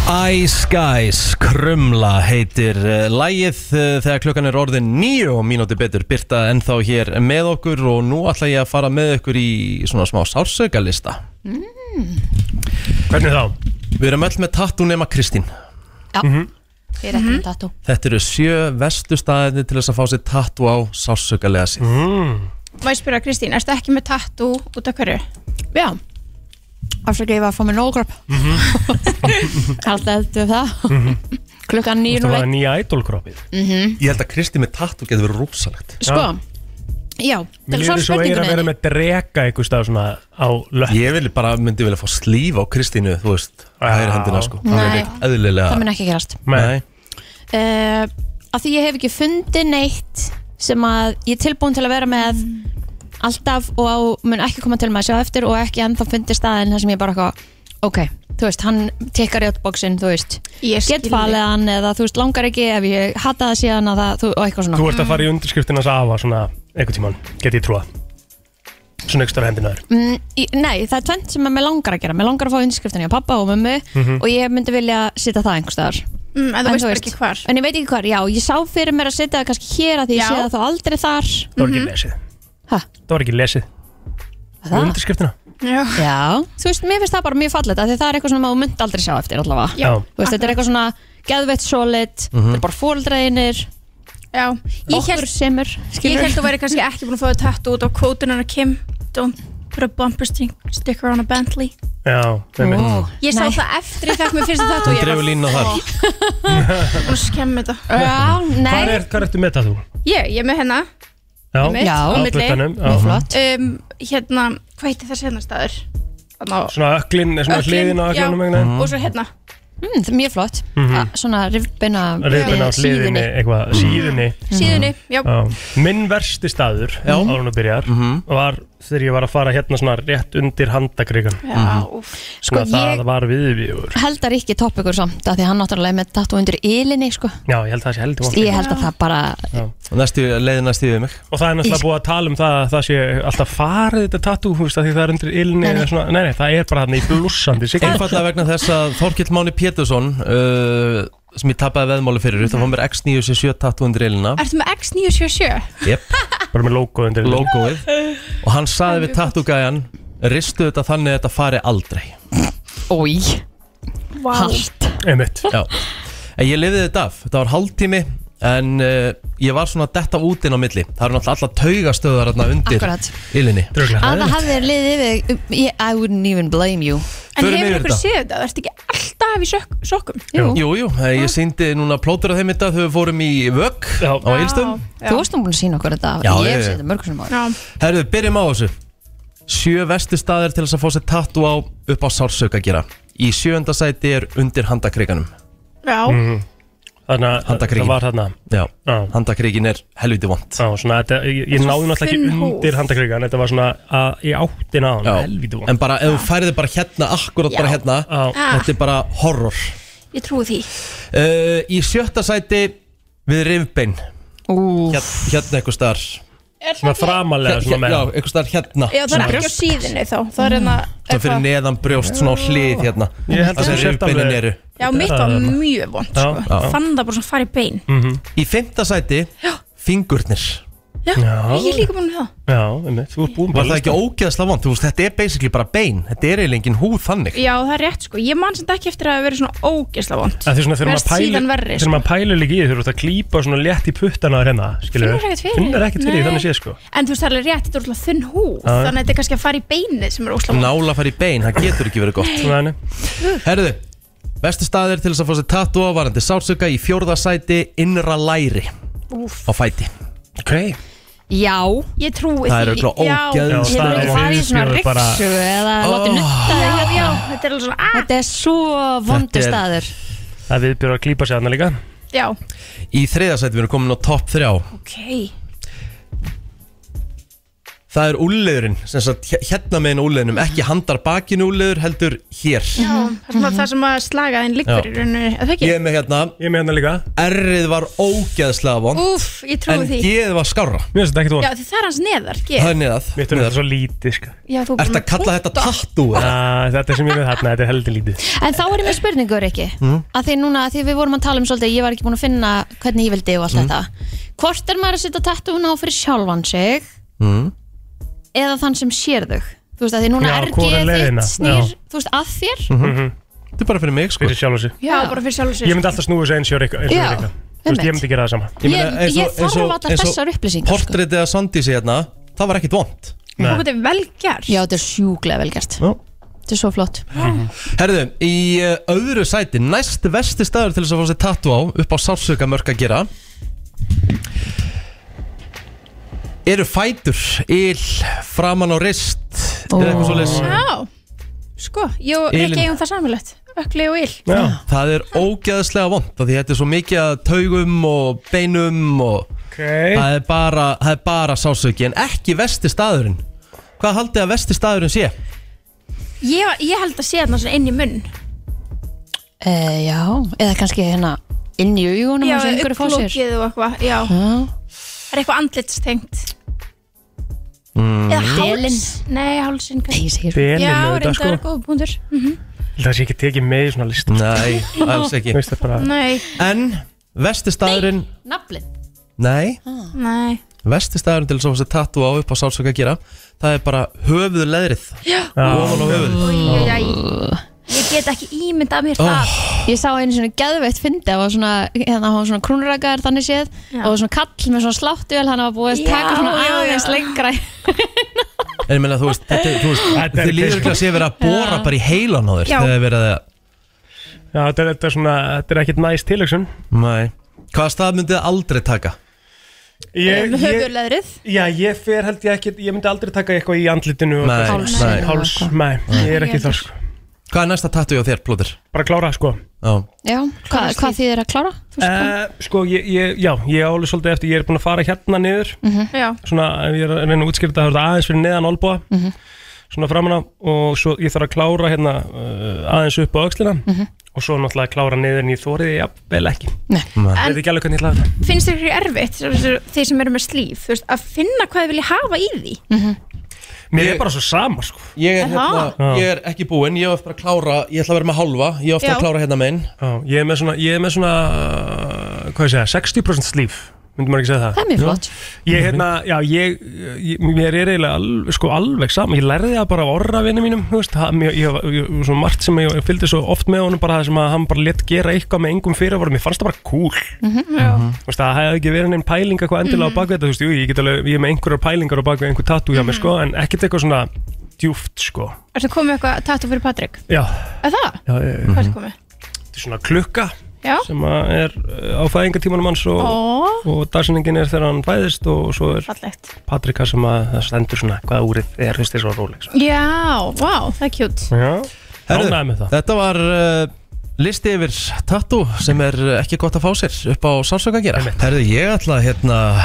S2: Æ, Ice Guys, Krumla heitir uh, lægið uh, þegar klukkan er orðin nýju og mínúti betur byrta ennþá hér með okkur og nú ætla ég að fara með okkur í svona smá sársaukalista
S4: Hvernig þá?
S2: Við erum öll með tattoo nema Kristín
S3: Já, við erum ekki með tattoo
S2: Þetta eru sjö vestu staðinni til þess að fá sér tattoo á sársaukalega sín
S9: Má ég spyrja Kristín, ertu ekki með tattoo út af hverju?
S3: Já Afsakið ég var að fá mér nógröp
S4: Mhm.
S3: Alltaf heldur við það Klukkan nýjum
S4: Það
S3: og
S4: var
S3: veit
S4: nýja idolkroppið
S2: Ég held að Kristín með tattoo getur verið rosalegt
S3: Sko, já, til að
S4: Mér er
S3: svara
S4: svo eigin að vera
S3: spurningunni
S4: með drega einhvers stað svona á löpp
S2: Ég vil bara, myndi vilja fá slíf á Kristínu, þú veist, hægri hendina sko Það er
S3: Nei.
S2: ekkert eðlilega
S3: Það mun ekki gerast
S4: Nei.
S3: uh, Af því ég hef ekki fundið neitt sem að ég er tilbúin til að vera með alltaf og á, mun ekki koma til með að sjá eftir og ekki ennþá fundið staðin þar sem ég bara eitthvað, ok, þú veist, hann tekkar í outboxin, þú veist
S9: Ég skil
S3: get
S9: þig.
S3: falið hann eða þú veist, langar ekki ef ég hata það síðan að það, þú, og eitthvað svona
S4: Þú ert að fara í undirskriftinans afa svona einhvern tíman, get ég trúa Svona einhvers staðar hendina þér
S3: Mm, í- nei, það er tvent sem að mér langar að gera Mér langar að fá undirskriftinni á pappa og mömmu
S4: Mhm.
S3: og ég myndi vilja setja það einhvers staðar
S9: Mm, en þú veist bara ekki hvar
S3: En ég veit ekki hvar, já, ég sá fyrir mér að setja það kannski hér að því ég
S9: Já.
S3: sé það þá aldrei þar
S4: Það var ekki lesið
S3: Ha,
S4: Það var ekki lesið
S3: það?
S4: Undirskriftina
S9: Já.
S3: Já, þú veist, mér finnst það bara mjög fallet af því það er eitthvað svona að þú myndi aldrei sjá eftir allavega
S9: Já.
S3: Þú veist, þetta er eitthvað svona geðveitt solid,
S4: Mhm.
S3: þetta er bara fóldreinir
S9: Já, ég
S3: okkur
S9: held
S3: semur
S9: Ég
S3: skilur.
S9: held að þú væri kannski ekki búin að fá það tattu út á kótunan að Kim Don't put a bumper string, sticker on a Bentley
S4: Já, með
S3: Ó,
S9: Ég sá
S3: nei.
S9: það eftir ég fekk mér fyrsta tattu Ég
S2: Drefu línuna þar
S9: var að skemmi þetta
S3: Já,
S4: Hvað
S3: nei,
S4: er, hvað ertu með það þú?
S9: Ég, ég er með hérna. hennar
S4: Já,
S9: Ég mitt,
S3: Já.
S4: á
S3: á
S9: milli.
S4: puttanum, já.
S3: mjög flott
S9: um, Hérna, hvað heitir þessi hennar staður? Þannig á
S4: Svona öklin, svona hliðin á
S9: já,
S4: öklinum einhvern
S9: Og svo hérna
S3: mm, það er Mjög flott, mm svona eh, rifbeina
S4: veginn Rifin Mhm. á hliðinni, eitthvað, síðinni
S9: Síðunni, já,
S4: Já. Minn versti staður ára hún að byrjar var þegar ég var að fara hérna svona rétt undir handakrigan
S9: já
S2: Mhm.
S9: úff.
S4: Svona það
S3: Sko, ég-
S4: var viðvíður
S3: heldar ekki topp ykkur samt að því að hann náttúrulega er með tattoo undir ylinni sko.
S4: Já, ég held að það sé heldur vont.
S3: ég held að það bara
S2: Næstu, leiðin næstu yfir mig
S4: Og það er náttúrulega búið að tala um það að það sé alltaf farið þetta tattoo, þú veist, að því það er undir ilni
S3: Nei, nei.
S4: eða svona, nei, nei, það er bara þarna í blússandi siglingu.
S2: Einfallega vegna þess að Þorkill Máni Pétursson uh, sem ég tappaði veðmáli fyrir þá fór mér X977 tattoo undir eilina
S9: Ertu með X977?
S2: yep,
S4: bara með logo undir ilni.
S2: logoið og hann saði við tattoo-gæjan ristu þetta þannig að þetta fari aldrei
S3: oi,
S9: Vá
S3: allt
S4: Einmitt.
S2: Já. en ég lifði þetta af, þetta var hálftími en uh, ég var svona að detta út inn á milli það eru náttúrulega alltaf taugastöðar þarna undir
S3: Akkurat.
S2: ilinni
S4: Dröglega.
S3: að það hafði þér liðið yfir um, ég- I wouldn't even blame you
S9: En
S2: Förum
S9: hefur
S2: yfir
S9: ykkur
S2: þetta.
S9: séð þetta? Ertu ekki alltaf í sök sokkum?
S3: Jú.
S2: Jú, jú, eh, ég síndi núna plótur á þeim þetta þegar við fórum í vögg
S4: Já.
S2: á Eilstöðum
S9: Já.
S3: þú varst nú búin að sína okkur þetta
S2: Já,
S3: ég
S2: ég-
S3: hef séð þetta mörgum sem ára
S9: Já,
S2: Herðu, byrjum á þessu Sjö vestu staðir til þess að fá sér tattoo á upp á sársauka gera Í sjöunda sæti er undir handakrikanum
S9: já
S2: Mhm.
S4: Þannig að
S2: Handakrigin.
S4: það var þarna.
S2: Já,
S4: Já.
S2: handakrikin er helviti vond
S4: Já, svona, þetta, ég, ég náði náttúrulega ekki
S9: Þunn húð.
S4: undir handakrigan, þetta var svona að ég átti náðan, helvítið
S2: En bara ef þú færið bara hérna, akkurat bara hérna
S4: Já.
S2: Þetta er bara horror
S9: Ég trúi því
S2: uh, Í sjötta sæti við rifbein
S3: Úf,
S2: Hér, Hérna eitthvað staðar
S4: Svona framalega svona
S2: Hér-
S4: með
S2: Já, eitthvað staðar hérna
S9: Já, það er ekki á síðinni þá Það er hérna
S2: Svo fyrir neðan brjóst, svona á hlið hérna
S4: Ég
S2: Það
S4: held að þú
S2: sem
S4: sért
S2: rifbeinin
S4: alveg-
S2: eru
S9: Já, mitt var mjög vond
S4: Já,
S9: sko.
S4: já. Mm.
S9: Ég Fann það bara svona fara í bein
S2: Í fimmta sæti, fingurnir
S9: Já, ég er líka búin með það
S4: Já, einmitt, þú ert búin
S2: Var það ekki ógeðslega vond? Þú veist, þetta er basically bara bein Þetta er eiginlega engin húð þannig
S9: Já, það er rétt sko Ég man sem ekki eftir að það hafi verið svona ógeðsla vond
S4: Það er svona þegar
S9: Verst
S4: maður pælir
S9: síðan verri,
S4: Þegar
S9: sko.
S4: maður pælir líka í því, þú ert að klípa svona létt í puttana þér hérna skilurðu.
S9: Finnur ekkert fyrir.
S4: Finnur ekkert fyrir,
S9: Nei.
S4: þannig sé sko
S9: En þú veist það er alveg rétt, þetta er úrlega þunn hú
S4: Já.
S9: Þannig að þetta er kannski að fara í beinið sem er ógeðsla vond
S2: Nála fari í bein, það getur ekki verið gott
S4: Svona,
S2: Herðu, bestu staðir til þess að fá sér tattoo varandi sársöka í fjórða sæti innra læri
S9: Úff.
S2: á fæti
S4: Ok
S3: já
S9: Ég trúi því
S2: Það er örugglega ógeðslega
S3: Getur
S4: Það
S9: Já,
S3: ekki
S4: er
S3: farið í svona
S4: viðbjóður bara-
S3: riksu eða látið nutta
S9: Já,
S3: þig
S9: já,
S3: hérna.
S9: já, þetta er alveg svona ah,
S3: Þetta er svo
S2: Þetta
S3: vondur
S2: er-
S3: staður
S4: Það við byrjum að klípa sér þarna líka
S9: Já,
S2: Í þriða sæti við erum komin á topp þrjá
S9: ok
S2: Það er úlleðurinn, sem sagt hér- hérna meðin úlleðunum, ekki handar bakinu úlleður, heldur hér.
S9: Já, það sem að, það sem að slagaðin liggur
S2: Já.
S9: í rauninu, er það ekki?
S2: Ég er með hérna,
S4: Ég er með hérna líka
S2: errið var ógeðslega vond,
S9: Úf, ég
S2: en
S9: trúi því.
S2: geð var skárra.
S4: Mér finnst þetta ekkert
S9: Já,
S4: von
S9: því það er hans neðar, ekki?
S2: Það er niðað.
S4: Mér finnst þetta svo lítið sko.
S9: Já, þú
S2: Ertu að kalla þetta tattoo? eða?
S4: Ah, Þetta sem ég er með þarna, þetta er heldur lítið
S3: En þá er ég með spurningur ekki
S4: Mm.
S3: að því núna, að því við vorum að tala um svolítið ég var ekki búin að finna hvernig ég vildi og
S4: Mm.
S3: allt þetta Hvort er maður að setja tattúna á fyrir sjálfan sig eða þann sem sér þau Þú veist að því núna
S4: Mm. Já,
S3: er
S4: hvor er leiðina?
S3: þitt snýr
S4: Já. Mhm.
S3: þú veist, að þér
S2: Þetta er bara fyrir mig, sko.
S4: Fyrir sjálf þessu
S9: Já, bara fyrir sjálf
S4: Ég
S9: sér.
S4: myndi alltaf snúið þessu eins og Rikka eins og
S3: Já,
S4: Rikka. Þú veist,
S3: einmitt.
S4: Ég myndi gera það sama
S2: Ég,
S3: Ég- ég þarf allar þessar upplýsingar, sko.
S2: Portrétið að Sandísi hérna, það var ekkit vond.
S9: Þú búið velgjart.
S3: Já, þetta er sjúklega vel gert
S2: Já.
S3: Þetta er svo flott
S2: Herðu, í uh, öðru sæti næst vesti staður til þess að fá sér tattu á upp á sársöka mörg að gera eru fætur ill, framan á rist eða eitthvað svo
S9: Já, sko, ég og
S2: Elín.
S9: Rikki eigum það samilegt. Ökli og Íl.
S4: Já,
S2: það er ógeðslega vond því þetta er svo mikið að taugum og beinum og
S4: ok
S2: það er bara, það er bara sársöki en ekki vesti staðurinn hvað haldið að vesti staðurinn sé?
S9: Ég, ég held að sé þarna svona inn í munn.
S3: e, Já, eða kannski hérna inn í augunum
S9: Já,
S3: eins og einhverju fá sér
S9: upplókið og eitthvað, já.
S3: Já.
S9: Það er eitthvað andlitstengt. Eða háls. Nei, hálsinn
S3: Nei,
S9: kannski.
S3: ég segir
S4: Belin
S9: Já,
S4: auðvitað
S9: reyndar
S4: sko
S9: er góð búndur.
S4: Það sé ekki tekið með í svona list
S2: Nei, alls ekki
S4: Veist það bara
S9: Nei,
S2: en vesti staðurinn
S3: Naflin
S2: nei
S9: nei.
S2: vesti staðurinn til þess að fá sér tattu á upp á sársöka að gera það er bara höfuðu leðrið ofan á höfuð
S9: Ég, ég, ég get ekki ímyndað mér það.
S3: Ég sá einu svona geðveitt fyndi það var svona, hérna, hann var svona krúnurakaður þannig séð
S9: Já.
S3: og svona kall með svona sláttuvel hann var búið að
S9: Já,
S3: taka svona
S9: já, já.
S3: aðeins lengra í-
S2: en ég meina þú veist, þetta, þú veist
S4: Þetta er
S2: þið líður
S4: ekki-
S2: ekki að sé verið að bóra bara í heilan á þér
S9: Já.
S2: þegar þið verið að
S4: Já, þetta er, þetta er svona, þetta er ekkert næst tilöksun
S2: nei hvaða stað myndið þið aldrei taka
S4: Ég, ég,
S9: Höfurleðrið.
S4: já, ég fer held ég ekki, ég myndi aldrei taka eitthvað í andlitinu og-
S2: Nei,
S3: Háls.
S2: nei.
S4: Háls, nei, ég er ekki þar sko
S2: hvað er næsta tattu á þér plóður
S4: Bara klára sko
S2: já
S3: Já, hva, hvað þýðir að klára? Þú veist,
S4: uh, Sko, ég, ég, já, ég áli svolítið eftir, ég er búin að fara hérna niður
S9: Já,
S4: Svona, ef ég er að reyna að útskýrta það er þetta aðeins fyrir neðan olbúa Svona framan á og svo ég þarf að klára hérna uh, aðeins upp á öxlina Og svo náttúrulega klára niður en ég þóriði, já, vel ekki Ég veit ekki alveg hvernig ég laði það
S9: finnst þér ekki erfitt, svo- svo- þeir sem eru með slíf, þú veist, að finna hvað þið vilja hafa í því.
S4: Mér
S2: Ég-
S4: er bara svo sama sko
S2: ég er,
S9: Aha.
S2: hérna, ég er ekki búinn, ég á eftir að klára ég ætla að vera með halva, ég á eftir
S9: Já.
S2: að klára hérna megin
S4: Já, ég er með svona, ég er með svona uh, hvað ég segja, 60% slíf myndi maður ekki segja það
S3: það er mjög flott
S4: ég, hérna, já, ég, ég, mér er eiginlega alveg, sko, alveg saman, ég lærði það bara á orravinni mínum, þú veist, það, ég, ég, ég, svo margt sem ég, ég fylgdi svo oft með honum bara það sem að hann bara let gera eitthvað með engum fyrirvarum mér fannst það bara cool mm
S3: Mhm.
S4: -hmm. veist, það hefði ekki verið neinn pæling eitthvað endilega á bakvið þetta, þú veist, jú, ég, get alveg, ég er með einhverjar pælingar á bakvið einhver tattoo hjá mér,
S3: Mhm.
S4: sko, en ekkert eitthvað svona djúft, sko
S9: Ertu komið með eitthvað tattu fyrir Patrik?
S4: já,
S9: Er það?
S4: já, já, já.
S9: Hvað ertu komið?
S4: Þetta er svona klukka
S9: Já.
S4: Mhm. sem að er uh, á fæðingartímanum hans og,
S9: Ó,
S4: og dagsinningin er þegar hann fæðist og svo er
S9: fallegt.
S4: Patrika sem að það stendur svona hvaða úrið er fyrst þess að Rolex
S9: Já, vá, það er kjút.
S4: Já,
S2: Herðu,
S4: ánægði með það
S2: Þetta var uh, listi yfir tattu sem er uh, ekki gott að fá sér upp á sársöka að gera Herðu, ég ætla að hérna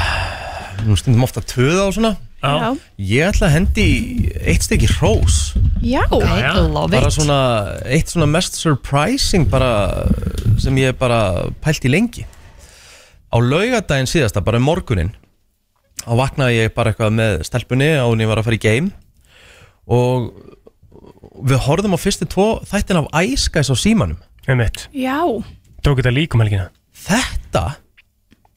S2: nú stundum ofta töða á svona
S9: Já.
S2: ég ætla að hendi í eitt stykki hrós
S9: Já,
S4: já.
S3: I love
S2: bara
S3: it
S2: svona, eitt svona mest surprising bara, uh, sem ég bara pælt í lengi á laugardaginn síðasta, bara um morguninn þá vaknaði ég bara eitthvað með stelpunni á hún ég var að fara í game og við horfðum á fyrstu tvo þættin af Ice Guys á símanum
S4: Einmitt.
S9: já,
S4: Tók þetta líkum helgina
S2: þetta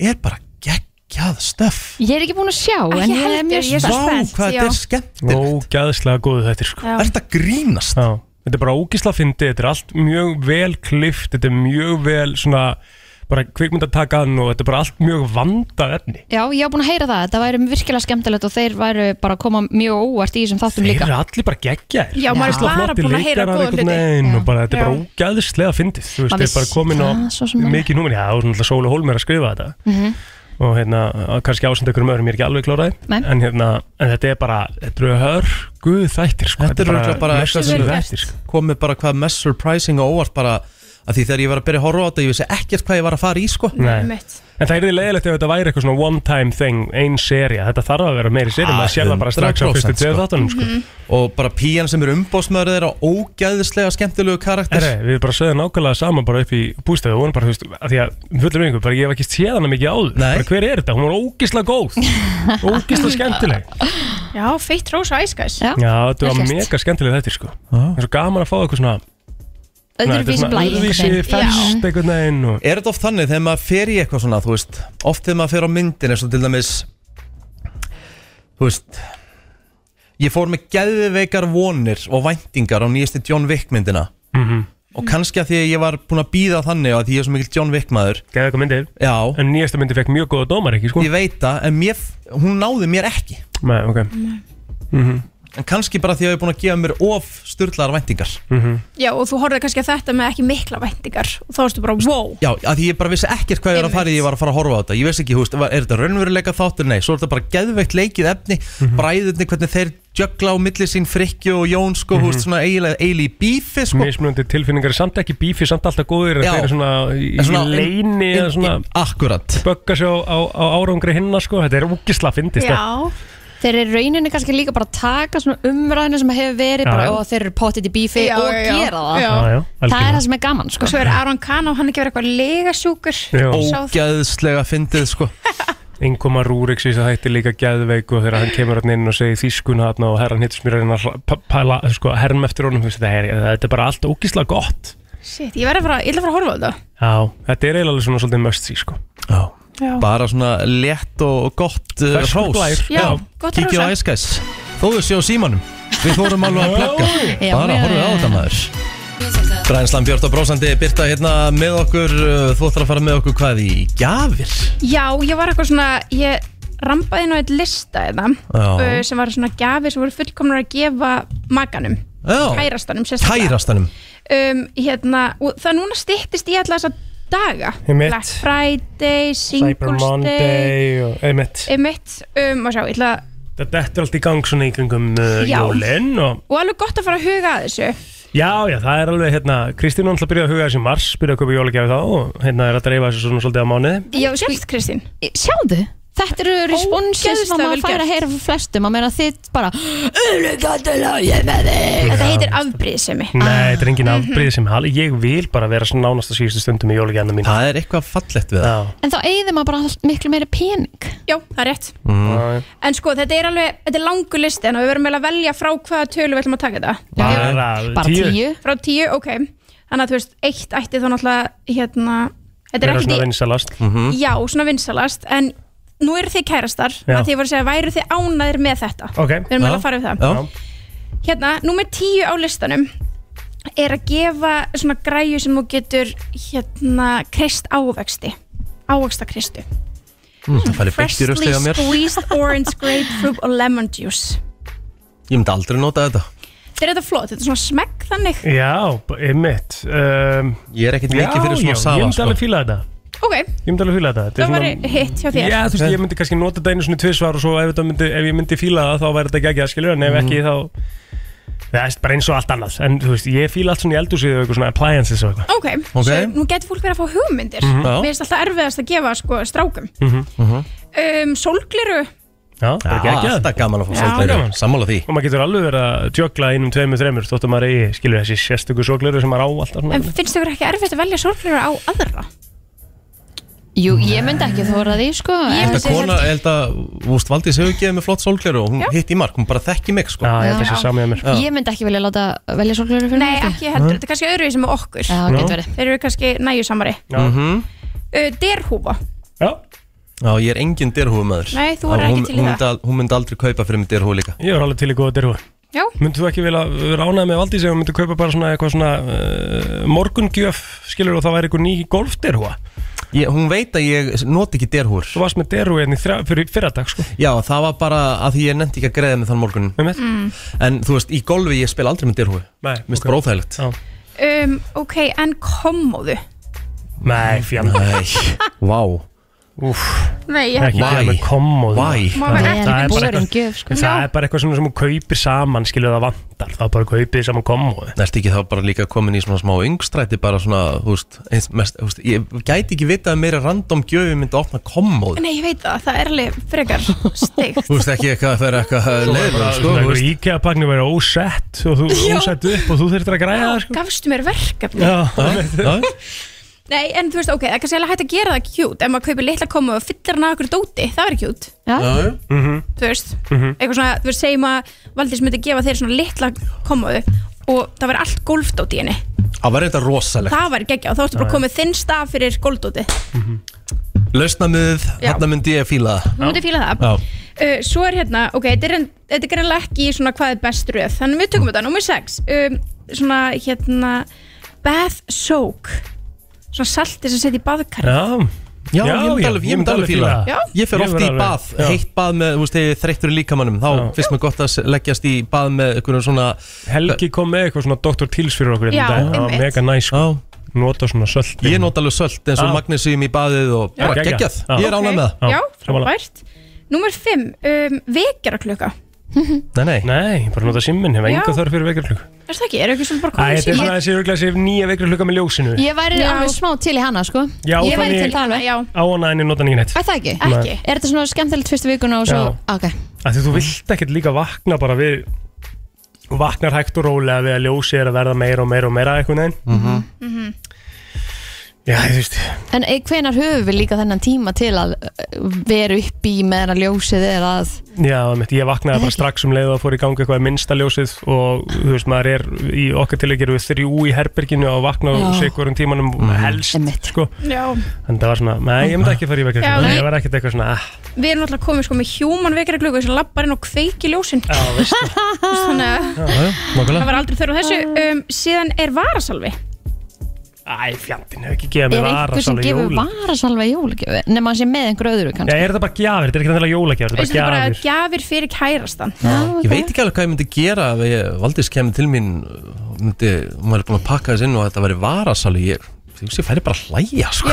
S2: er bara geggjað stöf
S3: Ég er ekki búin að sjá,
S9: Ekki
S3: en ég er
S9: heldur,
S3: mjög
S9: ég er
S3: spennt.
S9: svo- spennt,
S2: hvað
S9: já.
S2: þetta er skemmtilegt
S4: Ógæðslega góðu þetta sko
S9: já.
S2: Er þetta grínast?
S4: Já. Þetta er bara ógísla fyndi, þetta er allt mjög vel klift, þetta er mjög vel svona bara kvikmyndatakan og þetta er bara allt mjög vandað efni
S3: Já, ég á búin að heyra það, þetta væri virkilega skemmtilegt og þeir væru bara að koma mjög óvart í þessum þáttum
S4: Þeir
S3: líka
S4: eru allir bara geggjaðir
S9: Já, maður er
S4: Ógeðslega
S9: bara
S4: flottir
S9: búin að heyra
S4: leikarar
S9: góða
S4: einhvern
S9: hluti.
S4: veginn og bara, Þetta er bara
S9: Já.
S4: ógæðslega fyndið þú veist,
S3: Maður
S4: Þetta er bara
S3: vissi
S4: komin á
S3: það svo sem alveg.
S4: mikið númer Já, það var náttúrulega Sóla Hólmer að skrifa þetta
S9: Mhm.
S4: og hérna, að kannski ásenda ykkur um öðrum ég er ekki alveg kláraði
S3: Nei.
S4: en, hérna, en þetta er bara, þetta eru hörgu þættir sko.
S2: Þetta er örugglega bara
S4: mest
S2: eitthvað sem
S4: þessir
S9: er
S4: þættir sko.
S2: komið bara hvað mest surprising og óvart bara að því þegar ég var að byrja að horfa á þetta ég vissi ekkert hvað ég var að fara í sko
S4: Nei. En það er því leiðilegt ef þetta væri eitthvað svona one time thing, ein seria Þetta þarf að vera meiri seria,
S2: Ah,
S4: maður sér það bara strax á
S2: 100%
S4: fyrstu tveið
S9: Mhm.
S4: þáttunum sko.
S2: og bara píjan sem er umbóðsmaður þeirra ógæðislega skemmtilegu karakter
S4: Herre, við bara sögðum nákvæmlega saman bara upp í bústæðu og hún bara, þú veist, að því að fullur vingur, bara ég hef ekki séð hana mikið áður
S2: Nei.
S4: bara, Hver er þetta? Hún var ógisla góð Ógisla skemmtileg
S9: Já, feitt rósa æskæs
S3: Já,
S4: Já, þetta var
S3: vel gert.
S4: mega skemmtileg þetta, sko Það er svo gaman að fá eitthvað svona Nei, þetta er
S3: Öðruvísi
S4: svona
S3: blæði
S4: Öðruvísi, fest einhvern veginn og
S2: Er þetta oft þannig þegar maður fer í eitthvað svona, þú veist Oft þegar maður fer á myndin eins og til dæmis Þú veist Ég fór með geðveikar vonir og væntingar á nýjastu John Wick myndina Og kannski að því að ég var búin að býða þannig og að því ég er svo mikill John Wick maður
S4: Geða eitthvað myndir
S2: Já,
S4: En nýjasta myndi fekk mjög góða dómar, ekki, sko?
S2: ég veit það, en mér, hún náði mér ekki
S4: Nei, ok
S2: En kannski bara því að ég er búin að gefa mér of styrlaðar væntingar
S9: Já, og þú horfði kannski að þetta með ekki mikla væntingar og þá erstu bara, wow
S2: Já, að því ég bara vissi ekkert hvað ég var að fara í því ég var að fara að horfa á þetta Ég vissi ekki, húst, er þetta raunveruleika þáttur? Nei, svo er þetta bara geðveikt leikið efni Bræðurni, hvernig þeir jökla á milli sín Frikki og Jón, sko, húst, svona eiginlega eili í bífi, sko
S4: Mismunandi tilfinningar, er samt ekki bífi, samt alltaf góðir
S2: Já.
S4: Þeir eru svona í
S2: En svona-
S4: í leini
S2: In-
S4: eða svona
S2: in- Akkurat
S4: bögga sig á, á, á árangri hinna sko, þetta er sko. úkisla fyndist það.
S9: Já,
S3: Þeir eru rauninni kannski líka bara að taka svona umræðinu sem hefur verið
S4: Já,
S3: bara
S4: já.
S3: og þeir eru pottit í bífi
S9: Já,
S3: og
S9: já, já.
S3: gera það
S4: Já, já,
S9: Já.
S3: Það er
S4: algjörlega.
S3: það sem er gaman sko.
S9: og svo er Aron Kahn og hann ekki verið eitthvað legasjúkur
S4: Já.
S9: Sá það.
S2: Ógeðslega fyndið, sko
S4: Ingoma Rúrik sýst að hætti líka gæðveik og þegar hann kemur hann inn og segir þýskun hann og herran hittis mér að reyna að pa- pæla, sko, herm eftir honum, þú veist, þetta er, þetta er bara allt úkisla gott.
S9: Shit, ég verði að fara, ég ætla að fara að horfa á þetta
S4: Já, þetta er eiginlega svona svolítið möst sí, sko.
S2: Já
S9: Já.
S2: Bara svona létt og gott uh,
S4: Ferskur
S2: hrós
S4: blær.
S9: Já, gott eh. að
S2: Kíkja á
S9: rosa
S2: æskæs Þóðu séu símanum Við fórum alveg að plugga
S3: Já,
S2: Bara
S3: já,
S2: horfum
S3: já,
S2: á
S3: já.
S2: þetta maður Brænslan Björn og Brósandi Birta hérna með okkur uh, Þú ætlar að fara með okkur hvað í gjafir
S9: Já, ég var eitthvað svona, ég rambaði nú eitt lista eða
S2: Já.
S9: uh, sem var svona gafir sem voru fullkomnar að gefa maganum,
S2: Já,
S9: hærastanum sérstaklega
S2: kærastanum
S9: um, hérna, og það núna styttist í alla þessa daga
S4: Einmitt.
S9: Black Friday,
S4: Cyber
S9: Singles Day
S4: Monday og, einmitt,
S9: einmitt, um, og sjá, ég ætla að
S4: þetta er allt í gang svona í kringum uh,
S9: Já.
S4: jólinn og
S9: og alveg gott að fara að huga að þessu
S4: Já, já, það er alveg, hérna, Kristín náttúrulega byrjaði að huga þessi mars, byrjaði að köpa jólagjafi þá og hérna er að dreifa þessu svona svolítið á mánuði.
S9: Já, sérst Kristín
S3: Sjáðu, þetta eru responsið sem
S9: Ógeðslega
S3: maður
S9: vel
S3: fær að
S9: gert.
S3: heyra frá flestum að meina þitt bara Ulugatulega ég er með þig
S9: Þetta heitir afbrýðsemi
S4: Nei, þetta er engin afbrýð sem hal Ég vil bara vera svona nánast að síðustu stundum í jólagjana mín
S2: Það er eitthvað fallegt við það
S4: Já,
S3: En þá eigði maður bara all- miklu meiri pening
S9: Já, það er rétt
S4: já,
S9: En sko, þetta er alveg, þetta er langu listi en við verum eiginlega að velja frá hvaða tölu við ætlum að taka þetta
S4: bara,
S3: Bara tíu
S9: Frá tíu, ok Þannig að þú veist, eitt ætti þá náttúrulega hérna, Þetta er
S4: Vera
S9: ekkert
S4: svona
S9: í,
S4: vinsalast
S2: Mm.
S9: já, svona vinsalast en nú eru þið kærastar
S4: Já.
S9: að því ég voru að segja, væru þið ánæðir með þetta
S4: Ok,
S9: Við erum
S2: Já.
S9: eiginlega að fara við það
S2: Já,
S9: Hérna, númer tíu á listanum er að gefa svona græju sem þú getur hérna krist ávexti ávexta kristu
S2: Mm, það færi beitt í
S9: Freshly
S2: röstið á mér
S9: squeezed orange grapefruit og lemon juice
S2: Ég myndi aldrei nota þetta
S9: Þetta er þetta flott, þetta er svona smekk þannig
S4: já, b- einmitt um,
S2: Ég er ekkert
S4: Já,
S2: mikið fyrir
S4: já,
S2: svona
S4: ég
S2: safa
S4: myndi alveg
S2: sko.
S4: fíla þetta
S9: Ok,
S4: Ég myndi alveg fíla þetta Þetta er
S9: það var
S4: svona-
S9: hitt hjá þér
S4: Já, þú veist, ég myndi kannski nota þetta einu svona tvisvar og svo ef, þetta myndi, ef ég myndi fíla það þá væri þetta ekki ekki að skilja en ef
S2: Mm.
S4: ekki þá það er bara eins og allt annað en þú veist, ég fíla allt svona í eldúsið og eitthvað svona appliances og eitthvað
S9: Ok,
S2: Ok.
S9: svo nú getur fólk verið að fá hugmyndir
S2: Já.
S9: Mér finnst alltaf erfiðast að gefa sko strákum um, Sólgliru
S4: Já, það er ekki
S2: Já,
S4: ekki að
S2: alltaf gaman að fá
S9: Já,
S2: svolítið
S4: Ah, gaman.
S2: Sammála því
S4: og maður getur alveg verið að tjögla einum, tveimur, þreimur þótt að maður eigi, skilur þessi sérstöku sógleru sem maður á alltaf svona
S9: En finnst ykkur ekki erfitt að velja sólgliru á aðra?
S3: Jú, ég myndi ekki þóra því sko
S9: Ég-
S3: en-
S2: Þetta kona, ég held að, Vúst Valdís hefur gefið mig flott sólkleru og hún hitt í mark, hún bara þekki mig sko
S4: Já, Ah, ég held þessi samið að mér
S3: Ég myndi ekki vilja láta velja sorglegur fyrir
S9: Nei,
S3: mig sko.
S9: ekki heldur, þetta er kannski öðruvísi með okkur
S3: Já, það getur verið
S9: Þeir eru kannski nægjusamari
S4: Já.
S9: uh, Derhúfa
S4: Já,
S2: Já, ég er engin dyrhúi maður
S9: Nei, þú er
S2: Já,
S9: ekki
S2: hún-
S9: til í
S2: hún
S9: það.
S2: myndi al- Hún myndi aldrei kaupa fyrir mig dyrhúi líka
S4: ég er alveg til í góða derhú
S9: Já,
S4: Myndu þú ekki vilja vera ánægð með Valdís ef hún myndi kaupa bara svona eitthvað svona uh, morgungjöf, skilur og það væri eitthvað ný golfderhúa
S2: ég, Hún veit að ég noti ekki dyrhúr
S4: Þú varst með derhúi enn í þrjá, fyrir fyrradag sko
S2: Já, það var bara að því ég nefndi ekki að greiða með þann morgunin
S4: mm.
S2: En þú veist, í golfi ég spil aldrei með dyrhúi
S4: Nei,
S2: Mér finnst
S4: ok.
S2: bara óþægilegt
S4: Já.
S9: um, ok, en kommóðu
S4: Nei, fjanda
S2: Nei, vá
S4: Úf,
S9: Nei, ég
S4: ekki
S2: Why?
S4: gera með kommóð
S2: Why?
S9: Maður
S4: Það
S9: er
S4: er bara
S3: ekki borin
S4: eitthvað-
S3: gjöf, sko.
S4: Það er bara eitthvað svona sem hún kaupir saman skilur það vantar, þá bara kaupir þið saman kommóð
S2: Næst ekki þá bara líka komin í svona smá yngstræti bara svona, þú veist, eins, mest, þú veist ég gæti ekki vitað að meira random gjöfi myndi opna kommóð
S9: Nei, ég veit það, það er alveg frekar steikt
S2: Þú veist ekki eitthvað að það er eitthvað leiður sko,
S4: Það
S2: þú
S4: er
S2: veist.
S4: íkjaðpakni verið ósett og þú ósett upp og þú þurftir að græja það sko
S9: Gafstu mér verkefni
S4: Já,
S2: Já,
S9: Nei, en þú veist, ok, það er kannski alveg hægt að gera það kjút Ef maður kaupir litla komu og fyllir hana okkur dóti Það er kjút,
S2: já, já.
S9: þú veist Eitthvað svona, þú veist, segjum að Valdís myndi gefa þeir svona litla komu Og það var allt golfdót í henni
S2: Það var eitthvað rosalegt
S9: Það var geggja og þá ertu bara komið þinn stað fyrir golfdóti
S2: Lausnamiðið,
S9: Já.
S2: þarna myndi ég fíla það
S9: Þú myndi fíla það
S2: Já.
S9: uh, Svo er hérna, ok, þetta er, en- þetta er greinlega ekki í svona hvað er best röð Þannig við
S4: Mm.
S9: tökum þetta, nummer 6 um, Svona, hérna Bath soak Svona salti sem setja í baðkar
S4: já,
S2: Já,
S4: Já,
S2: ég myndi
S4: já,
S2: alveg,
S4: ég
S2: ég myndi alveg fíla
S4: það.
S2: það.
S9: Já.
S2: Ég fer
S4: Ég
S2: oft
S4: verð
S2: í
S4: alveg-
S2: bað,
S4: já.
S2: heitt bað með, þú veist, þegar ég er þreyttur í líkamannum Þá
S4: Já.
S2: finnst mér gott að s- leggjast í bað með einhverjum svona
S4: Helgi kom með eitthvað svona Dr. Tills fyrir okkur
S9: Já,
S4: þetta, það var
S9: einmitt.
S4: mega næs sko.
S2: Já,
S4: nota svona sölt
S2: ég nota alveg sölt eins og
S4: Já.
S2: magnésium í baðið og bara
S4: geggjað.
S2: geggjað
S4: Já.
S2: Ég er ánægð með það
S9: Já,
S4: Já, sammála.
S9: frábært Númer 5, um, vekjaraklukka
S2: Nei, nei,
S4: Nei, bara nota simmin, hef enga
S9: Já.
S4: þörf fyrir veikjarklukku
S9: Er það ekki, er ekki svona bara
S4: Æ,
S9: komið
S4: þetta er svona þessi örglega sér nýja veikjarklukka með ljósinu
S3: Ég væri
S9: Já.
S3: alveg smá til í hana sko
S4: Já,
S3: Ég væri
S4: þannig-
S3: til það alveg
S9: Já,
S4: Á hana en ég nota hann ekki neitt
S3: Er það ekki?
S9: ekki
S3: Er þetta svona skemmtilegt fyrstu vikuna og svo Ah, Ok,
S4: Af því þú vilt ekkert líka vakna bara við Þú vaknar hægt og rólega við að ljósi er að verða meira og meira og meira eitthvað neginn mm
S3: Mhm.
S4: Já, þú veist
S3: en eh, hvenær höfum við líka þennan tíma til að eh, vera upp í meðan að ljósið er að
S4: Já, mitt, ég vaknaði bara
S3: Ekki.
S4: strax um leið og fór í gangi eitthvað minnsta ljósið og þú veist, maður er í okkar til ekki við þrjú í herberginu og vakna
S3: Já.
S4: og sé hverjum tímanum helst
S3: Einmitt.
S4: sko.
S9: já
S4: en það var svona, nei, ég myndi ekki fara í vekja
S9: Já, nei.
S4: ég var ekkert eitthvað svona, ah,
S9: Við erum alltaf komið sko með human vekjaraklukku sem lappar inn og kveiki ljósin
S4: já, veist
S9: Þannig að
S4: Já, já,
S9: það
S4: nákvæmlega
S9: var aldrei þörf á þessu um, Síðan er varasalvi
S4: Æ, fjandinn, hefur ekki gefið mér
S3: Er einhver sem
S4: varasalvi
S3: gefur
S4: jóla
S3: varasalva jólagjöfi Nefn að sé með einhver öðru
S4: Já,
S3: kannski
S4: er þetta bara gjafir, þetta er ekki þannig jólagjafir, þetta er
S9: Þetta er
S4: bara
S9: bara
S4: gjafir
S9: gjafir fyrir kærastan
S3: Já,
S2: Ég veit ekki alveg hvað ég myndi gera ef ég Valdís kemur til mín og myndi, hún væri búin að pakka þess inn og þetta væri varasali ég, þú veist, ég færi bara að hlæja sko.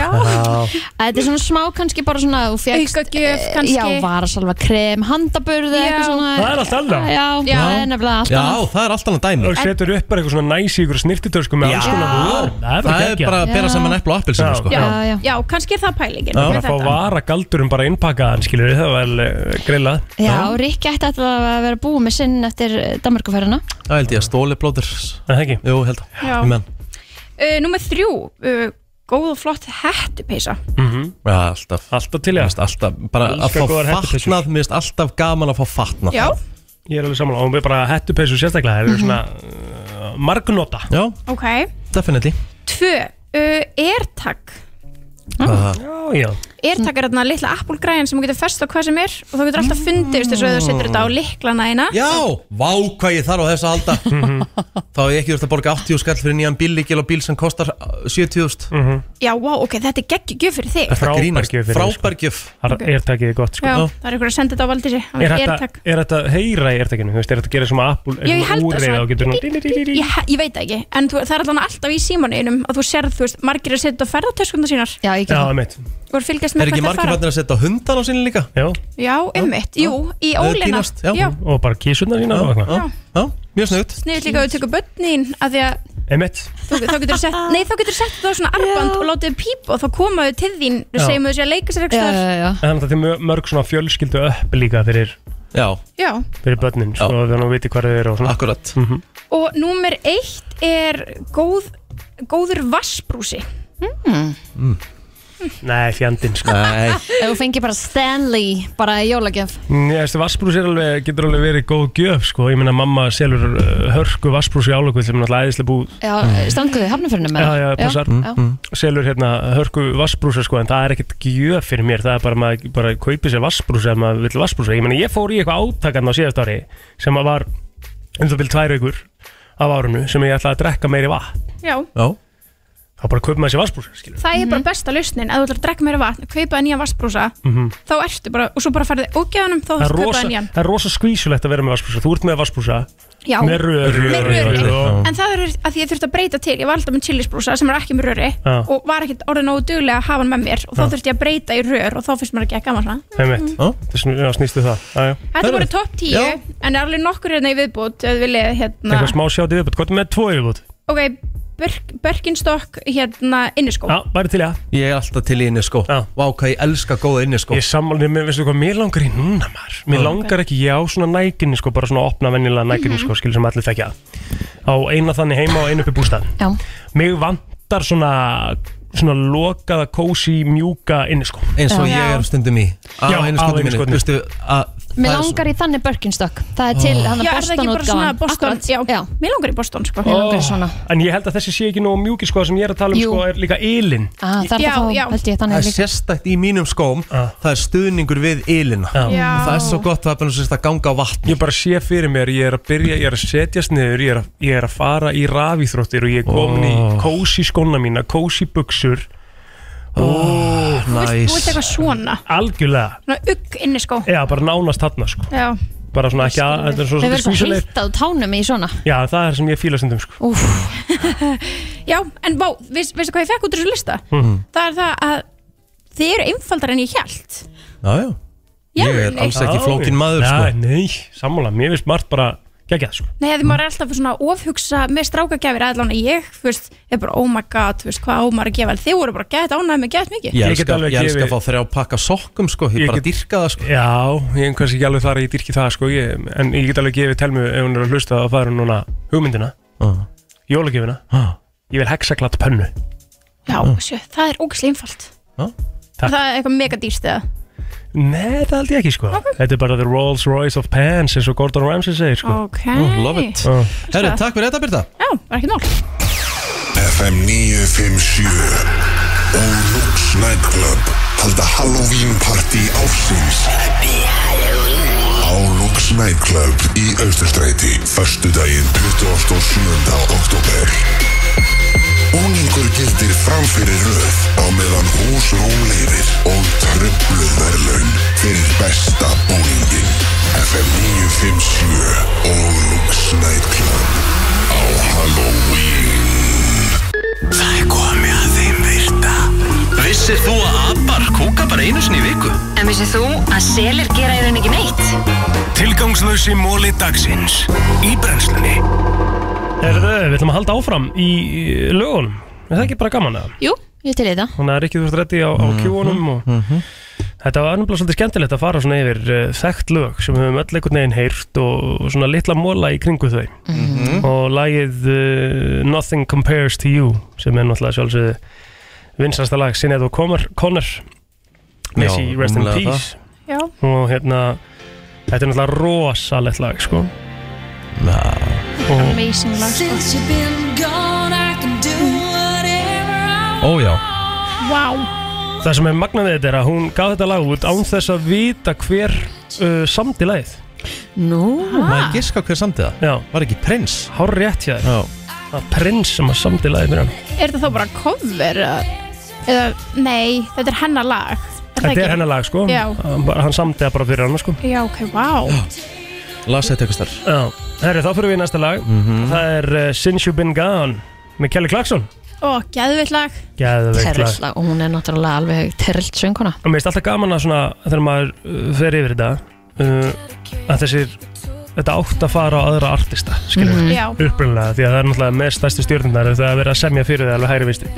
S3: Þetta er svona smá kannski bara svona þú fékkst,
S9: Aukagjöf,
S3: eh,
S9: kannski.
S3: Já, varasalva krem, handaburð eða
S9: Já.
S3: eitthvað svona
S4: Það er allt annað.
S3: Já,
S9: Já.
S3: það er nefnilega allt
S2: Já,
S3: annað
S2: það er allt annað dæmi
S4: og setur upp bara eitthvað svona næs í ykkur snirtitörsku með
S2: Já.
S4: alls konar vörum. það er
S2: Það
S4: bara
S2: er
S4: geggjað.
S2: bara að bera
S3: Já.
S2: saman eplu og appelsinu
S4: Já.
S2: sko.
S9: já,
S3: Já, já.
S9: já. kannski er það pælingin
S4: bara
S9: með
S4: að fá
S9: þetta.
S4: vara galdurum bara innpakaðan skilur við, það var uh, grillað
S3: Já, Rikki ætti alltaf að vera búið með sinn eftir eh, Danmarkuferðina
S2: Það held ég að stóli blóður
S4: en það ekki
S2: Jú, held að
S9: Já.
S2: Ég menn.
S9: uh, Númer þrjú uh, Góð og flott hættupeysa
S2: Já, alltaf
S4: alltaf til
S2: Mér
S4: ég
S2: finnst alltaf, bara
S4: Elska
S2: að fá
S4: góðar hettupeysur.
S2: fatnað Mér finnst alltaf gaman að fá fatnað
S9: Já,
S4: ég er alveg saman og við bara hettupeysu sérstaklega það eru svona uh, margnota
S2: Já,
S9: ok
S2: definitely
S9: Tvö, uh, airtag Mm.
S2: Það-
S4: já, já
S9: Airtag er þarna litla appulgræðin sem þú getur fest á hvað sem er og þú getur alltaf fundið veist, þess að þú setur
S4: Mm.
S9: þetta á liklana eina
S2: Já, vá hvað ég þarf á þess að halda
S4: Mhm.
S2: Þá hef ég ekki þurft að borga 80 skall fyrir nýjan bíllíkil og bíl sem kostar uh, 70.000 mm
S9: Já, wow, ok, þetta er geggjugjöf fyrir þig
S2: -hmm.
S4: Frábær gjöf fyrir mig, sko.
S2: Frábærgjöf
S4: það er ertakið gott sko
S9: Já, það er ykkur að senda þetta á Valdísi
S4: Er þetta,
S9: Airtag
S4: er þetta heyra í ertakinu, þú veist, er þetta að gera svona appul,
S9: Já, ég held að
S4: úrreið
S9: svona-
S4: og getur svona
S9: Ég, he- ég veit það ekki, en þú, það er allan alltaf í símanuðinum að þú serð, þú veist, margir að setja þetta á ferðartöskundar sínar
S3: Já, ég
S4: Já,
S3: gerði það
S4: mitt,
S9: og er fylgjast
S2: Er
S9: með
S2: ekki
S9: hvert
S2: margir
S9: það fara
S2: fannir að setja hundan á sín líka?
S4: já,
S9: Já, ummitt, jú, í
S2: er
S9: ólina
S2: pínast, já.
S4: og bara kísunar sína og eitthvað
S2: já, já, mjög snuðt
S9: Sniður líka að þú tekur börnin að því að
S4: Emitt,
S9: þú, þá getur þú sett, nei þá getur þú sett þetta á svona arband og látið þau pípa og þá koma þau til þín
S4: Já.
S9: við segjum þau sé að leika sér
S3: Já,
S9: eitthvað
S3: já, já
S4: en þannig að þetta er mörg svona fjölskyldu upp líka fyrir,
S2: Já,
S9: Já,
S4: fyrir börnin, sko, þannig að hún viti hvað þau eru og svona
S2: akkurat
S9: og númer eitt er góð, góður vassbrúsi
S4: Nei, fjandinn sko
S2: Nei,
S3: Ef þú fengir bara Stanley, bara í jólagjöf
S4: Mm, Ég veist, vassbrús er alveg, getur alveg verið góð gjöf sko Ég meina mamma selur uh, hörku vassbrús í álöku Þegar náttúrulega æðislega búð
S3: Já,
S9: Mm.
S3: stranguðu hafnafyrinum
S4: Já, já, passar
S3: já.
S4: Selur hérna hörku vassbrúsa sko En það er ekkert gjöf fyrir mér Það er bara maður bara kaupið sér vassbrúsa Ef maður vill vassbrúsa Ég meina, ég fór í eitthvað átakann á síðast ári Sem að var um það vil tvær vikur Af árunu sem ég ætlaði að drekka meiri vatn
S9: Já,
S2: já,
S4: Þá bara kaupa maður sér vassbrúsa, skilur
S9: það er bara besta lausnin að þú ætlar að drekka meira vatn, kaupa þér nýjan vassbrúsa þá ertu bara, og svo bara færðu ógæðanum þá þú
S4: Mhm. Það er
S9: kaupa
S4: rosa,
S9: þér nýjan
S4: það er rosa skvísulegt að vera með vassbrúsa Þú ert með vassbrúsa
S9: Já,
S4: Með röri
S9: Með röri.
S4: og,
S9: En það er að því ég þurfti að breyta til Ég var alltaf með chilisbrúsa sem er ekki með röri
S4: Já.
S9: Og var ekkert orðið nógu duglega að hafa hann með mér Og þá
S4: Já.
S9: þurfti ég að breyta í rör Og þá finnst mér ekki að gaman svona
S4: einmitt,
S2: Ó.
S4: það sn- já, snýstu það já, já.
S9: Þetta
S2: Það er-
S9: voru topp 10
S2: Já.
S9: En er alveg nokkur hérna í viðbútt Ef þið viljið hérna
S4: eitthvað smá sjátt í viðbútt, hvað er með tvo í viðbútt?
S9: Ok, Birk, Birkenstock hérna inniskó
S4: Já, bara til ég
S2: Ég er alltaf til í inni sko
S4: Já.
S2: Vá, hvað ég elska góða inni sko
S4: Ég sammálni, mér veistu hvað, mér langar í núna maður Mér langar ekki, ég á svona nækinni sko, bara svona opna venjulega nækinni
S3: Mhm.
S4: sko, skilur sem allir þekkja Á eina þannig heima og einu upp í bústað
S3: Já,
S4: Mig vantar svona, svona lokaða, kósi, mjúka inni sko
S2: Eins og
S3: Já.
S2: ég er um stundum í
S4: Já,
S2: Á einu
S4: á
S2: skotum
S4: einu
S2: minni
S4: skotinu.
S2: Vistu að það
S3: mér
S2: er
S3: langar í þannig Birkenstock Það er til hann
S9: Oh. Já,
S3: að
S9: er það
S3: Boston
S9: ekki bara svona
S3: útgáfan
S9: Boston
S3: Akkurat,
S9: já.
S3: já,
S9: mér langar í Boston sko
S3: mér
S4: Oh.
S3: langar í svona
S4: En ég held að þessi sé ekki nógu mjúki sko, það sem ég er að tala um
S3: Jú.
S4: sko, er líka ylinn
S3: Ah, Það er
S9: Já,
S3: það
S9: já.
S3: þá, held ég,
S2: Það
S3: þannig
S2: er
S3: líka
S2: sérstækt í mínum skóm
S4: Já.
S2: Það er stuðningur við ylina
S9: Já.
S2: Og það er svo gott, það er bara sérst að ganga á vatn
S4: Ég bara sé fyrir mér, ég er að byrja, ég er að setjast niður, ég er að, ég er að fara í rafíþróttir og ég er komin í kósi skóna mína, kósi buksur,
S9: Þú vilt- þú vilt
S2: Næs
S9: eitthvað svona
S4: algjörlega,
S9: Svona ugg inniskó
S4: eða bara nánast þarna sko,
S9: Já,
S4: bara svona ekki að, þetta er svo
S3: Við
S4: svolítið
S3: verðum svo
S4: skvísulegur.
S3: heitt á tánum í svona
S4: Já, það er sem ég fíla stundum sko.
S3: Úf,
S9: já en vá, veist, veistu hvað ég fekk út úr þessu lista?
S2: Mhm.
S9: Það er það að þið eru einfaldar en ég hjælt
S2: Já, já
S9: Já,
S2: Ég er
S9: nei.
S2: alls ekki flókin maður
S4: sko.
S2: sko
S4: Nei, nei, sammála, mér finnst margt bara geggjað sko.
S9: Nei, því maður er alltaf svona ofhugsa með strákagjafir allan að ég, þú veist, er bara oh my god, þú veist, hvað ómar að gefa, en þið voru bara gett ánægð með gett mikið.
S2: Ég
S4: Ég get
S2: elska,
S4: alveg
S2: ég elska að
S4: gefið-
S2: fá þrjá pakka sokkum sko Ég,
S4: Ég
S2: bara
S4: get-
S2: dyrka það sko
S4: Já, ég er kannski ekki alveg þar að ég dyrki það sko, ég, en ég get alveg gefið telmu ef hún er að hlusta að fara núna hugmyndina,
S2: Já.
S4: jólagjöfina,
S2: Já.
S4: ég vil hexaklatt pönnu.
S9: Já, sjö, það er ógislega einfalt.
S2: Mm. Já.
S4: Takk.
S9: Það er eitthvað mega dýrst eða.
S4: Nei, það held ég ekki sko Þetta er bara the Rolls Royce of Pants eins og Gordon Ramsay segir sko
S9: Ok.
S2: Oh, Love it
S4: Já.
S2: Herru, takk fyrir þetta Birta
S9: Já, var ekki nól.
S5: FM 957 og Lux Nightclub halda Halloween party ársins á Lux Nightclub í Austurstræti förstudaginn 27. oktober Úningur gildir framfyrir röð á meðan húsrúm leifir og tröfluð verðlaun fyrir besta búningin FM 957 og Lux Nightclub á Halloween
S1: Það er komið að þeim virta Vissir þú að abar kúka bara einu sinni í viku?
S8: En vissið þú að selir gera í raun ekki neitt?
S1: Tilgangslösi móli dagsins Í brennslunni
S4: Herðu, við ætlum að halda áfram í í lögunum Er það ekki bara gaman eða?
S3: jú, ég til í það
S4: Þannig að Rikki þú ert reddi á,
S2: Mhm.
S4: á kjúunum og Þetta var ennumlega svolítið skemmtilegt að fara svona yfir uh, þekkt lög sem við höfum öll einhvern veginn heyrt og, og svona litla móla í kringu þau og lagið uh, Nothing Compares to You sem er náttúrulega sjálfsögðu vinsasta lag Sinead O'Connor Connor, Missy
S2: Já,
S4: Rest in
S2: rúmlega það.
S4: Peace
S9: Já.
S4: og hérna þetta er náttúrulega rosalegt lag sko og
S9: Amazing lag. sko.
S2: Ó já
S9: Vá.
S4: það sem er magnað við þetta er að hún gaf þetta lag út án þess að vita hver uh, samdi lagið
S3: Nú,
S2: Maður giska hver samtíða
S4: já,
S2: Var ekki prins
S4: hár rétt hjá þér
S2: Já
S4: að prins sem að samdi lagið fyrir hann
S9: Er þetta þá bara cover? eða- Eða, nei, þetta er hennar lag. það
S4: þetta
S9: ekki?
S4: er hennar lag sko
S9: Já.
S4: hann bara- hann samdi það bara fyrir hann sko
S9: Já, ok, vá.
S2: Las þetta eitthvað starf
S4: já, herri þá fyrir við í næsta lag það er uh, Since You've Been Gone með Kelly Clarkson
S9: Ó, geðvill lag.
S4: Geðveikt lag.
S3: terrilsla, og hún er náttúrulega alveg terrilt sönguna
S4: og mér finnst alltaf gaman að svona þegar maður uh, fer yfir þetta uh, að þessir þetta átt að fara á aðra artista skilur mm
S9: Já.
S4: upprunalega því að það er náttúrulega með stærstu stjórnundar það að vera að semja fyrir þig alveg hægri visti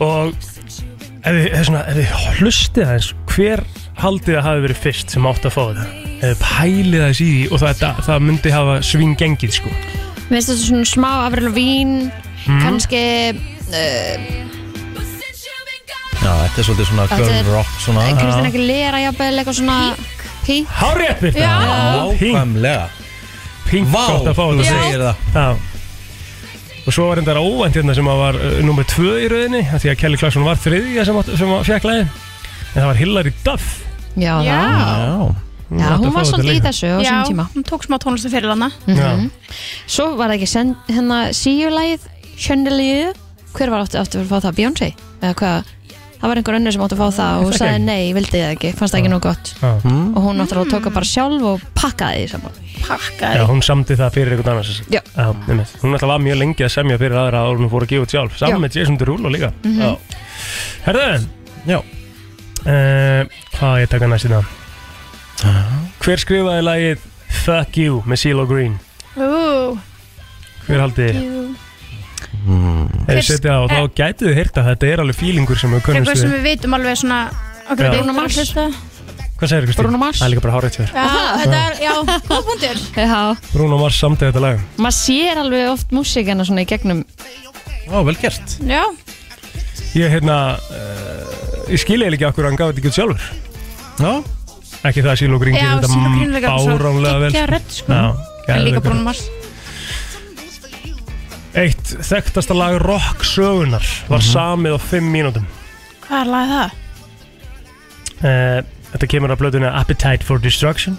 S4: og ef þið, ef svona, ef þið hlustið aðeins hver haldið að hafi verið fyrst sem átt að fá þetta ef þið pælið aðeins í því og það, það, það myndi hafa svingengið sko
S3: Mér finnst þetta svona smá afril og vín
S4: Hmm?
S3: kannski uh,
S2: Já, þetta er svolítið svona
S3: Þetta
S2: girl
S3: er-
S2: rock svona
S4: Ah.
S3: Kristina ekki lera jafnvel eitthvað svona pík
S4: Hárið upp Pink,
S2: Nákvæmlega
S4: pink
S2: Vá,
S4: gott að fá
S2: þú
S4: þetta
S2: segir það
S4: Já Og svo var þetta óvænt hérna sem að var uh, nummer tvö í rauðinni af Því að Kelly Clarkson var þriðja sem, átt- sem fjekk lagi En það var Hillary Duff
S3: Já,
S9: Já.
S3: já.
S2: Já
S3: já
S4: átti að
S3: hún
S4: fá
S3: var
S4: þetta
S3: svolítið í
S4: líka.
S3: þessu á
S9: Já,
S3: sínum tíma
S9: hún tók smá tónlistu fyrir hana.
S4: Já.
S3: Mhm. Svo var það ekki send, hérna síulægið Chandelier Hver var átti, átti að fá það? Beyoncé? Eða hvað? það var einhver önnur sem átti að fá það og hún
S4: Það
S3: sagði
S4: ekki.
S3: nei, ég vildi það ekki, fannst það ekki nóg gott
S4: Já,
S3: og hún náttúrulega tók það bara sjálf og pakkaði því saman
S9: pakkaði
S4: hún samdi það fyrir einhvern annars
S3: Já.
S4: einmitt. Hún alltaf var mjög lengi að semja fyrir aðra áður en hún fór að gefa út
S3: Já.
S4: sjálf Saman með Jason Derulo líka
S3: Mhm.
S4: Já. Herðu
S2: Já.
S4: Eh, Hvað á ég að taka næst í það? Hver skrifaði lagið Fuck You með CeeLo Green?
S9: Ú,
S4: Hver haldið þið?
S9: jú.
S4: Ef þið
S9: Hver-
S4: setja á, þá
S9: eh.
S4: gætið þið heyrt að þetta er alveg fílingur sem við kunnumst
S9: eitthvað sem
S4: við
S9: við vitum alveg svona okkur
S4: Já.
S9: er
S3: Bruno
S9: betra
S3: Mars.
S9: að hlusta
S4: Hvað segir Kristín?
S3: Bruno Mars.
S4: Það er líka bara hárið til þér
S9: Já, þetta er, já, góð punktur
S3: Já,
S4: Bruno Mars samtið þetta lag
S3: maður sér alveg oft músíkina svona í gegnum
S2: Ó, vel gert
S9: Já,
S4: Ég, hérna, uh, ég skil eða ekki okkur hann gaf þetta ekki út sjálfur
S2: Já,
S4: Ekki það að Silo Green
S9: já,
S4: gerir
S9: Silo Green
S4: þetta
S9: leikar
S4: báránlega vel
S9: Gekkja
S4: sko.
S9: rödd, sko
S4: Já,
S9: En líka
S4: geðveik
S9: Bruno
S4: rödd.
S9: Mars
S4: Eitt þekktasta lag rock sögunar var samið á 5 mínútum
S9: Hvað er lagið það?
S4: uh, Þetta kemur af blöðuna Appetite for Destruction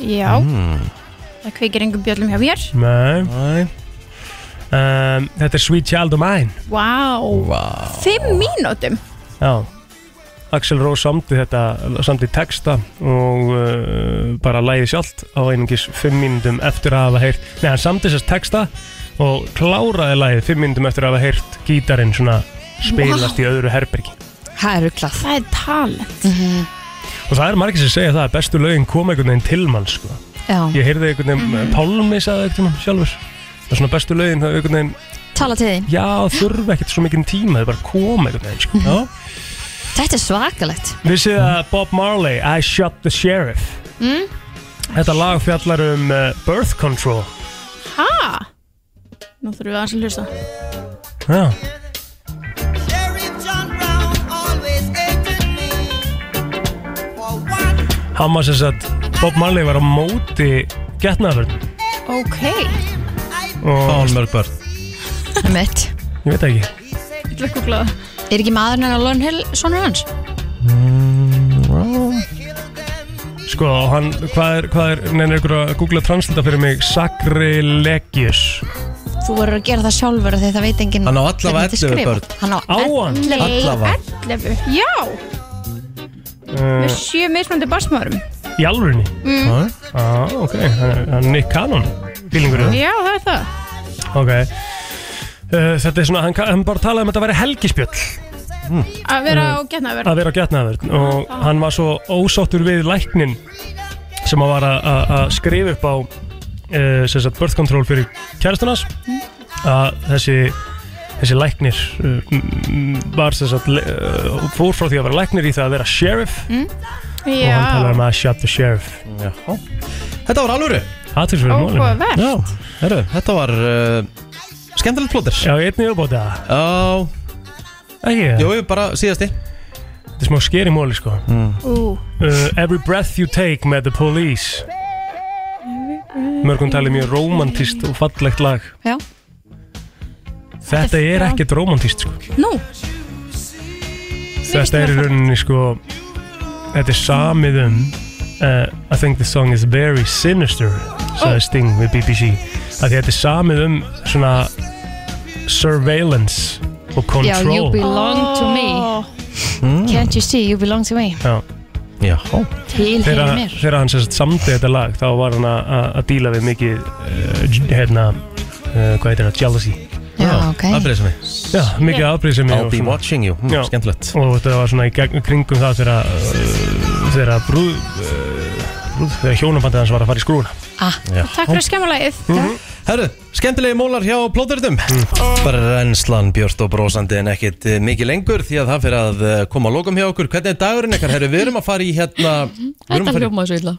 S9: Já
S4: Mm.
S9: Það kveikir engum bjöllum hjá mér
S4: Nei
S2: næ
S4: um, Þetta er Sweet Child of Mine
S9: Vá,
S2: Vá
S9: fimm mínútum
S4: Já Axel Rose samti þetta, samti texta og uh, bara læði sjálft á einungis 5 mínútum eftir að hafa heyrt, nei hann samti þessast texta og kláraði læðið 5 mínútum eftir að hafa heyrt gítarinn svona spilast í öðru herbergi
S3: Það er ruglað
S9: Það er talent
S4: og það er margir sem segja það að bestu lögin koma einhvern veginn til mann sko.
S3: Já,
S4: ég heyrði einhvern veginn, eh, Pálmi sagði einhvern veginn sjálfur og svona bestu lögin það einhvern veginn,
S3: tala til þín
S4: já þurfa ekkert svo mikinn tíma þau bara koma einhvern veginn sko.
S2: Já,
S3: Þetta er svakalegt
S4: Vissið að Bob Marley, I Shot the Sheriff Þetta lag fjallar um uh, birth control
S9: Ha? Nú þurfum við aðeins að hlusta
S4: Já, hann var sem sagt Bob Marley var á móti getnaðarvörn
S9: Ok
S4: og
S2: fáin mörg börn
S3: Mitt
S4: ég veit það ekki
S9: Glökkuglaða
S3: Er ekki maðurinn hennar Lorne Hill sonur hans?
S4: Sko, hann, hvað er, hvað er, neina ykkur að googla translita fyrir mig Sacrilegious
S3: Þú verður að gera það sjálfur af því það veit enginn
S2: Hann á allavega
S3: hvernig
S2: 11
S3: þetta skrifa.
S2: börn.
S3: Hann á
S4: Á hann?
S3: ellefu.
S2: Allavega.
S9: 11 Já,
S4: uh,
S9: með sjö mismöndi basmárum
S4: Eh, Í alvörinni
S2: mm.
S4: Já, ok, Eh, hann er- hann er Nick Cannon Bílingur,
S9: Já, það er það
S4: ok uh, Þetta er svona, hann, hann bara talaði um að þetta væri helgispjöll
S9: Að vera á getnaverð
S4: Mm. að vera á getnaðvörn og hann var svo ósáttur við læknin sem að var að- að að skrifa upp á uh, sagt, birth control fyrir kærastunas að þessi þessi læknir uh, m- m- var sem sagt, le- uh, fór frá því að vera læknir í það að vera sheriff og hann
S9: Já,
S4: talar um að shut the sheriff
S2: Já Þetta var alvöru
S4: aðtilsverið málum
S9: ókvæða verð
S2: Já, herru, þetta var uh, skemmtilegt plóter
S4: Já, ég einnig uppbóti það
S2: Já,
S4: Ekki,
S2: jú, jú, bara síðasti
S4: þetta er smá skeri móli sko
S9: Ú,
S4: uh, Every Breath You Take með The Police Mörgum talið mjög romantist og fallegt lag
S3: Já.
S4: Þetta er ekkert romantist sko.
S9: nú
S4: Þetta er í rauninni sko Þetta er samið um uh, I think the song is very sinister
S3: Oh.
S4: sagði Sting við BBC að því þetta er samið um svona surveillance
S3: Já,
S4: og
S3: you
S4: control
S3: belong to me Can't you see you belong to me
S4: Já.
S2: Já,
S3: Til
S4: þegar
S3: hefur mér
S4: þegar hann sem sagt samdi þetta lag þá var hann að- að að díla við mikið uh, hérna uh, hvað heitir það, jealousy
S3: Já, ok
S2: Það breyðir sem við
S4: Já, mikið afbrýð sem
S2: I'll be watching you,
S4: Já.
S2: mm, skemmtilegt
S4: Og þetta var svona í gegn, kringum það þegar að, uh, þegar að brúð, uh, brúð þegar hjónabandið hans var að fara í skrúna
S9: Takk fyrir skemmulagið
S4: Mhm.
S2: Herru, skemmtilegi mólar hjá plóðuritum Bara reynslan björt og brósandi en ekkit eh, mikið lengur því að það fyrir að eh, koma að lokum hjá okkur Hvernig er dagurinn ykkar? Herru, við erum að fara í hérna Við erum
S3: Þetta
S2: að fara í
S3: hljómaði svo illa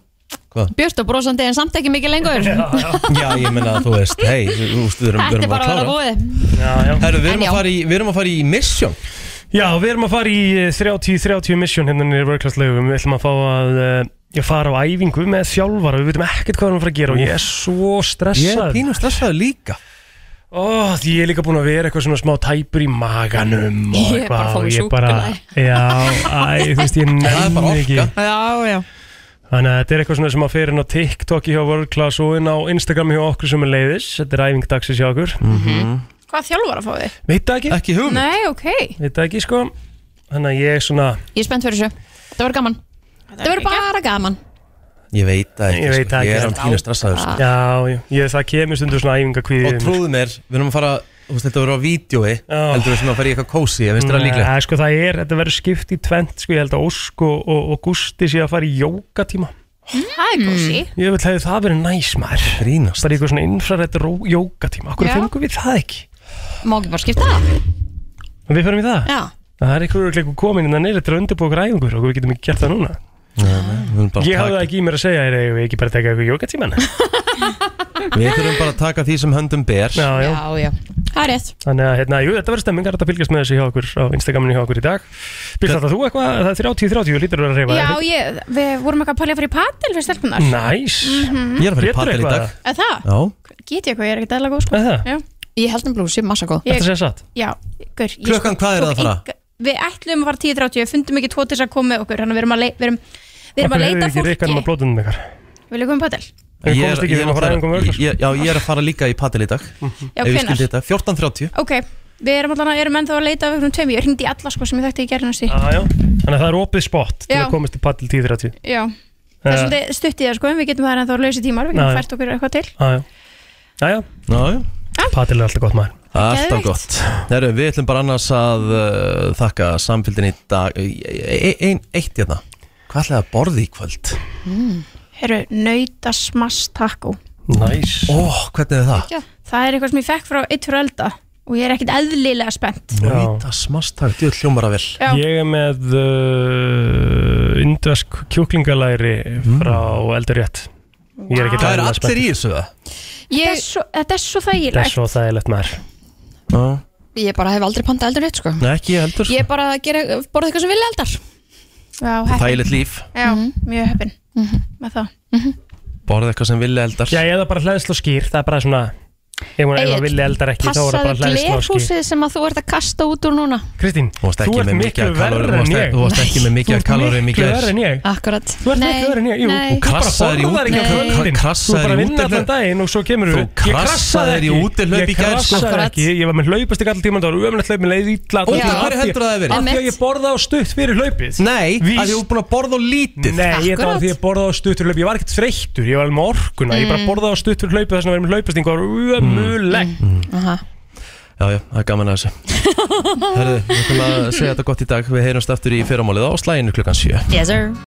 S2: Hvað?
S3: Björst og brosandi en samt ekki mikið lengur
S2: Já, ég menna að þú veist, hei, þú veist, við erum, við
S3: Þetta er
S2: erum
S3: bara
S2: að
S3: að vera
S2: klára
S3: búið
S4: Já, já
S2: Herru, við
S3: En
S2: erum
S3: já.
S2: að fara í, við erum að fara í Mission
S4: Já, við erum að fara í eh, 30-30 mission hérna niður í vörklastlöfum Við ætlum að fá að uh, ég fara á æfingu með þjálfara Við veitum ekkert hvað við erum að fara að gera og ég er svo
S2: Ég er
S4: stressað
S2: pínu stressaður líka
S4: Ó, því ég er líka búin að vera eitthvað svona smá tæpur í maganum og
S3: Ég er bara að fá
S4: og
S3: mér
S4: ég bara, já, æ, þú veist, ég
S2: Það er bara
S4: nenni ekki
S2: orka
S3: Já, já
S4: Þannig að þetta er eitthvað svona sem að fyrir inn á
S2: Mm.
S4: TikTok hjá World Class og inn á Instagram hjá okkur sem er leiðis Þetta er æfing dagsins hjá okkur
S9: Hvað Hvað þjálfara fá þið?
S4: Veit það ekki,
S2: Ekki hugum
S9: Nei, ok
S4: veit það ekki sko Þannig að ég er svona,
S3: Ég er spennt fyrir þessu. Þetta verður gaman. Þetta verður bara gaman.
S2: Ég veit það ekki,
S4: Ég veit
S2: sko.
S4: það ekki.
S2: ég er hann pínu stressaður
S3: Ah.
S2: sko.
S4: já, já, ég, það kemur stundur svona æfingakvíði um-
S2: Og trúðu mér, við erum að fara þú veist, Þetta verður á vídjói,
S4: Já.
S2: heldur við svona að fara í eitthvað kósi Ég veist það líklega
S4: Nei, sko það er, þetta verður skipt í tvent sko, ég held að Ósk og, og, og Gusti sé að fara í jókatíma
S9: Það er gósi
S4: Ég vil hefði það verið næs maður
S2: Grínast
S4: Það er eitthvað svona infrarætt jókatíma Akkur
S9: Já.
S4: fengum við það ekki
S3: Má ekki bara skipta það?
S4: En Við fyrir við það
S3: Já.
S4: Það er eitthvað örugglega komin innan neyri til að undirbúa græfingur og við getum ekki gert það núna
S2: Við erum bara
S4: Ég hafði
S2: að
S4: það ekki í mér að segja er eigum við ekki bara að taka eitthvað jókatíma hana?
S2: taka- Við þurfum bara að taka því sem höndum ber
S4: Já, já.
S3: Já, já. Það er rétt.
S4: Þannig að hérna, jú, þetta verður stemmingar að fylgjast með þessu hjá okkur á Instagraminu hjá okkur í dag Byrst þetta þú eitthvað? Það er 30-30 lítur að vera að reyfa
S9: Já, ég, við vorum eitthvað að pælja að fara í patel fyrir stelpunar
S4: Næs
S9: Mhm.
S2: Ég er að fara í
S4: Getur
S2: patel í
S4: eitthvað?
S2: dag
S9: Eða það?
S2: Já,
S9: Get ég eitthvað, ég er ekkert eðla góð sko
S4: Er það?
S9: Já,
S3: Ég held um blúsi, massa góð.
S4: Þetta
S9: ég,
S4: sé satt
S9: já, gaur ég
S2: Klukkan, hvað er
S9: tók
S2: það að fara?
S9: enga- Við ætlum að fara 10.30, við fundum ekki tvo til þess að koma með okkur Þannig að við erum að, lei, við erum, við erum að leita
S4: Akkur hefur ekki reykanum að
S9: fólki um
S4: blótunum ykkar
S9: Viljum koma í patel?
S4: Við
S2: ég er,
S4: komumst ekki
S2: ég, er
S4: við að fara
S2: náttúrulega-
S4: æfingum
S2: ég,
S4: öll
S2: ég- já, ég er að fara líka í patel í dag
S4: Mhm.
S9: Já,
S2: Ef ég skildi
S9: hvenær?
S2: þetta, 14.30
S9: Ok, við erum allan að erum ennþá að leita af einhvern tveim, ég hringdi í alla sko sem ég þekkti í gerðin hans
S4: Þannig að það er opið spott til
S9: Já.
S4: að komast í paddel 10-30
S9: Já, það
S4: Eh.
S9: er svolítið stutt í það sko, en við getum það ennþá að lausi tímar,
S4: Já,
S9: við
S4: já.
S9: getum fært okkur eitthvað til.
S4: Jájá, jájá,
S2: Nájú
S4: paddel er alltaf gott maður
S2: Alltaf
S9: Geðveikt.
S2: gott Heru, Við ætlum bara annars að uh, þakka samfélgin í dag e, ein, Eitt hérna Hvað ætlaði að borði í kvöld?
S9: Herru, nautasmass taco.
S4: Næs
S2: Ó, hvernig er það?
S9: Það er eitthvað sem ég fekk frá eitt frá elda og ég er ekkit eðlilega spennt.
S4: Já.
S2: Nýta smastak, djú hljómar að vel
S9: Já,
S4: Ég er með uh, indvesk kjúklingalæri
S2: Mm.
S4: frá Eldurétt Ég er ekki
S2: Það eru allir í þessu það
S9: þetta, er
S3: Ég,
S9: svo, þetta er svo
S4: Það er
S9: þægilegt.
S4: svo þægilegt maður
S2: Já.
S3: ég bara hef aldrei pantað eldur rétt, sko.
S2: Nei, ekki ég heldur
S3: Ég er bara að gera, borða eitthvað sem vilja eldar.
S9: Já, heppin.
S2: Þægilegt líf,
S9: Já,
S4: Mhm.
S9: mjög heppin með það.
S2: borða eitthvað sem vilja eldar
S4: Já, eða bara hlæðslu og skýr, það er bara svona Ef hún eða
S3: Egill,
S4: vilja eldar ekki, þá er það
S3: Passaðu
S4: bara hlæðslu og skýr
S3: glerhúsið sem að þú ert að kasta út úr núna.
S4: Kristín,
S2: Þú varst
S4: þú
S2: ekki
S4: ert
S2: með mikið
S4: miklu
S2: af kalóri
S4: verður
S2: Þú
S4: en
S2: varst-
S4: ég
S2: þú varst ekki með mikið af kalóri
S4: miklu verður en ég
S3: Akkurat.
S4: Þú ert miklu verður en ég, jú,
S3: nei.
S4: þú
S2: krassaðir í
S4: borðar ekki
S2: út-
S4: á kvöldin.
S2: Nei. Þú
S4: Þú
S2: krassaðir
S4: bara
S2: í
S4: vinna allan
S2: útihlaup.
S4: daginn og svo kemur
S2: Þú krassaðir í útihlaup í
S4: Ég
S2: gær, sko.
S4: krassaði ekki, ég var með hlaupastik allan tíma Það var ömulegt hlaup, mér leiði ítla
S2: Og það hverju heldur það að vera?
S4: Af því að
S3: Einmitt.
S4: ég borða á stutt fyrir hlaupið
S2: Nei,
S4: Víst.
S2: að þú er búin að borða og lítið
S4: Nei, ég þetta
S3: Akkurat. Mm.
S4: var því að ég borða á stutt fyrir hlaupið Ég var ekkert þreyttur, ég var alveg með orkuna Ég bara borða á stutt fyrir hlaupið þess að vera með hlaupasting og það
S2: Mm.
S4: var ömulegt
S3: Aha.
S2: Já, já, það er gaman að þessu Herðu, við ætlum að segja þetta gott í dag Við heyrumst aftur í fyrramálið á slæginu klukkan 7
S3: Yes, sir.